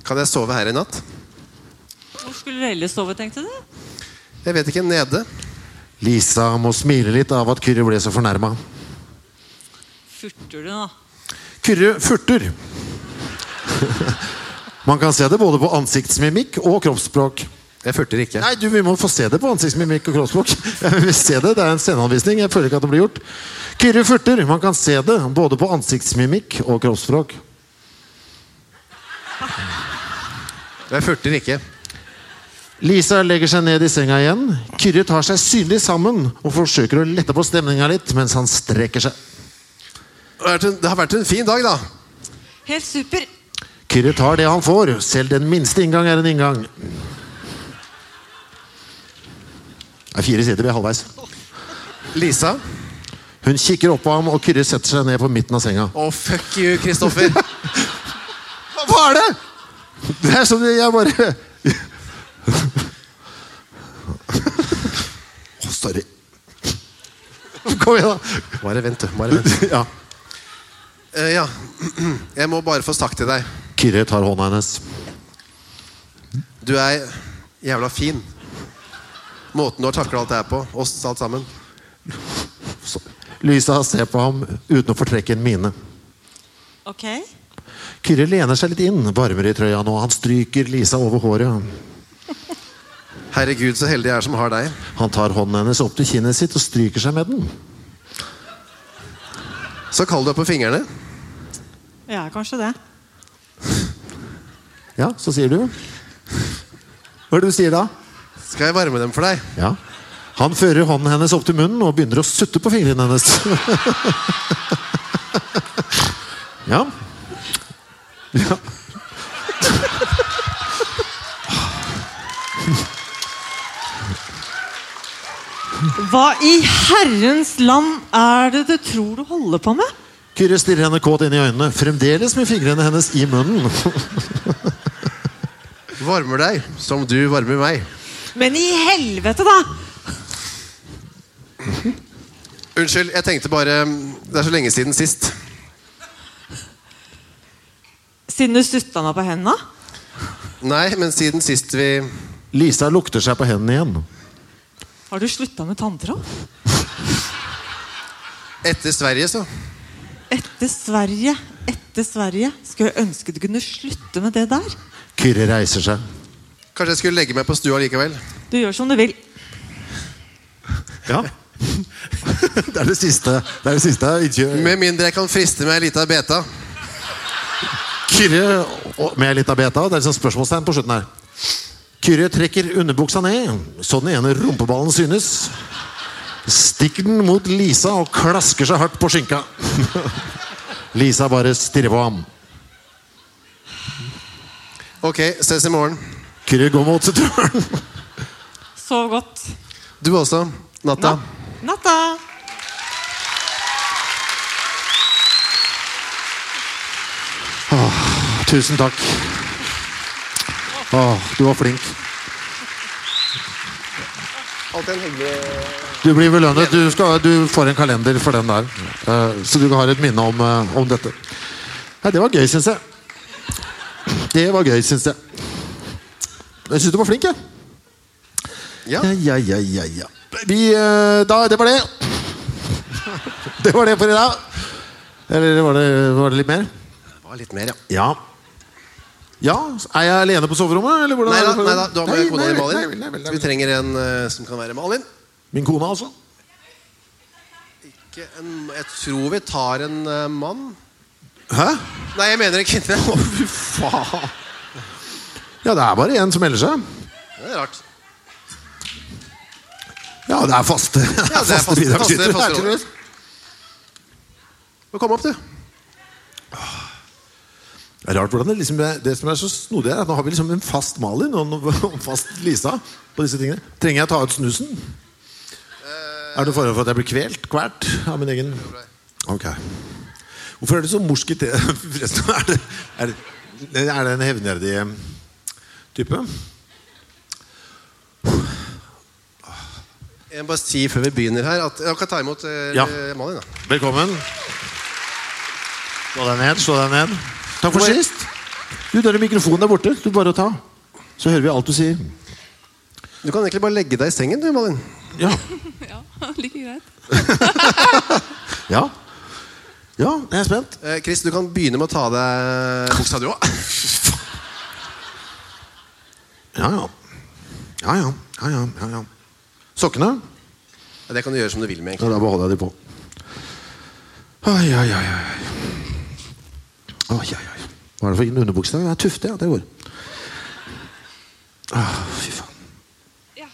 Speaker 1: Kan jeg sove her i natt?
Speaker 7: Hvor skulle du ellers sove, tenkte du?
Speaker 1: Jeg vet ikke. Nede.
Speaker 2: Lisa må smile litt av at Kyrre ble så fornærma.
Speaker 7: Furter du nå?
Speaker 2: Kyrre furter. Man kan se det både på ansiktsmimikk og kroppsspråk.
Speaker 1: Jeg furter ikke.
Speaker 2: Nei, du, Vi må få se det på ansiktsmimikk og kroppsspråk. Jeg vil se Det det er en sceneanvisning. Jeg føler ikke at det blir gjort. Kyrre furter. Man kan se det både på ansiktsmimikk og kroppsspråk.
Speaker 1: Jeg furter ikke.
Speaker 2: Lisa legger seg ned i senga igjen. Kyrre tar seg synlig sammen og forsøker å lette på stemninga litt mens han strekker seg.
Speaker 1: Det har vært en- Det har vært en fin dag, da.
Speaker 7: Helt super.
Speaker 2: Kyrre tar det han får. Selv den minste inngang er en inngang. Det er fire sider, vi er halvveis.
Speaker 1: Lisa.
Speaker 2: Hun kikker opp på ham, og Kyrre setter seg ned på midten av senga.
Speaker 1: Å, fuck you, Kristoffer.
Speaker 2: Hva er det?! Det er som jeg bare Å, Sorry. Kom igjen, da.
Speaker 1: Bare vent, du. Bare vent.
Speaker 2: Ja.
Speaker 1: Eh, ja. Jeg må bare få sagt til deg.
Speaker 2: Kyrre tar hånda hennes.
Speaker 1: Du er jævla fin. Måten du har takla alt det her på. Oss alt sammen.
Speaker 2: Lysa ser på ham uten å fortrekke en mine.
Speaker 7: Ok.
Speaker 2: Kyrre lener seg litt inn, varmere i trøya nå. Han stryker Lisa over håret.
Speaker 1: Herregud, så heldig jeg er som har deg.
Speaker 2: Han tar hånden hennes opp til kinnet sitt og stryker seg med den.
Speaker 1: Så kald du er på fingrene.
Speaker 7: Jeg er kanskje det.
Speaker 2: Ja, så sier du. Hva er det du sier da?
Speaker 1: Skal jeg varme dem for deg?
Speaker 2: Ja. Han fører hånden hennes opp til munnen og begynner å sutte på fingrene hennes. ja. ja.
Speaker 7: Hva i herrens land er det du tror du holder på med?
Speaker 2: Kyrre stirrer henne kåt inn i øynene, fremdeles med fingrene hennes i munnen.
Speaker 1: Varmer deg som du varmer meg.
Speaker 7: Men i helvete, da!
Speaker 1: Unnskyld, jeg tenkte bare mm, Det er så lenge siden sist.
Speaker 7: Siden du sutta meg på henda?
Speaker 1: Nei, men siden sist vi
Speaker 2: Lisa lukter seg på hendene igjen.
Speaker 7: Har du slutta med tanntråd?
Speaker 1: Etter Sverige, så.
Speaker 7: Etter Sverige, etter Sverige. Skulle jeg ønske du kunne slutte med det der.
Speaker 2: Kyrre reiser seg.
Speaker 1: Kanskje jeg skulle legge meg på stua likevel.
Speaker 7: Du gjør som du vil.
Speaker 2: Ja. det er det siste. Det er det siste. Ikke...
Speaker 1: Med mindre jeg kan friste med ei lita beta.
Speaker 2: Kyrre og- med litt av beta. Det er liksom spørsmålstegn på slutten her. Kyrre trekker underbuksa ned, så den ene rumpeballen synes. Stikker den mot Lisa og klasker seg hardt på skinka. Lisa bare stirrer på ham.
Speaker 1: Ok, ses i morgen.
Speaker 2: Kyrre går mot døren.
Speaker 7: Sov godt.
Speaker 1: Du også. Natta.
Speaker 7: Natta.
Speaker 2: Tusen takk. Åh, du var flink.
Speaker 1: Alltid en hyggelig
Speaker 2: Du blir belønnet. Du, skal, du får en kalender for den der. Eh, så du har et minne om, eh, om dette. Nei, det var gøy, syns jeg. Det var gøy, syns jeg. Jeg syns du var flink, jeg.
Speaker 1: Ja.
Speaker 2: Ja, ja, ja, ja, ja. Vi, eh, da, det var det. Det var det for i dag. Eller var det, var det litt mer?
Speaker 1: Det var litt mer, ja.
Speaker 2: Ja. Ja, Er jeg alene på soverommet? Eller hvordan
Speaker 1: Nei
Speaker 2: er
Speaker 1: da,
Speaker 2: det for-
Speaker 1: nei da, du har med
Speaker 2: Nei,
Speaker 1: kona
Speaker 2: nei
Speaker 1: di
Speaker 2: vel,
Speaker 1: Malin.
Speaker 2: nei vel, nei vel, nei
Speaker 1: Vi
Speaker 2: vel.
Speaker 1: trenger en eh, som kan være Malin.
Speaker 2: Min kone, altså?
Speaker 1: Ikke en, jeg tror vi tar en eh, mann.
Speaker 2: Hæ?
Speaker 1: Nei, jeg mener en kvinne. Å, fy faen.
Speaker 2: Ja, det er bare én som melder seg.
Speaker 1: Det er rart.
Speaker 2: Ja, det er faste det er
Speaker 1: Ja, det er
Speaker 2: faste
Speaker 1: faste, faste,
Speaker 2: bidragsytere.
Speaker 1: faste
Speaker 2: Det er
Speaker 1: roller. Kom opp, du.
Speaker 2: Det er rart hvordan det liksom Det som er så snodig, er at nå har vi liksom en fast Malin og en fast Lisa på disse tingene. Trenger jeg ta ut snusen? Er det noe forhold for at jeg blir kvelt? Kvert av min egen Ok. Hvorfor er det så morsk i te... Forresten, er det, er det, er det en hevngjerrig type?
Speaker 1: Jeg må bare si før vi begynner her at Jeg kan ta imot eh,
Speaker 2: Ja.
Speaker 1: Malin. da
Speaker 2: Velkommen. Slå deg ned, slå deg ned. Takk for sist. Du, der er mikrofonen der borte. Du bare å ta. Så hører vi alt du sier.
Speaker 1: Du kan egentlig bare legge deg i sengen, du, Malin.
Speaker 2: Ja.
Speaker 7: Ja, like greit.
Speaker 2: Ja. Ja, jeg er spent.
Speaker 1: Eh, Chris, du kan begynne med å ta av deg buksa, du òg.
Speaker 2: Ja, ja. Ja, ja. ja, ja, ja, ja. Sokkene?
Speaker 1: Ja, det kan du gjøre som du vil med.
Speaker 2: Ja,
Speaker 1: egentlig
Speaker 2: da beholder jeg de på. Oi, oi, oi, oi. Oi, oi, oi. Hva er det for en underbukse? Det er tufte, ja. Det går. Ah, fy faen. Det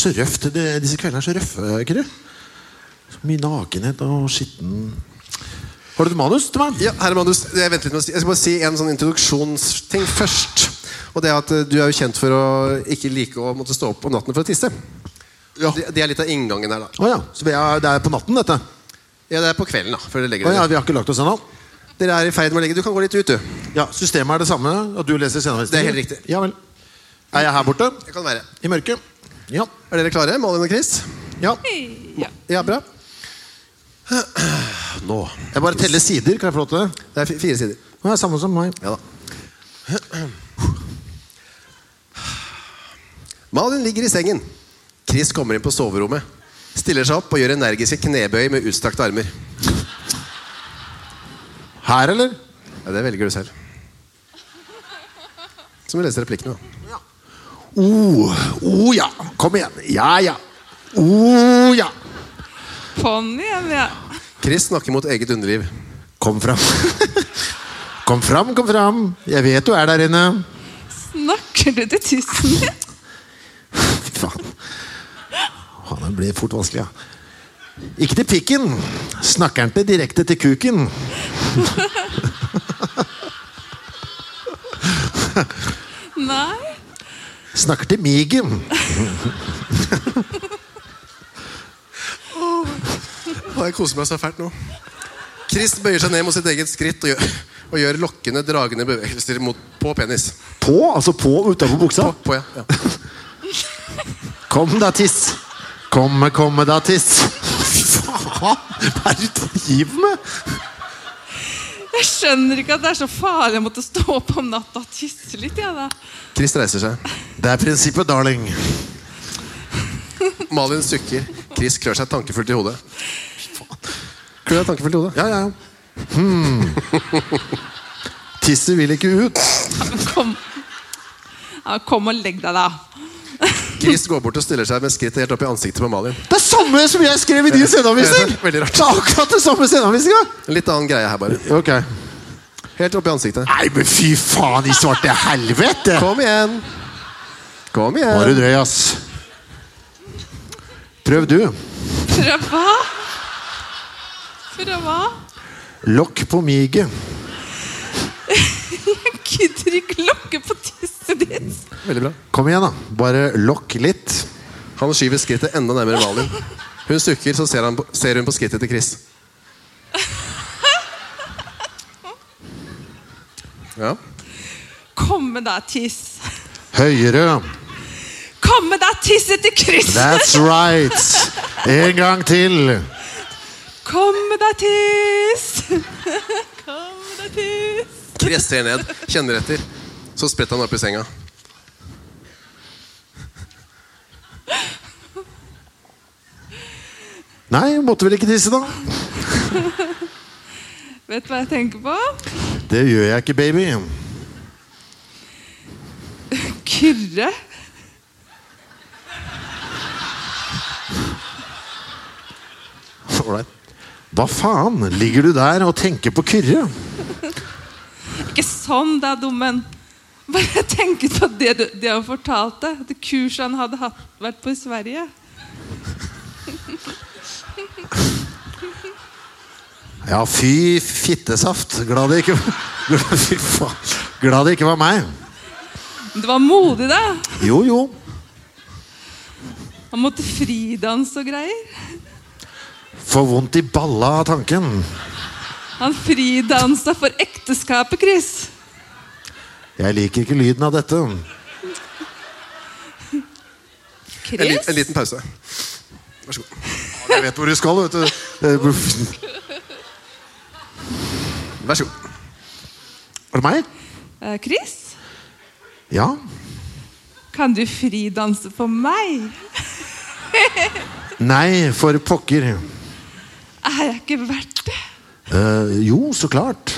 Speaker 2: er så røft. Det, disse kveldene er så røffe, ikke det? Så mye nakenhet og skitten Har du et manus til meg?
Speaker 1: Ja, herre Manus, jeg venter litt med å si Jeg skal bare si en sånn introduksjonsting først. Og det er at eh, Du er jo kjent for å ikke like å måtte stå opp om natten for å tisse. Det, det er litt av inngangen her, da.
Speaker 2: Å ja. Så vi er, det er på natten, dette?
Speaker 1: Ja, Det er på kvelden, da. Før dere legger
Speaker 2: Å ja,
Speaker 1: dere.
Speaker 2: vi har ikke lagt oss ennå?
Speaker 1: Dere er i ferd med å legge Du kan gå litt ut, du.
Speaker 2: Ja, Systemet er det samme? At du leser sceneavisen?
Speaker 1: Det er helt riktig.
Speaker 2: Ja vel. Er jeg her borte?
Speaker 1: Det kan være.
Speaker 2: I mørket? Ja.
Speaker 1: Er dere klare, Malin og Chris?
Speaker 2: ja.
Speaker 7: Ja.
Speaker 1: Ja, bra. Nå.
Speaker 2: Jeg bare teller sider. Kan jeg få lov til det?
Speaker 1: Det er fi- fire sider.
Speaker 2: Det er samme som meg.
Speaker 1: Ja da. Malin ligger i sengen. Chris kommer inn på soverommet. Stiller seg opp og gjør energiske knebøy med utstrakte armer.
Speaker 2: Her, eller?
Speaker 1: Ja, Det velger du selv. Så må du lese replikkene. da.
Speaker 2: Å oh, ja. Kom igjen. Ja ja. Å oh, ja.
Speaker 7: Kom igjen, ja.
Speaker 1: Chris snakker mot eget underliv.
Speaker 2: Kom fram. kom fram, kom fram. Jeg vet du er der inne.
Speaker 7: Snakker du til tissen din?
Speaker 2: Fy faen. Faen, det blir fort vanskelig, ja. Ikke til pikken. Snakker han til direkte til kuken?
Speaker 7: Nei.
Speaker 2: Snakker til migen.
Speaker 1: Å, jeg koser meg så fælt nå. Chris bøyer seg ned mot sitt eget skritt og gjør, og gjør lokkende, dragende bevegelser mot, på penis.
Speaker 2: På? Altså på utafor buksa?
Speaker 1: På, ja. ja.
Speaker 2: Kom da, tiss. Komme, komme da, tiss. Fy faen! Hva er det du driver med?
Speaker 7: Jeg skjønner ikke at det er så farlig å måtte stå opp om natta og tisse litt. Ja, da.
Speaker 1: Chris reiser seg.
Speaker 2: Det er prinsippet, darling.
Speaker 1: Malin sukker. Chris klør seg tankefullt i hodet. Klør deg tankefullt i hodet.
Speaker 2: Ja, ja, ja. Hmm. Tisset vil ikke ut.
Speaker 7: Ja, men kom. Ja, kom og legg deg, da.
Speaker 1: Chris går bort og stiller seg med skrittet helt opp i ansiktet på Malin.
Speaker 2: Det er samme som jeg skrev i din sceneanvisning!
Speaker 1: Veldig rart.
Speaker 2: Det er akkurat det samme sceneanvisninga!
Speaker 1: En litt annen greie her, bare.
Speaker 2: Ok.
Speaker 1: Helt opp i ansiktet.
Speaker 2: Nei, men fy faen i svarte helvete!
Speaker 1: Kom igjen! Kom
Speaker 2: Nå er du
Speaker 1: igjen!
Speaker 2: drøy, ass. Prøv du.
Speaker 7: Prøv hva? Prøv hva?
Speaker 2: Lokk på miget.
Speaker 7: Jeg gidder ikke lokke på tisset ditt.
Speaker 1: Veldig bra.
Speaker 2: Kom igjen, da. Bare lokk litt.
Speaker 1: Han skyver skrittet enda nærmere Malin. Hun sukker, så ser, han på, ser hun på skrittet til Chris. Ja.
Speaker 7: Kom med deg, tiss.
Speaker 2: Høyere.
Speaker 7: Kom med deg, tisset til Chris.
Speaker 2: That's right. En gang til.
Speaker 7: Kom med deg, tiss. Kom med deg, tiss.
Speaker 1: Chris ser ned, kjenner etter. Så spretter han opp i senga.
Speaker 2: Nei, måtte vel ikke tisse, da?
Speaker 8: Vet du hva jeg tenker på?
Speaker 2: Det gjør jeg ikke, baby.
Speaker 8: Kyrre.
Speaker 2: All right. Hva faen? Ligger du der og tenker på Kyrre?
Speaker 8: Ikke sånn, da, dummen. Bare jeg tenkte på det du det han fortalte. Det kurset han hadde hatt, vært på i Sverige.
Speaker 2: Ja, fy fittesaft. Glad det ikke var Fy faen. Glad det ikke var meg.
Speaker 8: Det var modig, da.
Speaker 2: Jo, jo.
Speaker 8: Han måtte fridanse og greier.
Speaker 2: Får vondt i balla av tanken.
Speaker 8: Han fridansa for ekteskapet, Chris.
Speaker 2: Jeg liker ikke lyden av dette.
Speaker 1: En, li-
Speaker 8: Chris?
Speaker 1: en liten pause. Vær så god.
Speaker 2: Jeg vet hvor du skal, vet du. Eh,
Speaker 1: Vær så god.
Speaker 2: Var det meg?
Speaker 8: Eh, Chris?
Speaker 2: Ja.
Speaker 8: Kan du fridanse for meg?
Speaker 2: Nei, for pokker.
Speaker 8: Er jeg ikke verdt det?
Speaker 2: Eh, jo, så klart.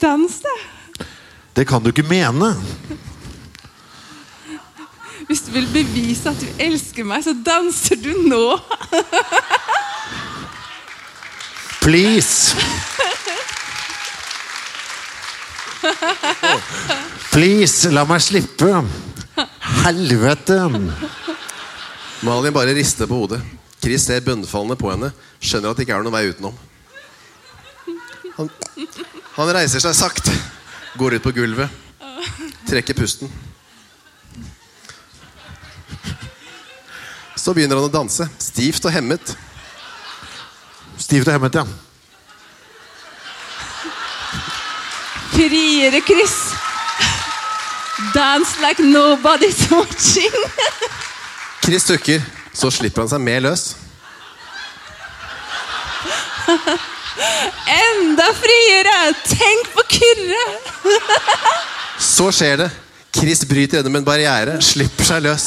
Speaker 8: Dans, da.
Speaker 2: Det kan du ikke mene.
Speaker 8: Hvis du vil bevise at du elsker meg, så danser du nå.
Speaker 2: Please. Please, la meg slippe. Helvete.
Speaker 1: Malin bare rister på hodet. Chris ser bønnfallende på henne. Skjønner at det ikke er noen vei utenom. Han, han reiser seg sakte, går ut på gulvet, trekker pusten. Så begynner han å danse, stivt og hemmet.
Speaker 2: Stivt og hemmet, ja.
Speaker 8: Friere, Chris. Dance like nobody's watching.
Speaker 1: Chris tukker, så slipper han seg mer løs.
Speaker 8: Enda friere! Tenk på Kyrre!
Speaker 1: Så skjer det. Chris bryter gjennom en barriere, slipper seg løs.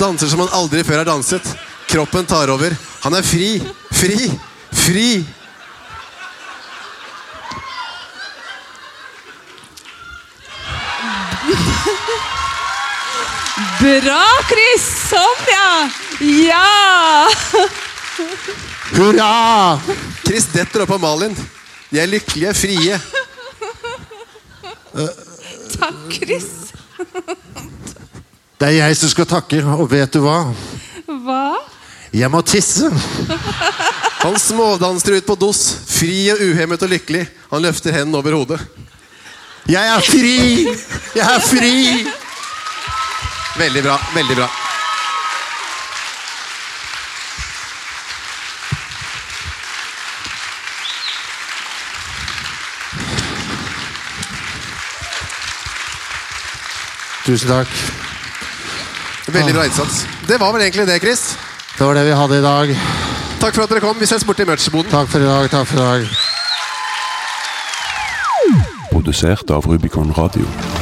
Speaker 1: Danser som han aldri før har danset. Kroppen tar over. Han er fri, fri, fri.
Speaker 8: Bra, Chris! Sånn, ja! Ja!
Speaker 2: Hurra!
Speaker 1: Chris detter opp av Malin. De er lykkelige, frie.
Speaker 8: Takk, Chris.
Speaker 2: Det er jeg som skal takke, og vet du hva?
Speaker 8: Hva?
Speaker 2: Jeg må tisse.
Speaker 1: Han smådanser ut på dos, fri og uhemmet og lykkelig. Han løfter hendene over hodet.
Speaker 2: Jeg er fri! Jeg er fri!
Speaker 1: Veldig bra. veldig bra.
Speaker 2: Tusen takk.
Speaker 1: Veldig bra innsats. Det var vel egentlig det, Chris.
Speaker 2: Det var det vi hadde i dag.
Speaker 1: Takk for at dere kom. Vi ses borte i merch-boden.
Speaker 2: Takk for i dag. Takk for i dag.
Speaker 9: Produsert av Rubicon Radio.